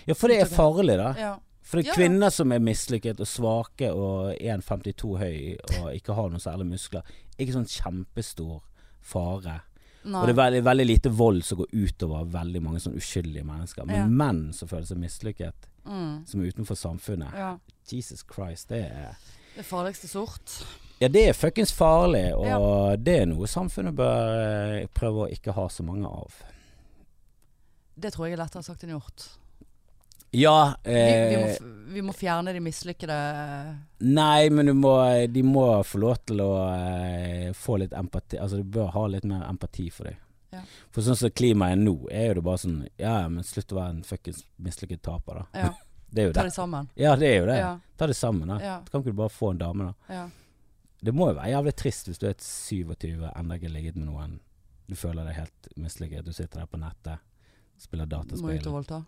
Speaker 2: Ja, for det er farlig, da.
Speaker 1: Ja.
Speaker 2: For det
Speaker 1: Ja, ja.
Speaker 2: er kvinner som er mislykket og svake og 1,52 høy og ikke har noen særlig muskler. Ikke sånn kjempestor fare.
Speaker 1: Nei.
Speaker 2: Og det er veldig, veldig lite vold som går utover veldig mange sånn uskyldige mennesker. Men
Speaker 1: Ja.
Speaker 2: menn som føler seg mislykket,
Speaker 1: mm.
Speaker 2: som er utenfor samfunnet
Speaker 1: ja.
Speaker 2: Jesus Christ, det er
Speaker 1: Det farligste sort.
Speaker 2: Ja, det er fuckings farlig, og det er noe samfunnet bør eh, prøve å ikke ha så mange av.
Speaker 1: Det tror jeg er lettere sagt enn gjort.
Speaker 2: Ja
Speaker 1: Vi, vi, må,
Speaker 2: eh,
Speaker 1: f- vi må fjerne de mislykkede
Speaker 2: Nei, men du må, de må få lov til å eh, få litt empati Altså, du bør ha litt mer empati for dem.
Speaker 1: Ja.
Speaker 2: For sånn som klimaet er nå, er jo det bare sånn Ja, ja, men slutt å være en fuckings mislykket taper, da.
Speaker 1: Ja,
Speaker 2: Det er jo
Speaker 1: ta
Speaker 2: det.
Speaker 1: de sammen.
Speaker 2: Ja, det er jo det.
Speaker 1: Ja,
Speaker 2: Ta det sammen, da.
Speaker 1: ja,
Speaker 2: Kan ikke du bare få en dame, da?
Speaker 1: ja.
Speaker 2: Det må jo være jævlig trist hvis du er et 27 og ennå ikke har ligget med noen. Du føler deg helt mislykket. Du sitter der på nettet, spiller
Speaker 1: Må ut og
Speaker 2: dataspill.
Speaker 1: voldta.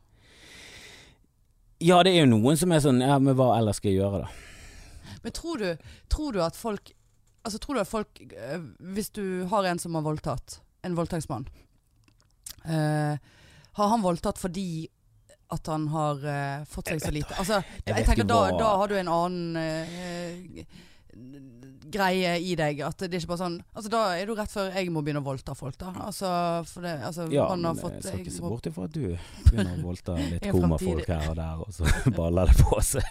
Speaker 2: Ja, det er jo noen som er sånn Ja, men hva ellers skal jeg gjøre, da?
Speaker 1: Men tror du, tror du at folk Altså tror du at folk eh, Hvis du har en som har voldtatt En voldtektsmann eh, Har han voldtatt fordi At han har eh, fått seg så lite Altså jeg,
Speaker 2: vet ikke
Speaker 1: tenker da,
Speaker 2: hva-
Speaker 1: da har du en annen eh, Greie i deg At det er ikke bare sånn Altså da er du rett før jeg må begynne å voldta folk da Altså, for det, altså
Speaker 2: Ja,
Speaker 1: han har
Speaker 2: men
Speaker 1: fått
Speaker 2: jeg skal ikke se
Speaker 1: må-
Speaker 2: bort ifra at du begynner å voldta litt
Speaker 1: En
Speaker 2: komafolk her og der, og så baller det på seg.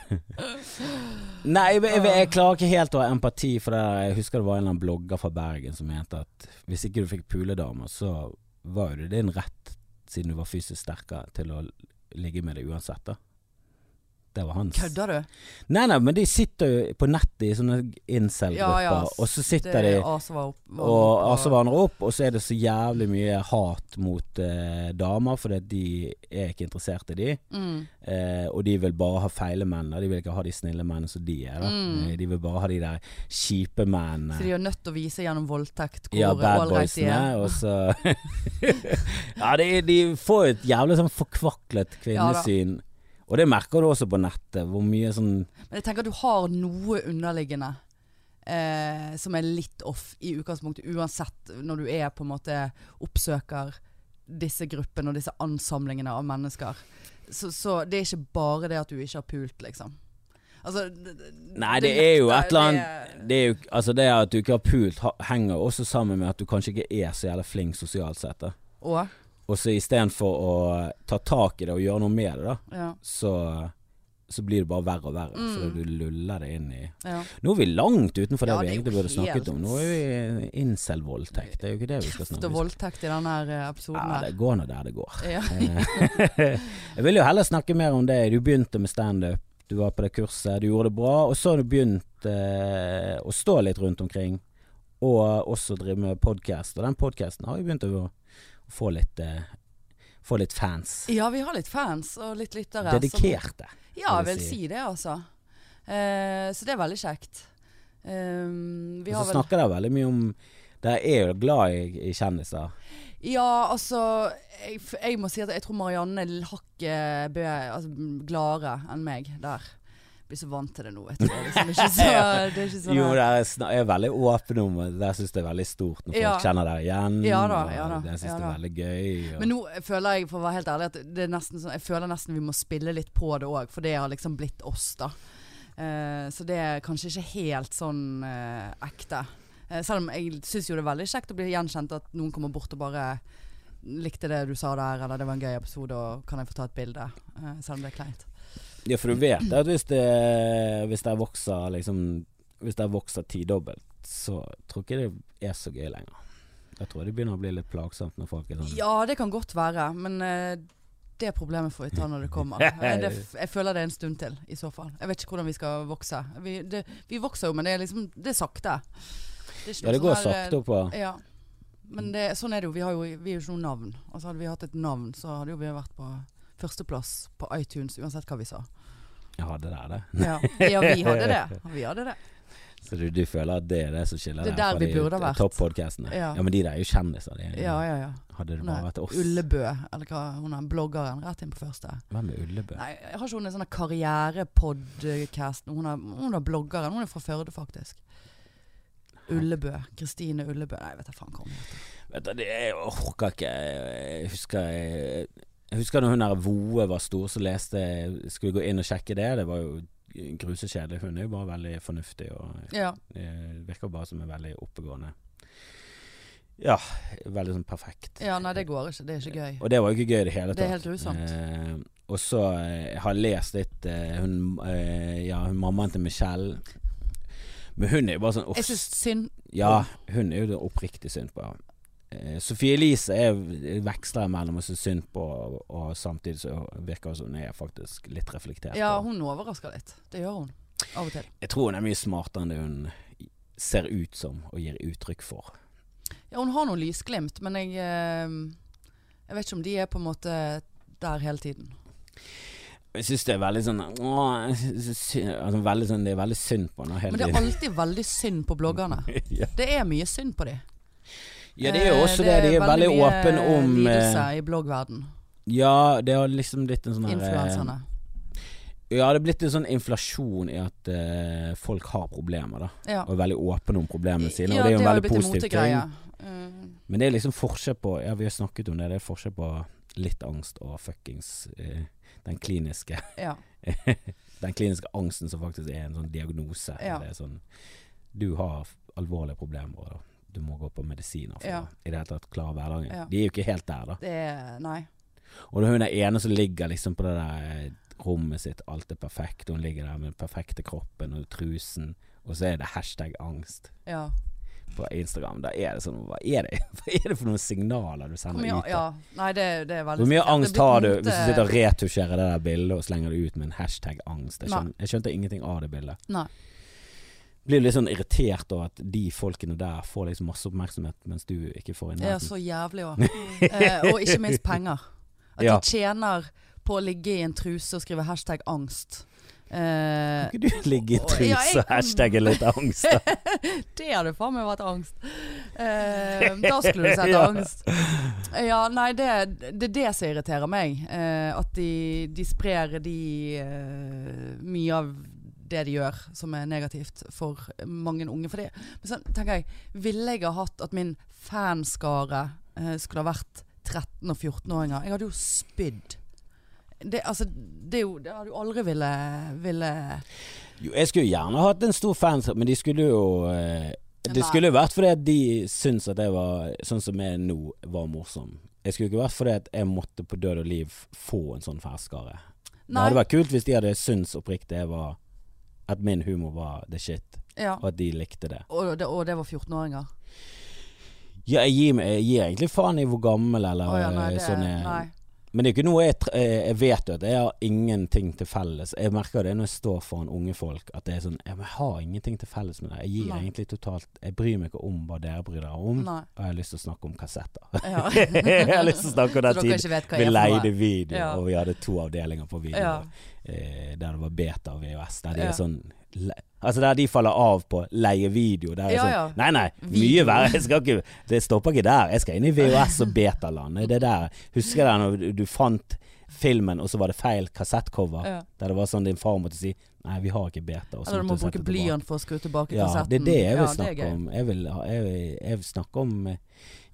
Speaker 2: Nei, jeg, jeg, jeg klarer ikke helt å ha empati for det. her. Jeg husker det var en eller annen blogger fra Bergen som mente at hvis ikke du fikk puledamer, så var jo det din rett, siden du var fysisk sterkere, til å ligge med det uansett, da. Det var hans.
Speaker 1: Kødder du?
Speaker 2: Nei, nei, men de sitter jo på nettet i sånne incel-grupper,
Speaker 1: Ja, ja,
Speaker 2: og så
Speaker 1: Det
Speaker 2: sitter de
Speaker 1: er Asvar opp var
Speaker 2: og
Speaker 1: opp-
Speaker 2: altså vandrer opp, og så er det så jævlig mye hat mot eh, damer, fordi at de er ikke interessert i de.
Speaker 1: mm,
Speaker 2: Eh, og de vil bare ha feile menn, og de vil ikke ha de snille mennene som de er. Da.
Speaker 1: Mm.
Speaker 2: Eh, De vil bare ha de der kjipe
Speaker 1: Så de
Speaker 2: mennene.
Speaker 1: er nødt til å vise gjennom voldtekt hvor
Speaker 2: Ja, bad
Speaker 1: all right de er.
Speaker 2: boysene, og så Ja, de, de får jo et jævlig sånn
Speaker 1: Ja
Speaker 2: forkvaklet
Speaker 1: da.
Speaker 2: kvinnesyn. og det merker du også på nettet, hvor mye sånn
Speaker 1: Men jeg tenker at du har noe underliggende eh, som er litt off i utgangspunktet, uansett når du er på en måte oppsøker disse gruppene og disse ansamlingene av mennesker. Så, så det er ikke bare det at du ikke har pult, liksom. Altså d- d-
Speaker 2: Nei, det er jo
Speaker 1: nekter-
Speaker 2: et eller
Speaker 1: det
Speaker 2: annet
Speaker 1: er-
Speaker 2: det, er jo, altså det at du ikke har pult, ha- henger også sammen med at du kanskje ikke er så jævla flink sosialt sett. da.
Speaker 1: Og?
Speaker 2: Og så istedenfor å eh, ta tak i det og gjøre noe med det, da,
Speaker 1: Ja.
Speaker 2: så, så blir det bare verre og verre.
Speaker 1: Mm.
Speaker 2: Fordi du luller det inn i
Speaker 1: ja.
Speaker 2: Nå er vi langt utenfor det
Speaker 1: Ja, det
Speaker 2: vi
Speaker 1: er jo
Speaker 2: egentlig burde snakket
Speaker 1: helt-
Speaker 2: om. Nå er vi incel-voldtekt. Det er jo ikke det vi skal
Speaker 1: Kreft
Speaker 2: snakke
Speaker 1: og
Speaker 2: om.
Speaker 1: voldtekt i denne her eh, episoden
Speaker 2: Ja,
Speaker 1: her.
Speaker 2: det går nå der det går.
Speaker 1: Ja.
Speaker 2: Eh, Jeg vil jo heller snakke mer om det. Du begynte med standup, du var på det kurset, du gjorde det bra. Og så har du begynt eh, å stå litt rundt omkring, og også drive med podkast. Og den podkasten har jo begynt å å få litt eh, Få litt fans.
Speaker 1: Ja, vi har litt fans og litt lyttere. som-
Speaker 2: Dedikerte.
Speaker 1: Ja, jeg
Speaker 2: vil
Speaker 1: vil
Speaker 2: si.
Speaker 1: si det, altså. Eh, så det er veldig kjekt. Eh, vi
Speaker 2: Og så
Speaker 1: har vel
Speaker 2: snakker dere veldig mye om Dere er jo glad i, i kjendiser.
Speaker 1: Ja, altså jeg, f- jeg må si at jeg tror Marianne er hakket bø- altså, m, gladere enn meg der. Blir så vant til det nå, vet du. Det er liksom ikke så, det er ikke sånn
Speaker 2: Jo,
Speaker 1: her-
Speaker 2: dere er, sna- er veldig åpne om det. Dere syns det er veldig stort når folk
Speaker 1: Ja.
Speaker 2: kjenner dere igjen.
Speaker 1: Ja da,
Speaker 2: og
Speaker 1: ja da,
Speaker 2: Dere syns
Speaker 1: ja
Speaker 2: det er
Speaker 1: da.
Speaker 2: veldig gøy. Og...
Speaker 1: Men nå føler jeg, for å være helt ærlig, at det er nesten sånn, jeg føler nesten vi må spille litt på det òg, for det har liksom blitt oss, da. Eh, så det er kanskje ikke helt sånn eh, ekte. Eh, selv om jeg syns jo det er veldig kjekt å bli gjenkjent, at noen kommer bort og bare Likte det du sa der, eller det var en gøy episode, og kan jeg få ta et bilde? Eh, selv om det er kleint.
Speaker 2: Ja, for du vet at hvis det, hvis det vokser liksom Hvis det vokser tidobbelt, så tror jeg ikke det er så gøy lenger. Jeg tror det begynner å bli litt plagsomt når folk er sånn
Speaker 1: Ja, det kan godt være, men eh, det problemet får vi ta når det kommer. Eh, det, f- jeg føler det er en stund til, i så fall. Jeg vet ikke hvordan vi skal vokse. Vi, det, vi vokser jo, men det er liksom Det er sakte. Det er ikke
Speaker 2: Ja, det
Speaker 1: noe
Speaker 2: går
Speaker 1: sånn her, eh,
Speaker 2: sakte oppover.
Speaker 1: Ja. Men det, sånn er det jo. Vi, har jo. vi er jo ikke noe navn. Altså, hadde vi hatt et navn, så hadde jo vi vært på førsteplass på iTunes, uansett hva vi sa.
Speaker 2: Jeg hadde det, det.
Speaker 1: Ja, ja vi hadde det. Vi hadde det.
Speaker 2: Så du, du føler at det er det som skiller
Speaker 1: Det er
Speaker 2: deg
Speaker 1: der
Speaker 2: fra
Speaker 1: vi
Speaker 2: de
Speaker 1: burde vært.
Speaker 2: topp-podcastene?
Speaker 1: Ja.
Speaker 2: ja, men de der er jo kjendiser. De er,
Speaker 1: Ja, ja, ja.
Speaker 2: Hadde det
Speaker 1: Nei,
Speaker 2: bare vært oss
Speaker 1: Ullebø, eller hva hun er, bloggeren, rett inn på første.
Speaker 2: Hvem er Ullebø?
Speaker 1: Nei, jeg har ikke hun en sånn karrierepodcast Hun er, hun er bloggeren, hun er fra Førde faktisk Ullebø, Kristine Ullebø Nei, jeg vet jeg faen hva hun heter
Speaker 2: Vet du, det er, jeg orker ikke Jeg husker jeg, jeg husker når hun der Voe var stor, så leste jeg Skulle gå inn og sjekke det. Det var jo grusekjedelig. Hun er jo bare veldig fornuftig og
Speaker 1: Ja,
Speaker 2: eh, virker bare som en veldig oppegående Ja, veldig sånn perfekt.
Speaker 1: ja nei, det går ikke, det er ikke gøy
Speaker 2: Og det var jo ikke gøy i det hele tatt.
Speaker 1: Det er helt grusomt.
Speaker 2: Eh, og så eh, jeg har jeg lest litt eh, hun, eh, ja, hun mammaen til Michelle Men hun er jo bare sånn uff,
Speaker 1: Jeg synes synd
Speaker 2: ja, hun er jo det oppriktig synd på. Eh, Sophie Elise er veksler mellom å synes synd på, og, og samtidig så virker det som hun er faktisk litt reflektert.
Speaker 1: Ja,
Speaker 2: og-
Speaker 1: hun overrasker litt, det gjør hun Av og til
Speaker 2: Jeg tror hun er mye smartere enn det hun ser ut som og gir uttrykk for.
Speaker 1: Ja, hun har noen lysglimt, men jeg eh, Jeg vet ikke om de er på en måte der hele tiden
Speaker 2: Jeg syns det er veldig sånn åh, jeg synes synd- altså, veldig sånn, Det er veldig synd på henne hele
Speaker 1: Men det er
Speaker 2: tiden.
Speaker 1: alltid veldig Mm. synd på bloggerne
Speaker 2: ja.
Speaker 1: Det er mye synd på de
Speaker 2: ja, det er jo
Speaker 1: Eh,
Speaker 2: også det. De er veldig
Speaker 1: mye
Speaker 2: åpne om eh,
Speaker 1: lidelse i bloggverden
Speaker 2: Ja, det har liksom blitt en sånn her, eh,
Speaker 1: Influenserne
Speaker 2: Ja, det er blitt en sånn inflasjon i at eh, folk har problemer, da.
Speaker 1: Ja
Speaker 2: og er veldig åpen om problemene sine.
Speaker 1: Ja,
Speaker 2: og det er jo en
Speaker 1: har
Speaker 2: veldig
Speaker 1: blitt en
Speaker 2: positiv ting.
Speaker 1: motegreie. Mm.
Speaker 2: Men det er liksom forskjell på Ja, vi har snakket om det. Det er forskjell på litt angst og fuckings eh, den kliniske
Speaker 1: Eh, ja.
Speaker 2: Den kliniske angsten som faktisk er en sånn diagnose.
Speaker 1: Ja.
Speaker 2: Det er sånn Du har f- alvorlige problemer, og du må gå på medisiner for
Speaker 1: Ja.
Speaker 2: å i det hele tatt klare hverdagen.
Speaker 1: Ja.
Speaker 2: De er jo ikke helt der, da.
Speaker 1: Det er Nei.
Speaker 2: Og det er hun den ene som ligger liksom på det der rommet sitt, alt er perfekt, og hun ligger der med den perfekte kroppen og trusen, og så er det hashtag angst.
Speaker 1: Ja.
Speaker 2: på Instagram, da er det sånn Hva er det, hva er det for noen signaler du
Speaker 1: Hvor
Speaker 2: sender
Speaker 1: mye,
Speaker 2: ut? da?
Speaker 1: ja. Nei, det, det er veldig
Speaker 2: Hvor mye
Speaker 1: spesielt.
Speaker 2: angst
Speaker 1: Det er
Speaker 2: har du
Speaker 1: blitt
Speaker 2: hvis du
Speaker 1: mote-
Speaker 2: sitter og retusjerer det der bildet og slenger det ut med en hashtag angst? Jeg,
Speaker 1: Nei.
Speaker 2: skjønner, jeg skjønte ingenting av det bildet.
Speaker 1: Nei.
Speaker 2: Blir du litt sånn irritert over at de folkene der får liksom masse oppmerksomhet, mens du ikke får i
Speaker 1: Ja,
Speaker 2: nærheten?
Speaker 1: så jævlig òg. Eh, og ikke minst penger. At
Speaker 2: Ja.
Speaker 1: de tjener på å ligge i en truse og skrive hashtag angst. Eh,
Speaker 2: Kan ikke du
Speaker 1: Å,
Speaker 2: ligge i
Speaker 1: ja,
Speaker 2: truse
Speaker 1: jeg-
Speaker 2: og hashtagge litt angst? da?
Speaker 1: det hadde faen meg vært angst. Eh, da skulle du sett
Speaker 2: Ja.
Speaker 1: angst. Ja, nei, det, det er det som irriterer meg. Eh, at de, de sprer de eh, mye av det de gjør som er negativt for mange unge. For det. Men så tenker jeg, ville jeg ha hatt at min fanskare eh, skulle ha vært 13- og 14-åringer? Jeg hadde jo spydd. Det, altså, det, er jo, det hadde du aldri ville, ville
Speaker 2: Jo, jeg skulle jo gjerne hatt en stor fans, men de skulle jo eh, Det
Speaker 1: Nei.
Speaker 2: skulle jo vært fordi at de syns at jeg var sånn som jeg nå var morsom. Jeg skulle ikke vært fordi at jeg måtte på død og liv få en sånn ferskare. Det
Speaker 1: Nei.
Speaker 2: hadde vært kult hvis de hadde syntes oppriktig jeg var at min humor var the shit,
Speaker 1: Ja.
Speaker 2: og at de likte det.
Speaker 1: Og det, og det var 14-åringer.
Speaker 2: Ja, jeg gir, meg, jeg gir egentlig faen i hvor gammel eller
Speaker 1: Å ja, nei, det-
Speaker 2: sånn jeg
Speaker 1: nei.
Speaker 2: Men det er jo ikke noe jeg, tr- eh, jeg vet jo at jeg har ingenting til felles. Jeg merker det når jeg står foran unge folk, at det er sånn Jeg har ingenting til felles med deg. Jeg gir
Speaker 1: Nei.
Speaker 2: egentlig totalt Jeg bryr meg ikke om hva dere bryr dere om.
Speaker 1: Nei.
Speaker 2: Og jeg har lyst til å snakke om kassetter.
Speaker 1: Ja.
Speaker 2: jeg har lyst til å
Speaker 1: Så
Speaker 2: snakke om den
Speaker 1: dere
Speaker 2: tiden
Speaker 1: ikke vet hva
Speaker 2: vi
Speaker 1: jeg
Speaker 2: leide
Speaker 1: er
Speaker 2: video,
Speaker 1: Ja.
Speaker 2: og vi hadde to avdelinger på
Speaker 1: for noe.
Speaker 2: video.
Speaker 1: Ja.
Speaker 2: Eh, der det var beta og VHS. Der de
Speaker 1: Ja.
Speaker 2: er sånn le Altså der de faller av på leie video. Der er
Speaker 1: Ja,
Speaker 2: sånn
Speaker 1: ja.
Speaker 2: Nei, nei, mye
Speaker 1: Video.
Speaker 2: verre. Jeg skal ikke Det stopper ikke der. Jeg skal inn i VHS og betaland. Det er der. Husker jeg da når du- du fant filmen, og så var det feil kassettcover?
Speaker 1: Ja.
Speaker 2: Der det var sånn din far måtte si Nei, vi har ikke beta. Og så
Speaker 1: Eller du må
Speaker 2: måtte sette
Speaker 1: bruke
Speaker 2: tilbake.
Speaker 1: blyant for å skru tilbake
Speaker 2: Ja,
Speaker 1: kassetten.
Speaker 2: det er det jeg vil
Speaker 1: Ja,
Speaker 2: snakke
Speaker 1: gøy.
Speaker 2: om. Jeg vil, ha- jeg, vil, jeg vil snakke om eh,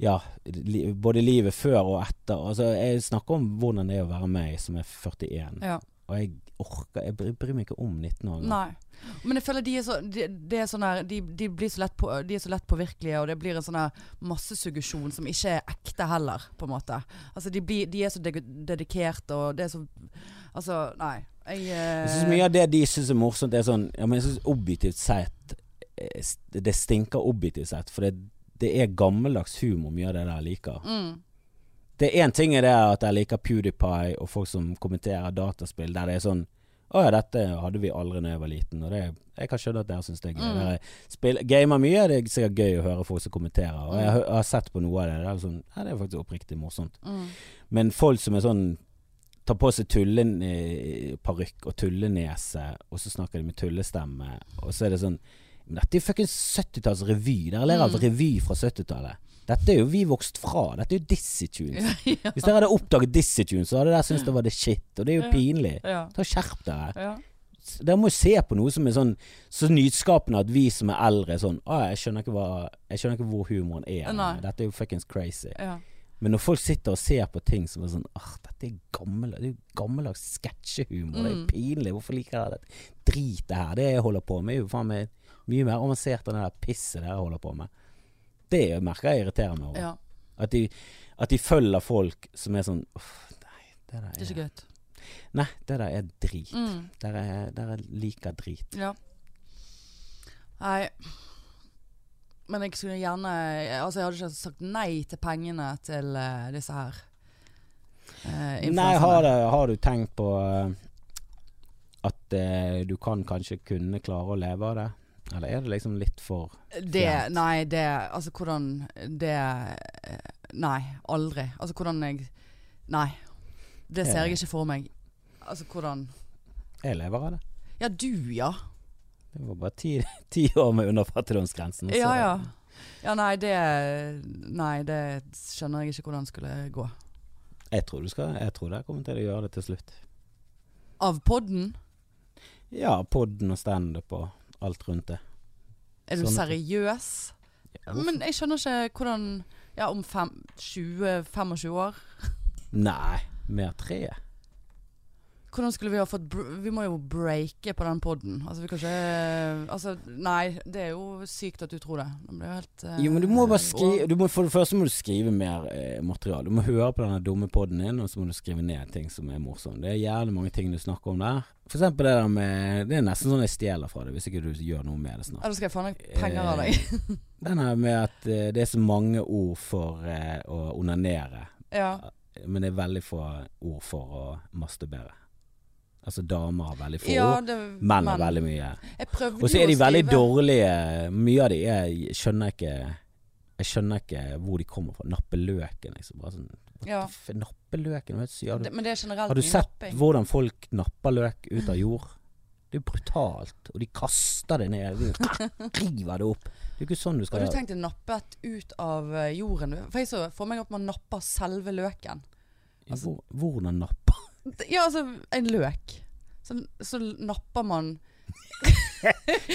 Speaker 2: ja, li, både livet før og etter. Altså, jeg snakker om hvordan det er å være meg som er 41.
Speaker 1: Ja.
Speaker 2: Og jeg orker Jeg bry- bryr meg ikke om 19-åringer.
Speaker 1: Nei. Men jeg føler de er så, de, de er sånn her, de, de, blir så lett på, de er så lett påvirkelige, og det blir en sånn her massesuggesjon som ikke er ekte heller, på en måte. Altså, de, blir, de er så de dedikerte, og det er så Altså, nei. Jeg, eh,
Speaker 2: Jeg synes Mye av det de syns er morsomt, er sånn ja, men jeg synes objektivt sett eh, st- Det stinker objektivt sett, for det, det er gammeldags humor mye av det der jeg liker.
Speaker 1: mm,
Speaker 2: Det er én ting er det at jeg liker PewDiePie og folk som kommenterer dataspill der det er sånn å ja, dette hadde vi aldri da jeg var liten, og det, jeg kan skjønne at dere syns det er gøy.
Speaker 1: Mm.
Speaker 2: Dere spill- gamer mye, det er sikkert gøy å høre folk som kommenterer, og jeg, hø- har sett på noe av det. Det er, sånn, ja, det er faktisk oppriktig morsomt.
Speaker 1: mm.
Speaker 2: Men folk som er sånn Tar på seg tulleparykk og tullenese, og så snakker de med tullestemme, og så er det sånn Men dette er jo fuckings 70-tallsrevy. Dere ler av
Speaker 1: Mm.
Speaker 2: revy fra 70-tallet. Dette er jo vi vokst fra. Dette er jo Dizzie Tunes. Hvis dere hadde oppdaget Dizzie Tunes, så hadde dere syntes det var det shit, og det er jo
Speaker 1: Ja.
Speaker 2: pinlig.
Speaker 1: Ja.
Speaker 2: Ta og Skjerp dere.
Speaker 1: ja.
Speaker 2: Dere må jo se på noe som er sånn så nyskapende at vi som er eldre, er sånn Å, jeg skjønner ikke, hva, jeg skjønner ikke hvor humoren er.
Speaker 1: Nei.
Speaker 2: Dette er jo fuckings crazy.
Speaker 1: ja.
Speaker 2: Men når folk sitter og ser på ting som er sånn Åh, dette er gammel, det er jo gammeldags sketsjehumor. Det er
Speaker 1: Mm.
Speaker 2: pinlig. Hvorfor liker dere dette dritet her? Det jeg holder på med, er jo faen meg mye mer avansert enn det der pisset dere holder på med. Det merker jeg irriterer meg over.
Speaker 1: ja.
Speaker 2: At, de, at de følger folk som er sånn Uff, nei, det
Speaker 1: Det er
Speaker 2: der
Speaker 1: ikke
Speaker 2: er,
Speaker 1: gøy.
Speaker 2: nei, det der er drit.
Speaker 1: Mm.
Speaker 2: Dere, er- dere liker drit.
Speaker 1: Ja. Nei. Men jeg skulle gjerne Altså, jeg hadde ikke sagt nei til pengene til eh, disse her. eh,
Speaker 2: Nei, har,
Speaker 1: influenserne.
Speaker 2: det, har du tenkt på eh, at eh, du kan kanskje kunne klare å leve av det? Eller er det liksom litt for
Speaker 1: det
Speaker 2: fjernt.
Speaker 1: Nei, det Altså, hvordan Det eh, Nei, aldri. Altså, hvordan jeg Nei. Det ser jeg ikke for meg. Altså, hvordan
Speaker 2: Jeg lever av det.
Speaker 1: Ja, du, ja.
Speaker 2: Det var bare ti, ti år med under fattigdomsgrensen. så-
Speaker 1: Ja, ja. Ja, nei, det Nei, det skjønner jeg ikke hvordan skulle gå.
Speaker 2: Jeg tror du skal Jeg tror dere kommer til å gjøre det til slutt.
Speaker 1: Av podden?
Speaker 2: Ja, podden og standup og alt rundt det.
Speaker 1: Er du
Speaker 2: Sånn.
Speaker 1: seriøs?
Speaker 2: Ja, hvorfor-
Speaker 1: Men jeg skjønner ikke hvordan Ja, om fem- 20, 25 år
Speaker 2: Nei, mer tre.
Speaker 1: Hvordan skulle vi ha fått br- Vi må jo breake på den podden Altså vi kan ikke Altså nei Det er jo sykt at du tror det Nå blir jeg helt eh,
Speaker 2: Jo, men du må
Speaker 1: og-
Speaker 2: bare skrive du må, For det første må du skrive mer eh, materiale. Du må høre på den dumme podden din, og så må du skrive ned ting som er morsomme. Det er jævlig mange ting du snakker om der. For eksempel det der med Det er nesten sånn jeg stjeler fra deg, hvis ikke du gjør noe med det snart.
Speaker 1: Ja, da skal jeg faen meg penger av deg
Speaker 2: Den her med at eh, det er så mange ord for eh, å onanere.
Speaker 1: Ja
Speaker 2: Men det er veldig få ord for å masturbere. Altså damer har veldig få
Speaker 1: Ja,
Speaker 2: ord,
Speaker 1: det
Speaker 2: menn har veldig mye.
Speaker 1: Jeg prøvde jo
Speaker 2: Og
Speaker 1: å
Speaker 2: så er
Speaker 1: skrive
Speaker 2: de veldig dårlige. Mye av de er jeg skjønner ikke Jeg skjønner ikke hvor de kommer fra. Nappeløken, liksom. Bare sånn, what
Speaker 1: Ja.
Speaker 2: the f nappeløken? Hva sier du?
Speaker 1: Det- Men det er generelt
Speaker 2: Har du
Speaker 1: mye
Speaker 2: sett
Speaker 1: napping.
Speaker 2: hvordan folk napper løk ut av jord? Det er brutalt. Og de kaster det ned. De river det opp. Det er jo ikke sånn du
Speaker 1: Har
Speaker 2: skal
Speaker 1: du
Speaker 2: gjøre det.
Speaker 1: tenkt deg nappet ut av eh, jorden? For jeg så for meg at man napper selve løken altså-
Speaker 2: Hvor- Hvordan napper
Speaker 1: Ja, altså en løk Så, så napper man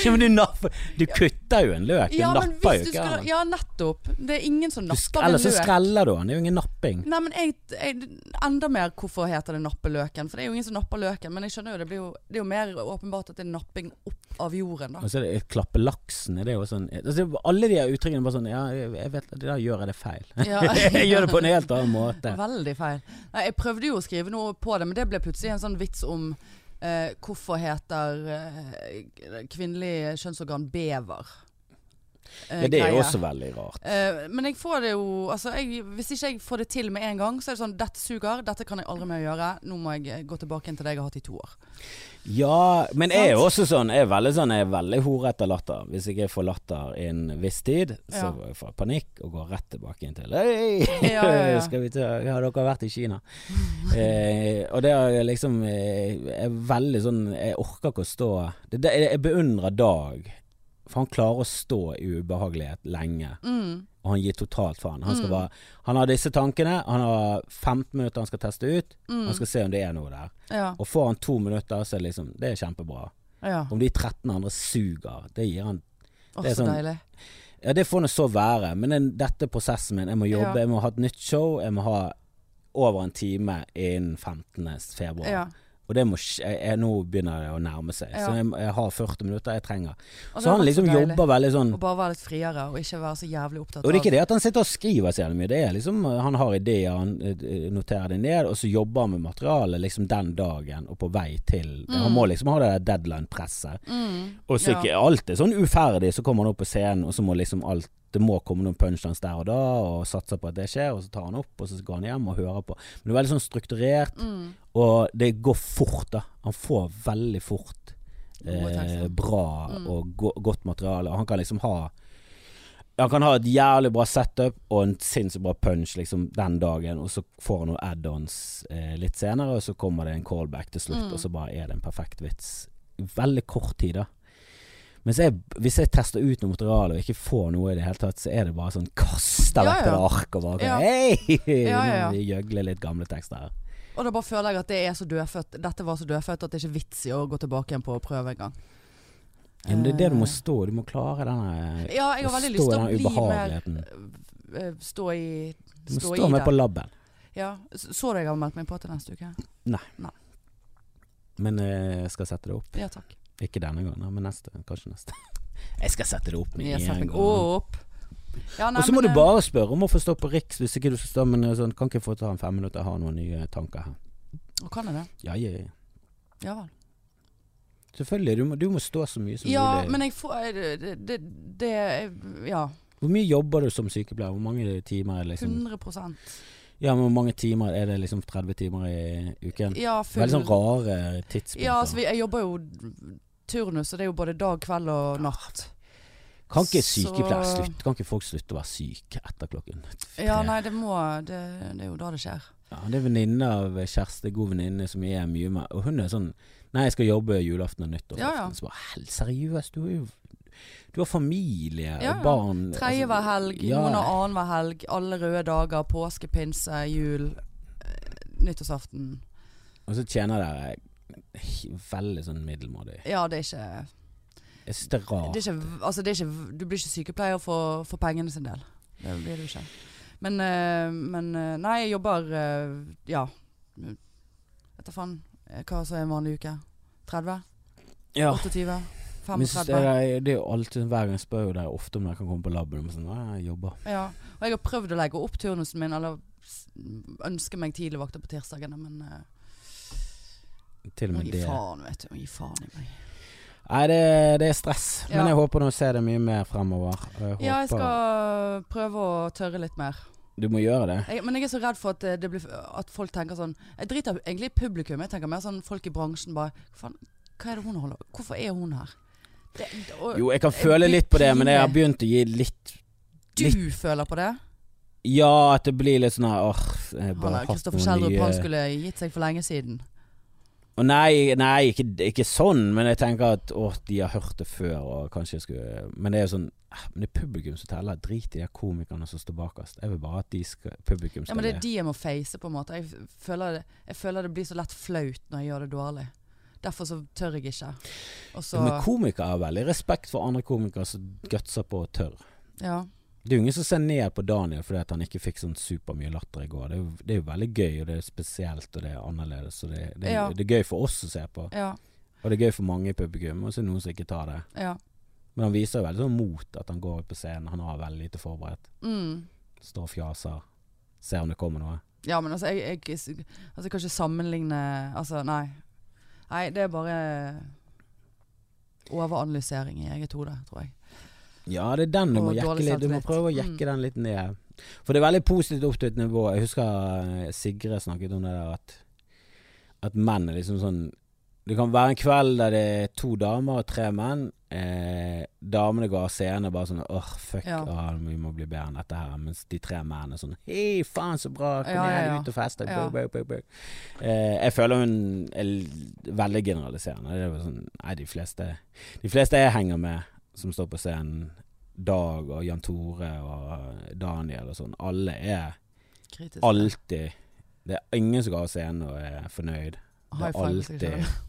Speaker 2: Ja, men du, napper, du kutter jo en løk. Du
Speaker 1: Ja, men
Speaker 2: napper jo
Speaker 1: hvis du
Speaker 2: ikke.
Speaker 1: skulle
Speaker 2: den.
Speaker 1: Ja, nettopp. Det er ingen som
Speaker 2: Du sk-
Speaker 1: napper
Speaker 2: Eller
Speaker 1: med
Speaker 2: så
Speaker 1: løk.
Speaker 2: skreller du den. Det er jo ingen napping.
Speaker 1: Nei, men jeg, jeg Enda mer hvorfor heter det nappe løken. For det er jo ingen som napper løken. Men jeg skjønner jo det blir jo Det er jo mer åpenbart at det er napping opp av jorden, da.
Speaker 2: Og så er det klappe laksen. Det er jo sånn altså, det er Alle de her uttrykkene er bare sånn Ja, jeg jeg vet det, da gjør jeg det feil.
Speaker 1: Ja.
Speaker 2: jeg gjør det på en helt annen måte.
Speaker 1: Veldig feil. Nei, jeg prøvde jo å skrive noe på det, men det ble plutselig en sånn vits om eh, hvorfor heter eh, kvinnelig kjønnsorgan bever? eh,
Speaker 2: Ja, det er
Speaker 1: greie.
Speaker 2: jo også veldig rart.
Speaker 1: Eh, men jeg får det jo altså jeg, Hvis ikke jeg får det til med en gang, så er det sånn Dette suger, dette kan jeg aldri mer gjøre. Nå må jeg eh, gå tilbake igjen til det jeg har hatt i to år.
Speaker 2: Ja, men jeg er jo
Speaker 1: Sant?
Speaker 2: også sånn. Jeg er veldig sånn Jeg er veldig hore etter latter. Hvis ikke jeg får latter innen viss tid, så
Speaker 1: Ja.
Speaker 2: får jeg panikk og går rett tilbake inn til Hei,
Speaker 1: Ja, ja, ja.
Speaker 2: skal vi ta Har dere vært i Kina? eh, og det er liksom eh, Jeg er veldig sånn Jeg orker ikke å stå det, det, Jeg beundrer Dag. For han klarer å stå i ubehagelighet lenge,
Speaker 1: Mm.
Speaker 2: og han gir totalt faen. Han, skal
Speaker 1: Mm.
Speaker 2: bare, han har disse tankene, han har 15 minutter han skal teste ut,
Speaker 1: Mm.
Speaker 2: han skal se om det er noe der.
Speaker 1: Ja.
Speaker 2: Og får han to minutter, så er det liksom Det er kjempebra.
Speaker 1: ja.
Speaker 2: Om de 13 andre suger, det gir han
Speaker 1: Å,
Speaker 2: det er
Speaker 1: så
Speaker 2: sånn-
Speaker 1: deilig.
Speaker 2: Ja, det får nå så være, men den, dette er prosessen min. Jeg må jobbe,
Speaker 1: Ja.
Speaker 2: jeg må ha et nytt show. Jeg må ha over en time innen 15. februar.
Speaker 1: Ja.
Speaker 2: Og det må skje jeg, jeg, Nå begynner det å nærme seg.
Speaker 1: Ja.
Speaker 2: Så jeg, jeg har 40 minutter jeg trenger.
Speaker 1: Og det
Speaker 2: så
Speaker 1: har
Speaker 2: han
Speaker 1: vært
Speaker 2: liksom
Speaker 1: deilig
Speaker 2: jobber veldig sånn
Speaker 1: Å bare være litt friere, og ikke være så jævlig opptatt
Speaker 2: Og det er ikke det at han sitter og skriver så jævlig mye. Det er liksom eh, Han har ideer, han eh, noterer det ned, og så jobber han med materialet liksom den dagen og på vei til
Speaker 1: Mm.
Speaker 2: Han må liksom ha det der
Speaker 1: av
Speaker 2: deadline-presset.
Speaker 1: mm.
Speaker 2: Og så
Speaker 1: Ja.
Speaker 2: ikke alt er sånn uferdig, så kommer han opp på scenen, og så må liksom alt Det må komme noen punchlines der og da, og satser på at det skjer, og så tar han opp, og så går han hjem og hører på. Men det er veldig sånn strukturert,
Speaker 1: Mm.
Speaker 2: og det går fort, da. Han får veldig fort
Speaker 1: Gode
Speaker 2: eh,
Speaker 1: tekster.
Speaker 2: bra
Speaker 1: Mm.
Speaker 2: og go godt materiale, og han kan liksom ha han kan ha et jævlig bra setup og en sinnssykt bra punch liksom, den dagen, og så får han noen add-ons eh, litt senere, og så kommer det en callback til slutt,
Speaker 1: Mm.
Speaker 2: og så bare er det en perfekt vits. Veldig kort tid, da. Mens jeg, hvis jeg tester ut noe materiale og ikke får noe i det hele tatt, så er det bare sånn Kaster
Speaker 1: Ja,
Speaker 2: vekk
Speaker 1: ja.
Speaker 2: et ark og bare
Speaker 1: Ja.
Speaker 2: Hei!
Speaker 1: Ja, ja, ja.
Speaker 2: Vi gjøgler litt gamle tekster her.
Speaker 1: Og da bare føler jeg at det er så dødfødt Dette var så dødfødt at det er ikke vits i å gå tilbake igjen på å prøve en gang.
Speaker 2: Ja, men det er det du må
Speaker 1: Eh,
Speaker 2: stå. Du må klare denne
Speaker 1: Ja, jeg har veldig lyst
Speaker 2: stå
Speaker 1: til å
Speaker 2: i den
Speaker 1: bli mer
Speaker 2: ubehageligheten.
Speaker 1: eh, Stå i
Speaker 2: Du må
Speaker 1: Stå,
Speaker 2: stå
Speaker 1: i
Speaker 2: med
Speaker 1: det.
Speaker 2: på labben.
Speaker 1: Ja. Så så du jeg har meldt meg på til neste uke?
Speaker 2: Men eh, jeg skal sette det opp.
Speaker 1: Ja takk.
Speaker 2: Ikke denne gangen, men neste. Kanskje neste. Jeg skal sette det opp med
Speaker 1: Jeg
Speaker 2: en
Speaker 1: setter
Speaker 2: gang.
Speaker 1: meg opp. Ja, nei,
Speaker 2: Og så må
Speaker 1: men, eh,
Speaker 2: du bare spørre om å få stå på Riks hvis ikke du skal stå Men eh, sånn, kan ikke jeg få ta en fem minutter, jeg har noen nye tanker her.
Speaker 1: eh, Å, kan jeg det?
Speaker 2: Ja, ja, ja.
Speaker 1: Ja vel.
Speaker 2: Selvfølgelig. Du må, du må stå så mye som
Speaker 1: Ja,
Speaker 2: mulig.
Speaker 1: men jeg får eh, Det, det, det Ja.
Speaker 2: Hvor mye jobber du som sykepleier? Hvor mange timer er det liksom
Speaker 1: 100
Speaker 2: Ja, men hvor mange timer er det liksom 30 timer i uken?
Speaker 1: Ja, full
Speaker 2: Veldig sånn rare tidspunkter.
Speaker 1: Ja, altså, vi- jeg jobber jo turnus, og det er jo både dag, kveld og natt.
Speaker 2: kan ikke
Speaker 1: så-
Speaker 2: sykepleiere slutte? Kan ikke folk slutte å være syke etter klokken tre?
Speaker 1: Ja, nei, det må Det, det er jo da det skjer.
Speaker 2: Ja, det er venninne av eh, Kjersti, god venninne, som jeg er mye med. Og hun er sånn Nei, jeg skal jobbe julaften og nyttår.
Speaker 1: Ja, ja.
Speaker 2: Så bare, «Hel- seriøst, du har jo Du har familie
Speaker 1: Ja, ja.
Speaker 2: og barn. altså,
Speaker 1: Tredje hver helg,
Speaker 2: ja.
Speaker 1: noen har annenhver helg, alle røde dager, påske, pinse, jul, eh, nyttårsaften.
Speaker 2: Og så tjener dere he- veldig sånn middelmådig.
Speaker 1: Ja, det er ikke,
Speaker 2: Jeg syns det er rart.
Speaker 1: det er ikke, altså, det er ikke Du blir ikke sykepleier for, for pengene sin del. Det blir du ikke. Men, eh, men eh, Nei, jeg jobber eh, Ja. Vet da faen eh, hva som er en vanlig uke. 30?
Speaker 2: ja.
Speaker 1: 28?
Speaker 2: Men jeg
Speaker 1: 35?
Speaker 2: synes det, er, det er jo alltid sånn, Hver gang jeg spør jo dere ofte om dere kan komme på laben, og de er sånn «Nei, jeg jobber.
Speaker 1: Ja, og jeg har prøvd å legge opp turnusen min, eller s- ønske meg tidligvakter på tirsdagene, men eh,
Speaker 2: Til og
Speaker 1: må
Speaker 2: med
Speaker 1: gi
Speaker 2: det.
Speaker 1: faen, vet du. Må gi faen i meg.
Speaker 2: Nei, det, det er stress.
Speaker 1: Ja.
Speaker 2: Men jeg håper nå å se det mye mer fremover. Og Jeg håper
Speaker 1: Ja, jeg skal prøve å tørre litt mer.
Speaker 2: Du må gjøre det.
Speaker 1: Jeg, men jeg er så redd for at, eh, det blir, at folk tenker sånn Jeg driter egentlig i publikum, jeg tenker mer sånn folk i bransjen bare "Hva Faen, hva er det hun holder Hvorfor er hun her? Det, og,
Speaker 2: Jo, jeg kan føle litt på det, men jeg har begynt å gi litt
Speaker 1: du føler på det?
Speaker 2: Ja, at det blir litt sånn her, Åh, jeg har
Speaker 1: Han
Speaker 2: bare
Speaker 1: er
Speaker 2: hatt
Speaker 1: Kristoffer
Speaker 2: noen
Speaker 1: Schjelderup,
Speaker 2: nye
Speaker 1: han skulle gitt seg for lenge siden.
Speaker 2: Å, Nei, nei ikke, ikke sånn, men jeg tenker at åh, de har hørt det før, og kanskje jeg skulle Men det er jo sånn eh, Men det er publikum som teller. Drit i de komikerne som står bakerst. Jeg vil bare at de skal publikum
Speaker 1: Ja,
Speaker 2: skal
Speaker 1: men det
Speaker 2: le.
Speaker 1: er de jeg må face, på en måte. Jeg f- føler det, jeg føler det blir så lett flaut når jeg gjør det dårlig. Derfor så tør jeg ikke. Og så
Speaker 2: Ja, Men komikere har veldig respekt for andre komikere som gutser på og tør.
Speaker 1: Ja.
Speaker 2: Det er jo ingen som ser ned på Daniel fordi at han ikke fikk sånn supermye latter i går. Det er, jo, det er jo veldig gøy, og det er spesielt, og det er annerledes. Og det, det, er-
Speaker 1: Ja.
Speaker 2: det er gøy for oss å se på,
Speaker 1: Ja.
Speaker 2: og det er gøy for mange i publikum, og så er det noen som ikke tar det.
Speaker 1: ja.
Speaker 2: Men han viser jo veldig sånn mot at han går ut på scenen. Han har veldig lite forberedt.
Speaker 1: Mm.
Speaker 2: Står og fjaser. Ser om det kommer noe.
Speaker 1: ja men altså, jeg, jeg, altså, jeg kan ikke sammenligne Altså, nei. Nei, det er bare overanalysering i eget hode, tror jeg.
Speaker 2: Ja, det er den du
Speaker 1: Og
Speaker 2: må jekke
Speaker 1: dårlig Mm.
Speaker 2: litt. Du må
Speaker 1: selvtillit.
Speaker 2: prøve å jekke den litt ned. For det er veldig positivt opp til et nivå. Jeg husker eh, Sigrid snakket om det der at At menn er liksom sånn Det kan være en kveld der det er to damer og tre menn. Eh, damene går av scenen og bare sånn Åh, fuck,
Speaker 1: Ja.
Speaker 2: ah, vi må bli bedre enn dette her. Mens de tre mennene er sånn Hei, faen, så bra. Kom
Speaker 1: Ja, ja,
Speaker 2: igjen,
Speaker 1: ja.
Speaker 2: ut og feste. Bø,
Speaker 1: Ja.
Speaker 2: bø, bø, bø. Eh, jeg føler hun er l- veldig generaliserende. Det er jo sånn, nei, de fleste De fleste jeg henger med, som står på scenen, Dag og Jan Tore og Daniel og sånn, alle er
Speaker 1: Kritisk.
Speaker 2: alltid Det er ingen som går av scenen og er fornøyd. Det
Speaker 1: High
Speaker 2: er
Speaker 1: five med seg
Speaker 2: alltid
Speaker 1: selv.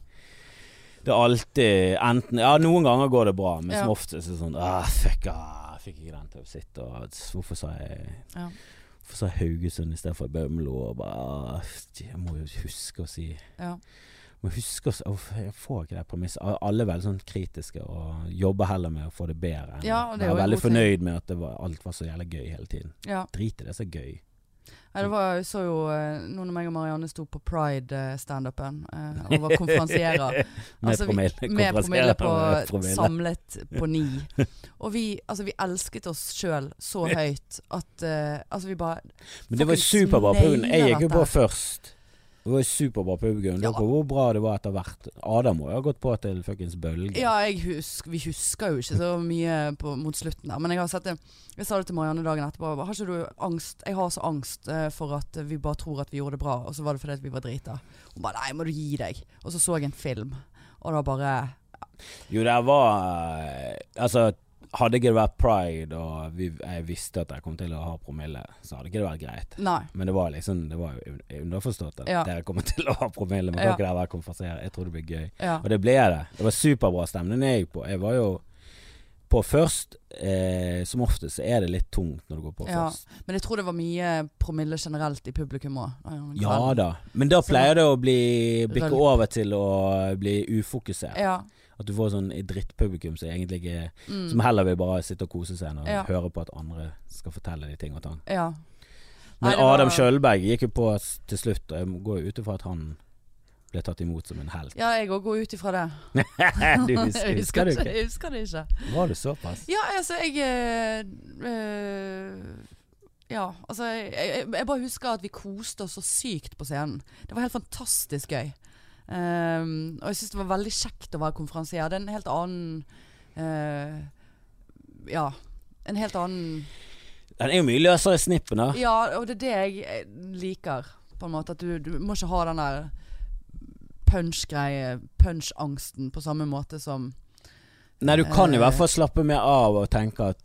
Speaker 2: Det er alltid enten Ja, noen ganger går det bra, men som
Speaker 1: Ja.
Speaker 2: oftest er det sånn ah, Fuck, ah, jeg fikk ikke den til å sitte, og hvorfor sa jeg
Speaker 1: Ja.
Speaker 2: Hvorfor sa jeg Haugesund istedenfor Bømlo? Og bare ah, Jeg må jo huske å si
Speaker 1: Ja.
Speaker 2: må huske å s- uff, Jeg får ikke det premisset. A- Alle er veldig sånn kritiske og jobber heller med å få det bedre. enn
Speaker 1: Ja,
Speaker 2: å
Speaker 1: og det er
Speaker 2: være
Speaker 1: jo en
Speaker 2: veldig
Speaker 1: god ting.
Speaker 2: fornøyd med at det var, alt var så jævla gøy hele tiden.
Speaker 1: ja.
Speaker 2: Drit i det som er gøy.
Speaker 1: Ja, det var, jeg så jo eh, nå når meg og Marianne sto på pride-standupen eh, og var konferansierer.
Speaker 2: med
Speaker 1: Altså, vi-
Speaker 2: promille.
Speaker 1: Med promille
Speaker 2: konferansiere
Speaker 1: på
Speaker 2: med promille.
Speaker 1: samlet på ni. Og vi, altså, vi elsket oss sjøl så høyt at eh, Altså, vi bare
Speaker 2: Men det var
Speaker 1: fucking
Speaker 2: superbra på Haugen. Jeg
Speaker 1: nailer
Speaker 2: gikk jo
Speaker 1: dette
Speaker 2: på
Speaker 1: her.
Speaker 2: først. Det var jo superbra på
Speaker 1: Ja.
Speaker 2: Haugen. Lurer på Hvor bra det var etter hvert. Adam må jo ha gått på til fuckings bølge.
Speaker 1: Ja, jeg husk, vi husker jo ikke så mye på, mot slutten der. Men jeg har sett det Jeg sa det til Marianne dagen etterpå. Har ikke du angst? Jeg har så angst eh, for at vi bare tror at vi gjorde det bra, og så var det fordi at vi var drita. Hun bare Nei, må du gi deg. Og så så jeg en film, og da bare
Speaker 2: Jo, det var eh, Altså, hadde ikke det vært pride, og vi, jeg visste at jeg kom til å ha promille, så hadde ikke det vært greit.
Speaker 1: Nei.
Speaker 2: Men det var liksom Det var jo un- underforstått at
Speaker 1: Ja.
Speaker 2: dere kommer til å ha promille. Men
Speaker 1: Ja.
Speaker 2: kan ikke dere være konferansiere? Jeg tror det blir gøy.
Speaker 1: Ja.
Speaker 2: Og det ble det. Det var superbra stemning jeg gikk på. Jeg var jo på først. Eh, som oftest så er det litt tungt når du går på
Speaker 1: Ja.
Speaker 2: først.
Speaker 1: Men jeg tror det var mye promille generelt i publikum òg.
Speaker 2: Ja da. Men da
Speaker 1: Så-
Speaker 2: pleier det å bli bikke
Speaker 1: Rølp.
Speaker 2: over til å bli ufokusert.
Speaker 1: Ja.
Speaker 2: At du får sånn drittpublikum som egentlig ikke Som
Speaker 1: Mm,
Speaker 2: heller vil bare sitte og kose seg enn å
Speaker 1: Ja.
Speaker 2: høre på at andre skal fortelle de ting og tang.
Speaker 1: ja. Nei,
Speaker 2: Men
Speaker 1: det var-
Speaker 2: Adam Kjølberg gikk jo på s- til slutt, og jeg går jo ut ifra at han ble tatt imot som en helt.
Speaker 1: ja, jeg òg går ut ifra det.
Speaker 2: du husker,
Speaker 1: Jeg
Speaker 2: husker du
Speaker 1: ikke-
Speaker 2: ikke?
Speaker 1: Jeg husker det ikke.
Speaker 2: Var du såpass?
Speaker 1: Ja, altså, jeg eh, eh, Ja, altså jeg, jeg, jeg bare husker at vi koste oss så sykt på scenen. Det var helt fantastisk gøy. Ehm, og jeg syns det var veldig kjekt å være konferansier. Det er en helt annen eh, Ja. En helt annen
Speaker 2: Den er jo mye løsere i snippen, da.
Speaker 1: Ja, og det er det jeg eh, liker, på en måte. At du, du må ikke ha den der punch-greie, punch-angsten, på samme måte som
Speaker 2: Nei, du kan i
Speaker 1: Eh.
Speaker 2: hvert fall slappe mer av og tenke at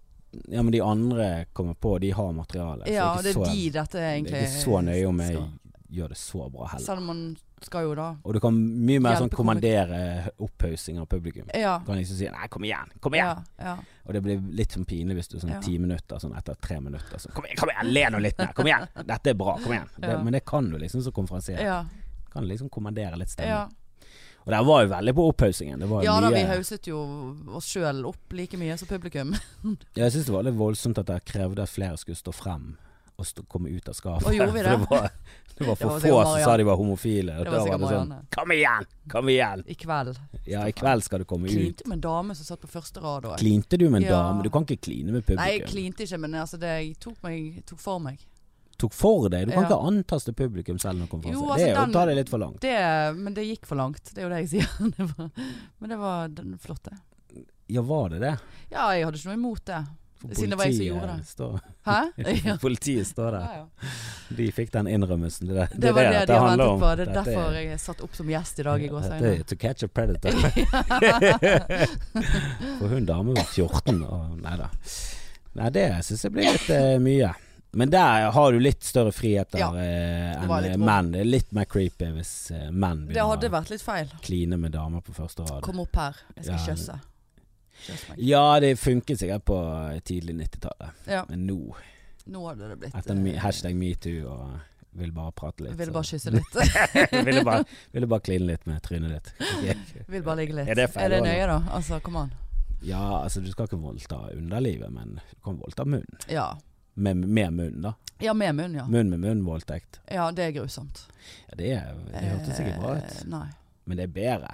Speaker 2: ja, men de andre kommer på, de har materiale. Så
Speaker 1: Ja,
Speaker 2: ikke
Speaker 1: det er
Speaker 2: så-
Speaker 1: de dette egentlig
Speaker 2: Det er ikke så nøye om jeg
Speaker 1: skal.
Speaker 2: gjør det så bra heller.
Speaker 1: Selv om man skal jo da
Speaker 2: Og du kan mye mer
Speaker 1: Hjelpe
Speaker 2: sånn
Speaker 1: komik-
Speaker 2: kommandere opphaussing av publikum.
Speaker 1: Ja.
Speaker 2: Du kan liksom si 'nei, kom igjen', kom igjen.
Speaker 1: ja, ja.
Speaker 2: Og det blir litt sånn pinlig hvis du sånn
Speaker 1: Ja.
Speaker 2: ti minutter sånn etter tre minutter sånn 'kom igjen, kom igjen, le nå litt mer', kom igjen, dette er bra, kom igjen. Det,
Speaker 1: Ja.
Speaker 2: men det kan du liksom som konferansier.
Speaker 1: Ja,
Speaker 2: Kan liksom kommandere litt stemning.
Speaker 1: ja.
Speaker 2: Og der var jo veldig på opphaussingen. Det var jo
Speaker 1: ja da,
Speaker 2: mye
Speaker 1: vi hauset jo oss sjøl opp like mye som publikum.
Speaker 2: Ja, Jeg syns det var litt voldsomt at jeg krevde at flere skulle stå frem og stå, komme ut av skapet.
Speaker 1: Og gjorde vi
Speaker 2: For det var, det var
Speaker 1: Det var
Speaker 2: for få
Speaker 1: sikkert
Speaker 2: som sa
Speaker 1: Marianne.
Speaker 2: de var homofile.
Speaker 1: Det
Speaker 2: Og da
Speaker 1: var sikkert
Speaker 2: det sånn
Speaker 1: Marianne.
Speaker 2: Kom igjen! Kom igjen!
Speaker 1: I kveld.
Speaker 2: Ja, i kveld skal du komme ut.
Speaker 1: Klinte med en dame som satt på første rad òg.
Speaker 2: Klinte du med
Speaker 1: Ja.
Speaker 2: en dame? Du kan ikke kline med
Speaker 1: Nei, jeg
Speaker 2: publikum.
Speaker 1: klinte ikke, men altså det jeg tok, meg, tok for meg.
Speaker 2: Tok for deg. Du kan
Speaker 1: Ja.
Speaker 2: ikke antaste publikum selv under konferanse.
Speaker 1: Jo, altså,
Speaker 2: det er å
Speaker 1: den-
Speaker 2: ta det litt for langt.
Speaker 1: Det, men det gikk for langt, det er jo det jeg sier. Det var, men det var den flott, det.
Speaker 2: Ja, var det det?
Speaker 1: Ja, jeg hadde ikke noe imot det.
Speaker 2: For
Speaker 1: Siden det var jeg som gjorde
Speaker 2: politiet
Speaker 1: det.
Speaker 2: Står,
Speaker 1: Hæ? Ja.
Speaker 2: for politiet står der.
Speaker 1: Ja, ja.
Speaker 2: De fikk den innrømmelsen. Det,
Speaker 1: Det var det
Speaker 2: dette
Speaker 1: de har
Speaker 2: handler
Speaker 1: ventet
Speaker 2: om.
Speaker 1: på. Det er
Speaker 2: Dette
Speaker 1: derfor jeg er satt opp som gjest i dag i går
Speaker 2: Dette er To catch a predator. For hun dame var 14, og nei da. Nei, det syns jeg blir litt eh, mye. Men der har du litt større frihet der
Speaker 1: Ja,
Speaker 2: eh,
Speaker 1: det
Speaker 2: enn
Speaker 1: var
Speaker 2: eh,
Speaker 1: litt rom.
Speaker 2: menn. Det er litt mer creepy hvis eh, menn
Speaker 1: Det hadde
Speaker 2: begynner å
Speaker 1: vært litt feil.
Speaker 2: kline med damer på første rad.
Speaker 1: Kom opp her, jeg skal
Speaker 2: Ja.
Speaker 1: kjøsse. Kjøss meg.
Speaker 2: Ja, det funket sikkert på eh, tidlig 90-tallet,
Speaker 1: Ja,
Speaker 2: men nå,
Speaker 1: nå hadde det blitt
Speaker 2: etter me-
Speaker 1: eh,
Speaker 2: hashtag metoo og vil bare prate litt sånn.
Speaker 1: Ville
Speaker 2: så-
Speaker 1: bare kysse litt.
Speaker 2: ville, bare, ville bare kline litt med trynet ditt. Ok.
Speaker 1: Vil bare ligge litt.
Speaker 2: Er det feil også,
Speaker 1: nøye, da? Altså, kom an.
Speaker 2: Ja, altså du skal ikke voldta underlivet, men du kan voldta munnen.
Speaker 1: Ja.
Speaker 2: Med, med munn, da.
Speaker 1: ja, med munn, ja.
Speaker 2: Munn med munn-voldtekt.
Speaker 1: Ja, det er grusomt.
Speaker 2: Ja, det, er- det hørtes ikke bra ut,
Speaker 1: Eh, Nei.
Speaker 2: men det er bedre.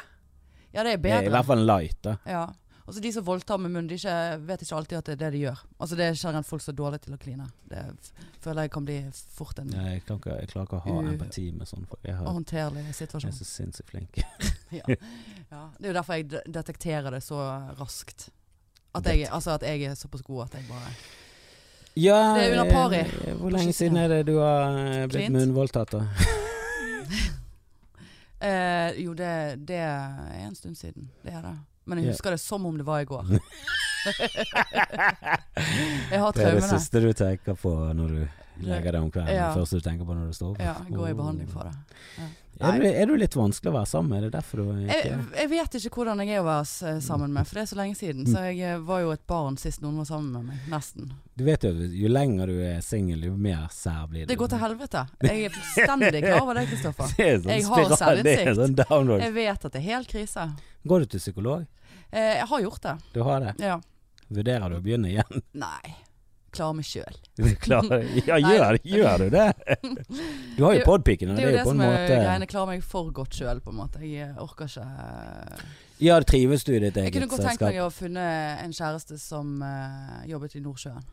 Speaker 1: Ja, det er
Speaker 2: Det er i
Speaker 1: bedre.
Speaker 2: hvert fall light, da.
Speaker 1: Ja. Altså De som voldtar med munnen, de ikke, vet ikke alltid at det er det de gjør. Altså Det er generelt folk som er dårlige til å kline. Det f- føler jeg kan bli fort en
Speaker 2: Jeg, kan ikke, jeg klarer ikke å ha
Speaker 1: U-
Speaker 2: empati med sånn folk. Jeg, har,
Speaker 1: håndterlig
Speaker 2: jeg
Speaker 1: situasjon.
Speaker 2: er så sinnssykt flink.
Speaker 1: Ja. ja. Det er jo derfor jeg de- detekterer det så raskt. At jeg, altså at jeg er såpass god at jeg bare
Speaker 2: Ja,
Speaker 1: Det er under pari.
Speaker 2: eh, Hvor
Speaker 1: På
Speaker 2: lenge
Speaker 1: kysten.
Speaker 2: siden er det du har eh, blitt
Speaker 1: Klint.
Speaker 2: munnvoldtatt, da?
Speaker 1: eh, Jo, det, det er en stund siden. Det er det. Men jeg
Speaker 2: Ja.
Speaker 1: husker det som om det var i går. jeg har
Speaker 2: Det er det
Speaker 1: traumene.
Speaker 2: siste du tenker på når du legger deg om kvelden.
Speaker 1: Ja.
Speaker 2: Det første du tenker på når du står opp.
Speaker 1: Ja, jeg går i
Speaker 2: Oh.
Speaker 1: behandling for det.
Speaker 2: Er du, er du litt vanskelig å være sammen med? Er det derfor du ikke
Speaker 1: Jeg, jeg vet ikke hvordan jeg er å være s- sammen med, for det er så lenge siden. Så jeg eh, var jo et barn sist noen var sammen med meg. Nesten.
Speaker 2: Du vet jo at jo lenger du er singel, jo mer sær blir du.
Speaker 1: Det går til helvete. Jeg er fullstendig klar over det, Kristoffer.
Speaker 2: Det er en sånn
Speaker 1: Jeg har
Speaker 2: spiral, det er en
Speaker 1: selvinnsikt.
Speaker 2: sånn downward.
Speaker 1: Jeg vet at det er helt krise.
Speaker 2: Går du til psykolog?
Speaker 1: Eh, jeg har gjort det.
Speaker 2: Du har det?
Speaker 1: Ja.
Speaker 2: Vurderer du å begynne igjen?
Speaker 1: Nei. Klarer meg sjøl.
Speaker 2: Klarer, ja,
Speaker 1: Nei.
Speaker 2: gjør, gjør du det? Du har jo
Speaker 1: Det-
Speaker 2: podpiken, og
Speaker 1: Det er jo det
Speaker 2: på
Speaker 1: som
Speaker 2: en
Speaker 1: er
Speaker 2: måte
Speaker 1: greiene. Jeg klarer meg for godt sjøl, på en måte. Jeg eh, orker ikke eh,
Speaker 2: Ja, trives du i ditt
Speaker 1: Jeg
Speaker 2: eget
Speaker 1: kunne godt tenkt meg
Speaker 2: selskap?
Speaker 1: å ha funnet en kjæreste som eh, jobbet i Nordsjøen.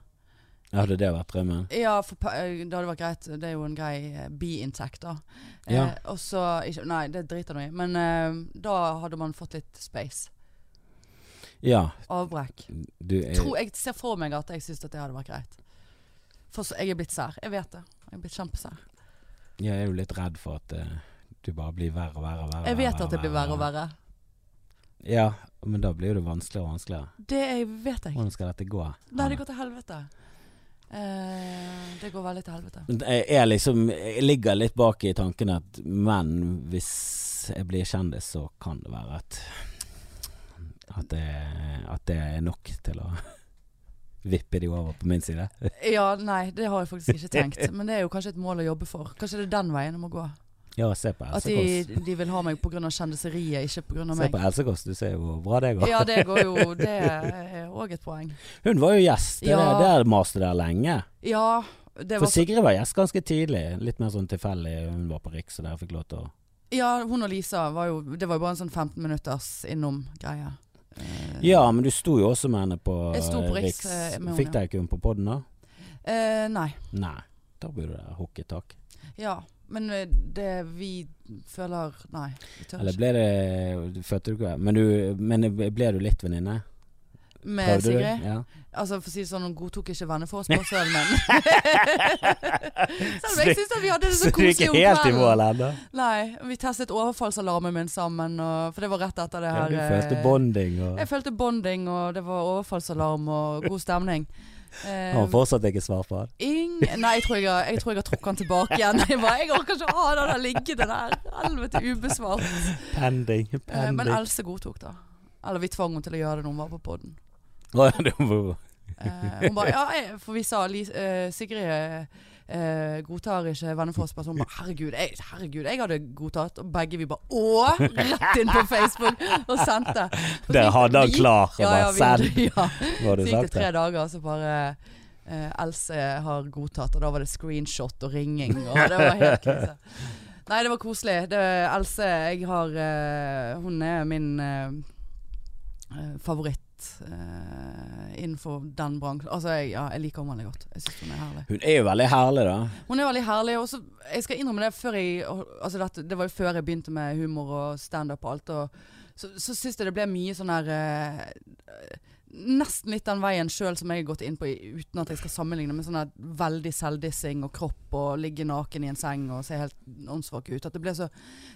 Speaker 2: Hadde det vært drømmen?
Speaker 1: Ja, for pa- eh, det hadde vært greit. Det er jo en grei eh, biinntekt, da.
Speaker 2: Ja.
Speaker 1: Eh, og så ikke- Nei, det driter nå i. Men eh, da hadde man fått litt space.
Speaker 2: Ja.
Speaker 1: Avbrekk.
Speaker 2: Du er
Speaker 1: Tror, jeg ser for meg at jeg syns at det hadde vært greit. For så, jeg er blitt sær. Jeg vet det. Jeg er blitt kjempesær.
Speaker 2: Jeg er jo litt redd for at eh, du bare blir verre og verre. og verre
Speaker 1: Jeg vet
Speaker 2: verre,
Speaker 1: at det blir verre og verre.
Speaker 2: Ja, men da blir jo det vanskeligere og vanskeligere.
Speaker 1: Det er- vet jeg.
Speaker 2: Hvordan skal dette gå?
Speaker 1: Nei, det går til helvete. Eh, det går veldig til helvete.
Speaker 2: Men Jeg, er liksom, jeg ligger litt bak i tanken at Men hvis jeg blir kjendis, så kan det være at At det, at det er nok til å vippe de over på min side.
Speaker 1: Ja, nei, det har jeg faktisk ikke tenkt. Men det er jo kanskje et mål å jobbe for. Kanskje det er den veien jeg må gå.
Speaker 2: Ja, se på
Speaker 1: At
Speaker 2: Else
Speaker 1: de,
Speaker 2: Kåss.
Speaker 1: de vil ha meg pga. kjendiseriet, ikke pga.
Speaker 2: Se
Speaker 1: meg.
Speaker 2: på Else Kåss, du ser jo hvor bra det går.
Speaker 1: Ja, det går jo Det er òg et poeng.
Speaker 2: Hun var jo gjest, det,
Speaker 1: Ja.
Speaker 2: der maste der lenge.
Speaker 1: Ja, det var
Speaker 2: For
Speaker 1: så,
Speaker 2: Sigrid var gjest ganske tidlig. Litt mer sånn tilfeldig. Hun var på Riks, og der fikk lov til å
Speaker 1: ja, hun og Lisa var jo Det var jo bare en sånn 15 minutters innom-greie. Eh,
Speaker 2: Ja, men du sto jo også med henne på,
Speaker 1: Jeg sto på
Speaker 2: eh,
Speaker 1: Riks, eh, med henne,
Speaker 2: Fikk dere ikke hun på poden da?
Speaker 1: eh, nei.
Speaker 2: Nei. Da burde dere hooket tak.
Speaker 1: Ja. Men eh, det vi føler Nei, vi tør
Speaker 2: Eller
Speaker 1: ikke.
Speaker 2: ble det du Fødte du ikke? Men, du, men ble du litt venninne?
Speaker 1: Med
Speaker 2: Prøvde du?
Speaker 1: Sigrid?
Speaker 2: Ja.
Speaker 1: Altså, for å si det sånn, hun godtok ikke venneforespørselen min. Selv om jeg syns at vi hadde det så
Speaker 2: du er
Speaker 1: koselig
Speaker 2: ikke
Speaker 1: om
Speaker 2: helt i
Speaker 1: kvelden.
Speaker 2: mål ennå?
Speaker 1: Nei, vi testet overfallsalarmen min sammen, og, for det var rett etter det
Speaker 2: Ja,
Speaker 1: her.
Speaker 2: du følte
Speaker 1: eh,
Speaker 2: bonding og
Speaker 1: Jeg følte bonding, og det var overfallsalarm og god stemning. Eh,
Speaker 2: Har fortsatt ikke svar på det?
Speaker 1: ing Nei, jeg tror jeg, har- jeg, tror jeg har trukket den tilbake igjen. Jeg, bare, jeg orker ikke å ha den der liggende der. Helvete, ubesvart.
Speaker 2: Pending,
Speaker 1: Eh, men
Speaker 2: pending.
Speaker 1: Else godtok det. Eller vi tvang henne til å gjøre det når hun var på poden.
Speaker 2: Å, det var-
Speaker 1: Eh, hun bare Ja, jeg, for vi sa Lis- eh, Sigrid eh, godtar ikke venneforespørsel. Hun bare herregud jeg, herregud, jeg hadde godtatt. Og begge vi bare Å! Rett inn på Facebook og sendte. Og så
Speaker 2: Der
Speaker 1: gikk-
Speaker 2: hadde han
Speaker 1: det gikk-
Speaker 2: klar og
Speaker 1: Ja,
Speaker 2: bare
Speaker 1: ja,
Speaker 2: send,
Speaker 1: vi, ja.
Speaker 2: hva har du
Speaker 1: Så gikk det
Speaker 2: sagt?
Speaker 1: tre
Speaker 2: det?
Speaker 1: dager, og så bare eh, Else har godtatt, og da var det screenshot og ringing, og det var helt krise. Nei, det var koselig. Det, Else, jeg har eh, Hun er min eh, eh, favoritt eh, innenfor den bransjen. Altså, jeg, ja, jeg liker henne veldig godt. Jeg syns hun er herlig.
Speaker 2: Hun er jo veldig herlig, da.
Speaker 1: Hun er veldig herlig. Og så, jeg skal innrømme det før jeg altså dette, Det var jo før jeg begynte med humor og standup og alt. Og, så så syns jeg det ble mye sånn her eh, Nesten litt den veien sjøl som jeg har gått inn på i- uten at jeg skal sammenligne, med sånn her veldig selvdissing og kropp og ligge naken i en seng og se helt åndssvak ut. At det ble så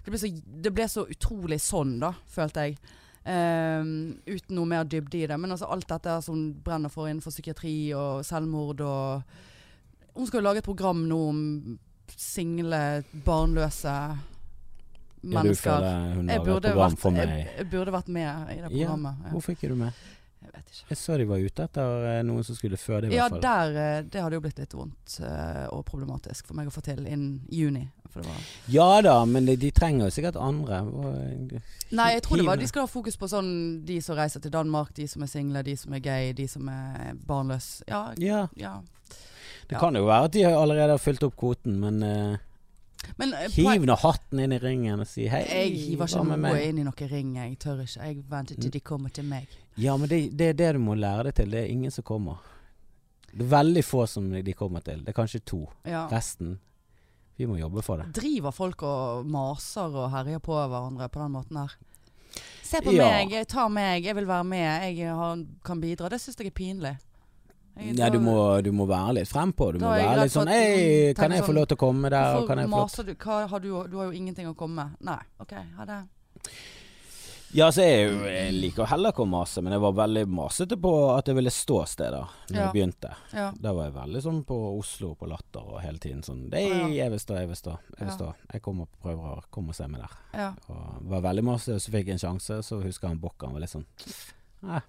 Speaker 1: Det ble så, det ble så utrolig sånn, da, følte jeg. Eh, uten noe mer dybde i det. Men altså alt dette som hun brenner for innenfor psykiatri og selvmord og hun skal jo lage et program nå om single, barnløse
Speaker 2: Ja, du
Speaker 1: mennesker.
Speaker 2: føler hun
Speaker 1: jeg,
Speaker 2: lager et
Speaker 1: burde
Speaker 2: program
Speaker 1: vært,
Speaker 2: for
Speaker 1: jeg,
Speaker 2: meg.
Speaker 1: jeg burde vært med i det
Speaker 2: Ja,
Speaker 1: programmet. Ja,
Speaker 2: Hvorfor ikke du med?
Speaker 1: jeg vet ikke.
Speaker 2: Jeg så de var ute etter eh, noen som skulle føde, i
Speaker 1: Ja,
Speaker 2: hvert fall.
Speaker 1: der, eh, det hadde jo blitt litt vondt eh, og problematisk for meg å få til innen juni. For det var
Speaker 2: Ja da, men de, de trenger jo sikkert andre. Hva-
Speaker 1: Nei, jeg tror det var
Speaker 2: Hiv-
Speaker 1: De skal ha fokus på sånn de som reiser til Danmark, de som er single, de som er gay, de som er barnløse. Ja,
Speaker 2: Ja,
Speaker 1: ja.
Speaker 2: det
Speaker 1: Ja.
Speaker 2: kan jo være at de allerede har fylt opp kvoten, men eh,
Speaker 1: Men eh, poen-
Speaker 2: hiv nå hatten inn i ringen og si hei.
Speaker 1: jeg hiver
Speaker 2: hva
Speaker 1: ikke
Speaker 2: med
Speaker 1: noe
Speaker 2: meg? Mm.
Speaker 1: inn i noen ring. Jeg tør ikke. Jeg venter til de kommer til meg.
Speaker 2: Ja, men det, det er det du må lære deg til. Det er ingen som kommer. Det er veldig få som de kommer til. Det er kanskje to.
Speaker 1: Ja.
Speaker 2: Resten Vi må jobbe for det.
Speaker 1: Driver folk og maser og herjer på hverandre på den måten her? Se på
Speaker 2: Ja.
Speaker 1: meg, jeg tar meg, jeg vil være med, jeg har, kan bidra. Det syns jeg er pinlig. Jeg-
Speaker 2: Nei,
Speaker 1: da-
Speaker 2: du må, du må være litt frempå. Du
Speaker 1: Da
Speaker 2: må
Speaker 1: er jeg
Speaker 2: være
Speaker 1: glad
Speaker 2: litt
Speaker 1: for
Speaker 2: sånn
Speaker 1: at du
Speaker 2: Hei,
Speaker 1: tenker
Speaker 2: kan jeg få
Speaker 1: sånn,
Speaker 2: lov til å komme der? Og
Speaker 1: Hvorfor
Speaker 2: kan jeg få lov til
Speaker 1: maser du? Hva har du, du har jo ingenting å komme med. Nei, OK, ha det.
Speaker 2: Ja, så jeg, er jo- jeg liker heller ikke å mase, men jeg var veldig masete på at jeg ville stå steder når
Speaker 1: Ja.
Speaker 2: jeg begynte.
Speaker 1: Ja.
Speaker 2: Da var jeg veldig sånn på Oslo på Latter og hele tiden sånn
Speaker 1: ja.
Speaker 2: Nei, jeg vil stå, jeg vil stå. Jeg
Speaker 1: Ja.
Speaker 2: vil stå. Jeg kommer på prøver og kommer og ser meg der.
Speaker 1: ja.
Speaker 2: Og var veldig masse, og så fikk jeg en sjanse, så husker jeg han Bokk, han var litt sånn Nei,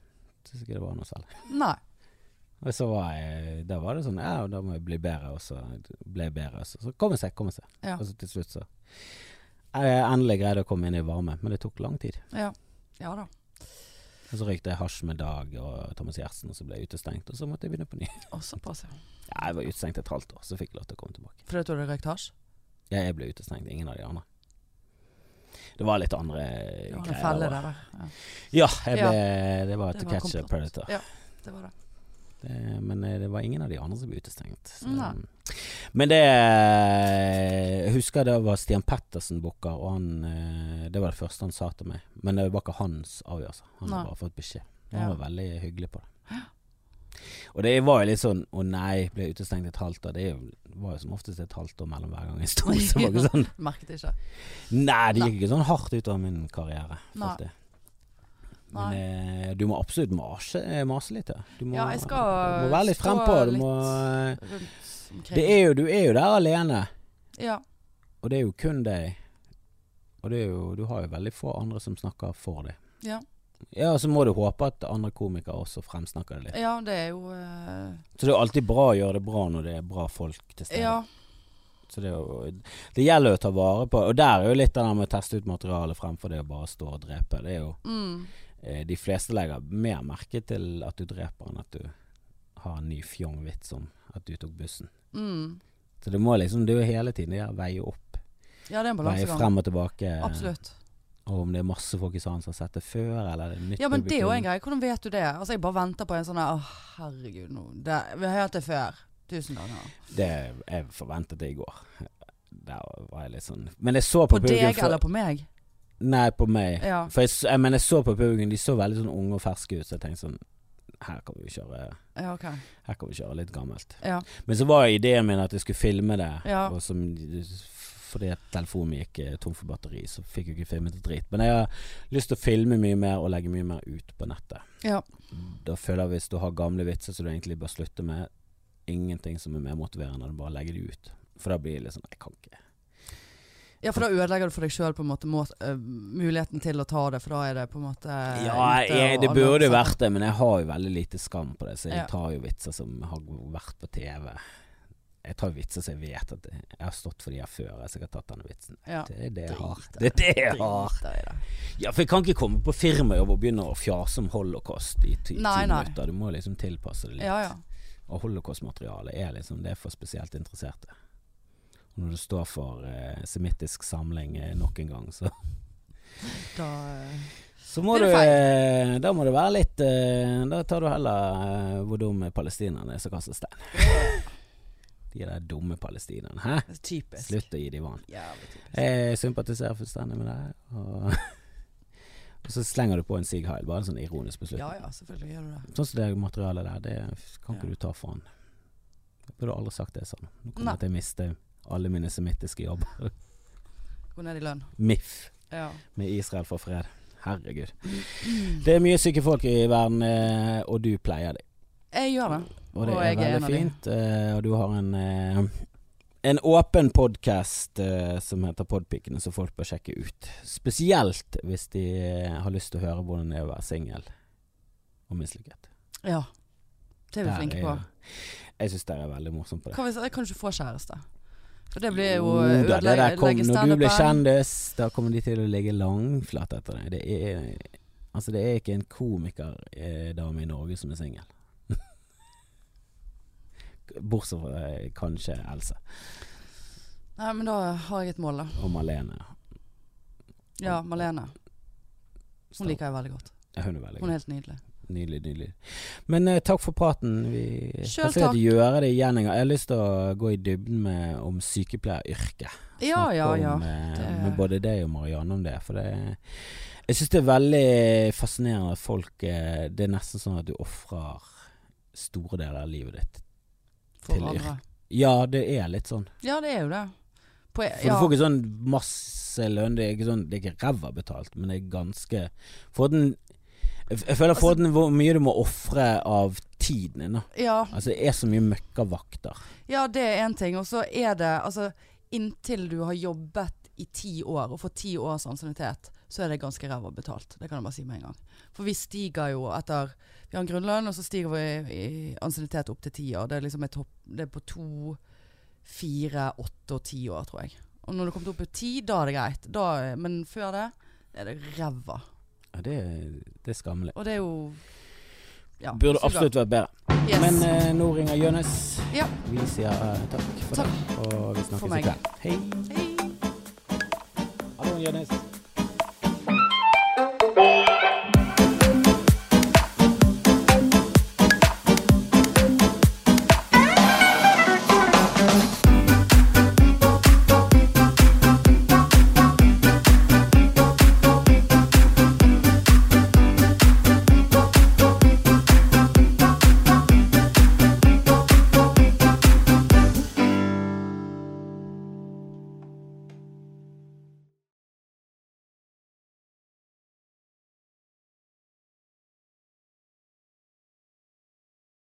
Speaker 2: syns ikke det var noe særlig.
Speaker 1: Nei.
Speaker 2: Og så var jeg Da var det sånn Ja, da må jeg bli bedre, og så ble jeg bedre. og Så, så kom jeg seg, kom jeg seg.
Speaker 1: Ja.
Speaker 2: Og så til slutt, så Jeg endelig greide å komme inn i varme, men det tok lang tid.
Speaker 1: Ja. ja da.
Speaker 2: Og så røykte jeg hasj med Dag og Thomas Gjertsen, og så ble jeg utestengt. Og så måtte jeg begynne på ny.
Speaker 1: Og såpass, ja.
Speaker 2: Ja, jeg var utestengt et halvt år, så fikk jeg lov til å komme tilbake.
Speaker 1: Fordi at du hadde røykt hasj?
Speaker 2: Ja, jeg ble utestengt, ingen av de andre. Det var litt andre
Speaker 1: Det var en
Speaker 2: greier.
Speaker 1: felle
Speaker 2: da.
Speaker 1: der, der. Ja.
Speaker 2: Ja, jeg ble, det var
Speaker 1: Det
Speaker 2: to
Speaker 1: var
Speaker 2: catch a
Speaker 1: komplott.
Speaker 2: predator.
Speaker 1: Det var det.
Speaker 2: Det, men eh, det var ingen av de andre som ble utestengt. Så, um,
Speaker 1: Nei.
Speaker 2: men det Jeg husker det var Stian Pettersen booker, og han eh, Det var det første han sa til meg. Men det var ikke hans avgjørelse. Han
Speaker 1: Nei.
Speaker 2: har bare fått beskjed. Og Han
Speaker 1: Ja.
Speaker 2: var veldig hyggelig på det. Og det var jo litt sånn Å nei, ble jeg utestengt et halvt år. Det er jo- var jo som oftest et halvt år mellom hver gang jeg sto. Så det var ikke sånn
Speaker 1: Merket ikke.
Speaker 2: Nei, det
Speaker 1: Nei.
Speaker 2: gikk ikke sånn hardt utover min karriere.
Speaker 1: Nei.
Speaker 2: faktisk. Men eh, du må absolutt mase, eh, mase litt. Ja. Du må,
Speaker 1: Ja, jeg skal
Speaker 2: du må være litt
Speaker 1: stå
Speaker 2: frempå. Du
Speaker 1: litt
Speaker 2: må eh,
Speaker 1: Rundt omkring.
Speaker 2: det er jo, Du er jo der alene,
Speaker 1: Ja.
Speaker 2: og det er jo kun deg. Og det er jo, du har jo veldig få andre som snakker for deg.
Speaker 1: Ja.
Speaker 2: Ja, og så må du håpe at andre komikere også fremsnakker det litt.
Speaker 1: ja, det er jo eh,
Speaker 2: Så det er jo alltid bra å gjøre det bra når det er bra folk til stede.
Speaker 1: Ja.
Speaker 2: Så det, er jo, det gjelder jo å ta vare på Og der er jo litt av det med å teste ut materialet fremfor det å bare stå og drepe. Det er jo
Speaker 1: Mm.
Speaker 2: eh, De fleste legger mer merke til at du dreper, enn at du har en ny fjong vits om at du tok bussen.
Speaker 1: Mm.
Speaker 2: Så det må liksom Det er jo hele tiden det der veie opp.
Speaker 1: Ja, det er en
Speaker 2: Veie
Speaker 1: balansegang.
Speaker 2: frem og tilbake.
Speaker 1: Absolutt.
Speaker 2: Og om det er masse folk i salen som har sett det før, eller er det nytt
Speaker 1: Ja, men det er jo en
Speaker 2: publikum.
Speaker 1: greie. Hvordan vet du det? Altså, jeg bare venter på en sånn her, Å, herregud, nå det, Vi har hørt det før. Tusen ganger.
Speaker 2: Det jeg forventet det i går. Der var jeg litt sånn Men jeg så på,
Speaker 1: På deg
Speaker 2: for-
Speaker 1: eller på meg?
Speaker 2: Nei, på meg.
Speaker 1: Ja.
Speaker 2: For jeg, s- jeg, men jeg så på publikum, de så veldig sånn unge og ferske ut, så jeg tenkte sånn Her kan vi kjøre
Speaker 1: Ja, ok.
Speaker 2: Her kan vi kjøre litt gammelt.
Speaker 1: Ja.
Speaker 2: Men så var jo ideen min at jeg skulle filme det,
Speaker 1: Ja.
Speaker 2: og som, fordi at telefonen min gikk eh, tom for batteri, så fikk jeg ikke filmet et drit. Men jeg har lyst til å filme mye mer og legge mye mer ut på nettet.
Speaker 1: Ja.
Speaker 2: Da føler jeg hvis du har gamle vitser som du egentlig bør slutte med, ingenting som er mer motiverende enn å bare legge det ut. For da blir det litt sånn Jeg kan ikke.
Speaker 1: ja, for da ødelegger du for deg sjøl muligheten til å ta det, for da er det på en måte
Speaker 2: Ja,
Speaker 1: ute
Speaker 2: jeg,
Speaker 1: og
Speaker 2: det burde jo
Speaker 1: annerledes.
Speaker 2: vært det, men jeg har jo veldig lite skam på det, så jeg
Speaker 1: eh, Ja.
Speaker 2: tar jo vitser som har vært på TV. Jeg tar jo vitser som jeg vet at jeg har stått for de her før. Jeg har sikkert tatt denne vitsen.
Speaker 1: ja.
Speaker 2: Det er det jeg har.
Speaker 1: Drit i
Speaker 2: Det er det jeg har.
Speaker 1: Driter i det.
Speaker 2: Ja, for jeg kan ikke komme på firmajobb og begynne å fjase om holocaust i ti, ti
Speaker 1: Nei, nei.
Speaker 2: minutter. Du må liksom tilpasse det litt.
Speaker 1: Ja, ja.
Speaker 2: Og holocaustmateriale er liksom det er for spesielt interesserte. Og når du står for eh, semittisk samling eh, nok en gang, så
Speaker 1: Da eh,
Speaker 2: Så må
Speaker 1: Blir
Speaker 2: du
Speaker 1: det
Speaker 2: eh, Da må det være litt eh, Da tar du heller eh, hvor dumme palestinerne er som kaster stein. De der dumme palestinerne. Hæ?
Speaker 1: det er Typisk.
Speaker 2: Slutt Eh, å gi de vann.
Speaker 1: Jævlig typisk.
Speaker 2: Jeg sympatiserer fullstendig med deg. Og, og så slenger du på en Sig Heil, bare en sånn ironisk beslutning.
Speaker 1: Ja ja, selvfølgelig gjør du det.
Speaker 2: Sånn som det materialet der, det kan ikke
Speaker 1: Ja.
Speaker 2: du ta for han. Jeg burde aldri sagt det sånn.
Speaker 1: Nei.
Speaker 2: Nå kommer jeg til å miste alle mine semittiske jobber.
Speaker 1: Gå ned i lønn.
Speaker 2: MIF
Speaker 1: Ja.
Speaker 2: med Israel for fred. Herregud. Det er mye syke folk i verden, eh, og du pleier det.
Speaker 1: Jeg gjør det.
Speaker 2: Og det
Speaker 1: Og
Speaker 2: er
Speaker 1: jeg er en
Speaker 2: veldig
Speaker 1: av de.
Speaker 2: fint. eh, Og du har en eh, en åpen podkast som heter Podpikene, som folk bør sjekke ut. Spesielt hvis de eh, har lyst til å høre hvordan det er å være singel og mislykket.
Speaker 1: Ja. Det er vi
Speaker 2: Der
Speaker 1: flinke
Speaker 2: er
Speaker 1: på.
Speaker 2: jo- Jeg syns dere er veldig morsomme på det.
Speaker 1: Kan, vi, jeg kan ikke få kjæreste. For det blir jo
Speaker 2: Jo da, det
Speaker 1: ødelegge
Speaker 2: der kom, Når du blir
Speaker 1: standupen.
Speaker 2: kjendis, da kommer de til å ligge langflat etter deg. Det er, altså det er ikke en komikerdame i Norge som er singel. Bortsett fra eh, kanskje Else
Speaker 1: Nei, men da har jeg et mål, da.
Speaker 2: og Malene.
Speaker 1: Ja, Malene. Hun
Speaker 2: Stav-
Speaker 1: liker jeg veldig godt.
Speaker 2: Ja, Hun er veldig
Speaker 1: Hun er
Speaker 2: god.
Speaker 1: helt nydelig.
Speaker 2: Nydelig, nydelig. Men eh, takk for praten. Vi
Speaker 1: Selv
Speaker 2: skal sikkert gjøre det igjen en gang. Jeg har lyst til å gå i dybden med, om sykepleieryrket.
Speaker 1: Ja,
Speaker 2: Snakke
Speaker 1: ja, ja.
Speaker 2: Om, eh,
Speaker 1: det-
Speaker 2: Med både deg og Marianne om det. For det Jeg syns det er veldig fascinerende at folk eh, Det er nesten sånn at du ofrer store deler av livet ditt.
Speaker 1: For
Speaker 2: til
Speaker 1: andre.
Speaker 2: Ja, det er litt sånn.
Speaker 1: Ja, det er jo det. På, e-
Speaker 2: For
Speaker 1: ja.
Speaker 2: du får ikke sånn masse lønn. Det er ikke sånn Det er ikke ræva betalt, men det er ganske For den Jeg jeg føler for den hvor mye du må ofre av tiden din, da.
Speaker 1: ja,
Speaker 2: Altså, det er så mye møkkavakter.
Speaker 1: ja, det er én ting. Og så er det altså Inntil du har jobbet i ti år, og får ti års ansiennitet, så er det ganske ræva betalt. Det kan jeg bare si med en gang. For vi stiger jo etter Vi har en grunnlønn, og så stiger vi i ansiennitet opp til ti år. Det er liksom et hopp Det er på to, fire, åtte og ti år, tror jeg. Og når du kommer opp i ti, da er det greit. Da, men før det er det ræva.
Speaker 2: Ja, det, det er skammelig.
Speaker 1: Og det er jo ja,
Speaker 2: Burde
Speaker 1: suger.
Speaker 2: absolutt vært bedre.
Speaker 1: Yes.
Speaker 2: Men eh, nå ringer Jonis.
Speaker 1: Ja.
Speaker 2: Vi sier eh, takk for
Speaker 1: Takk.
Speaker 2: det, og vi
Speaker 1: For
Speaker 2: snakkes i
Speaker 1: meg.
Speaker 2: kveld.
Speaker 1: Hei.
Speaker 2: Hei. Hallo, Jonis.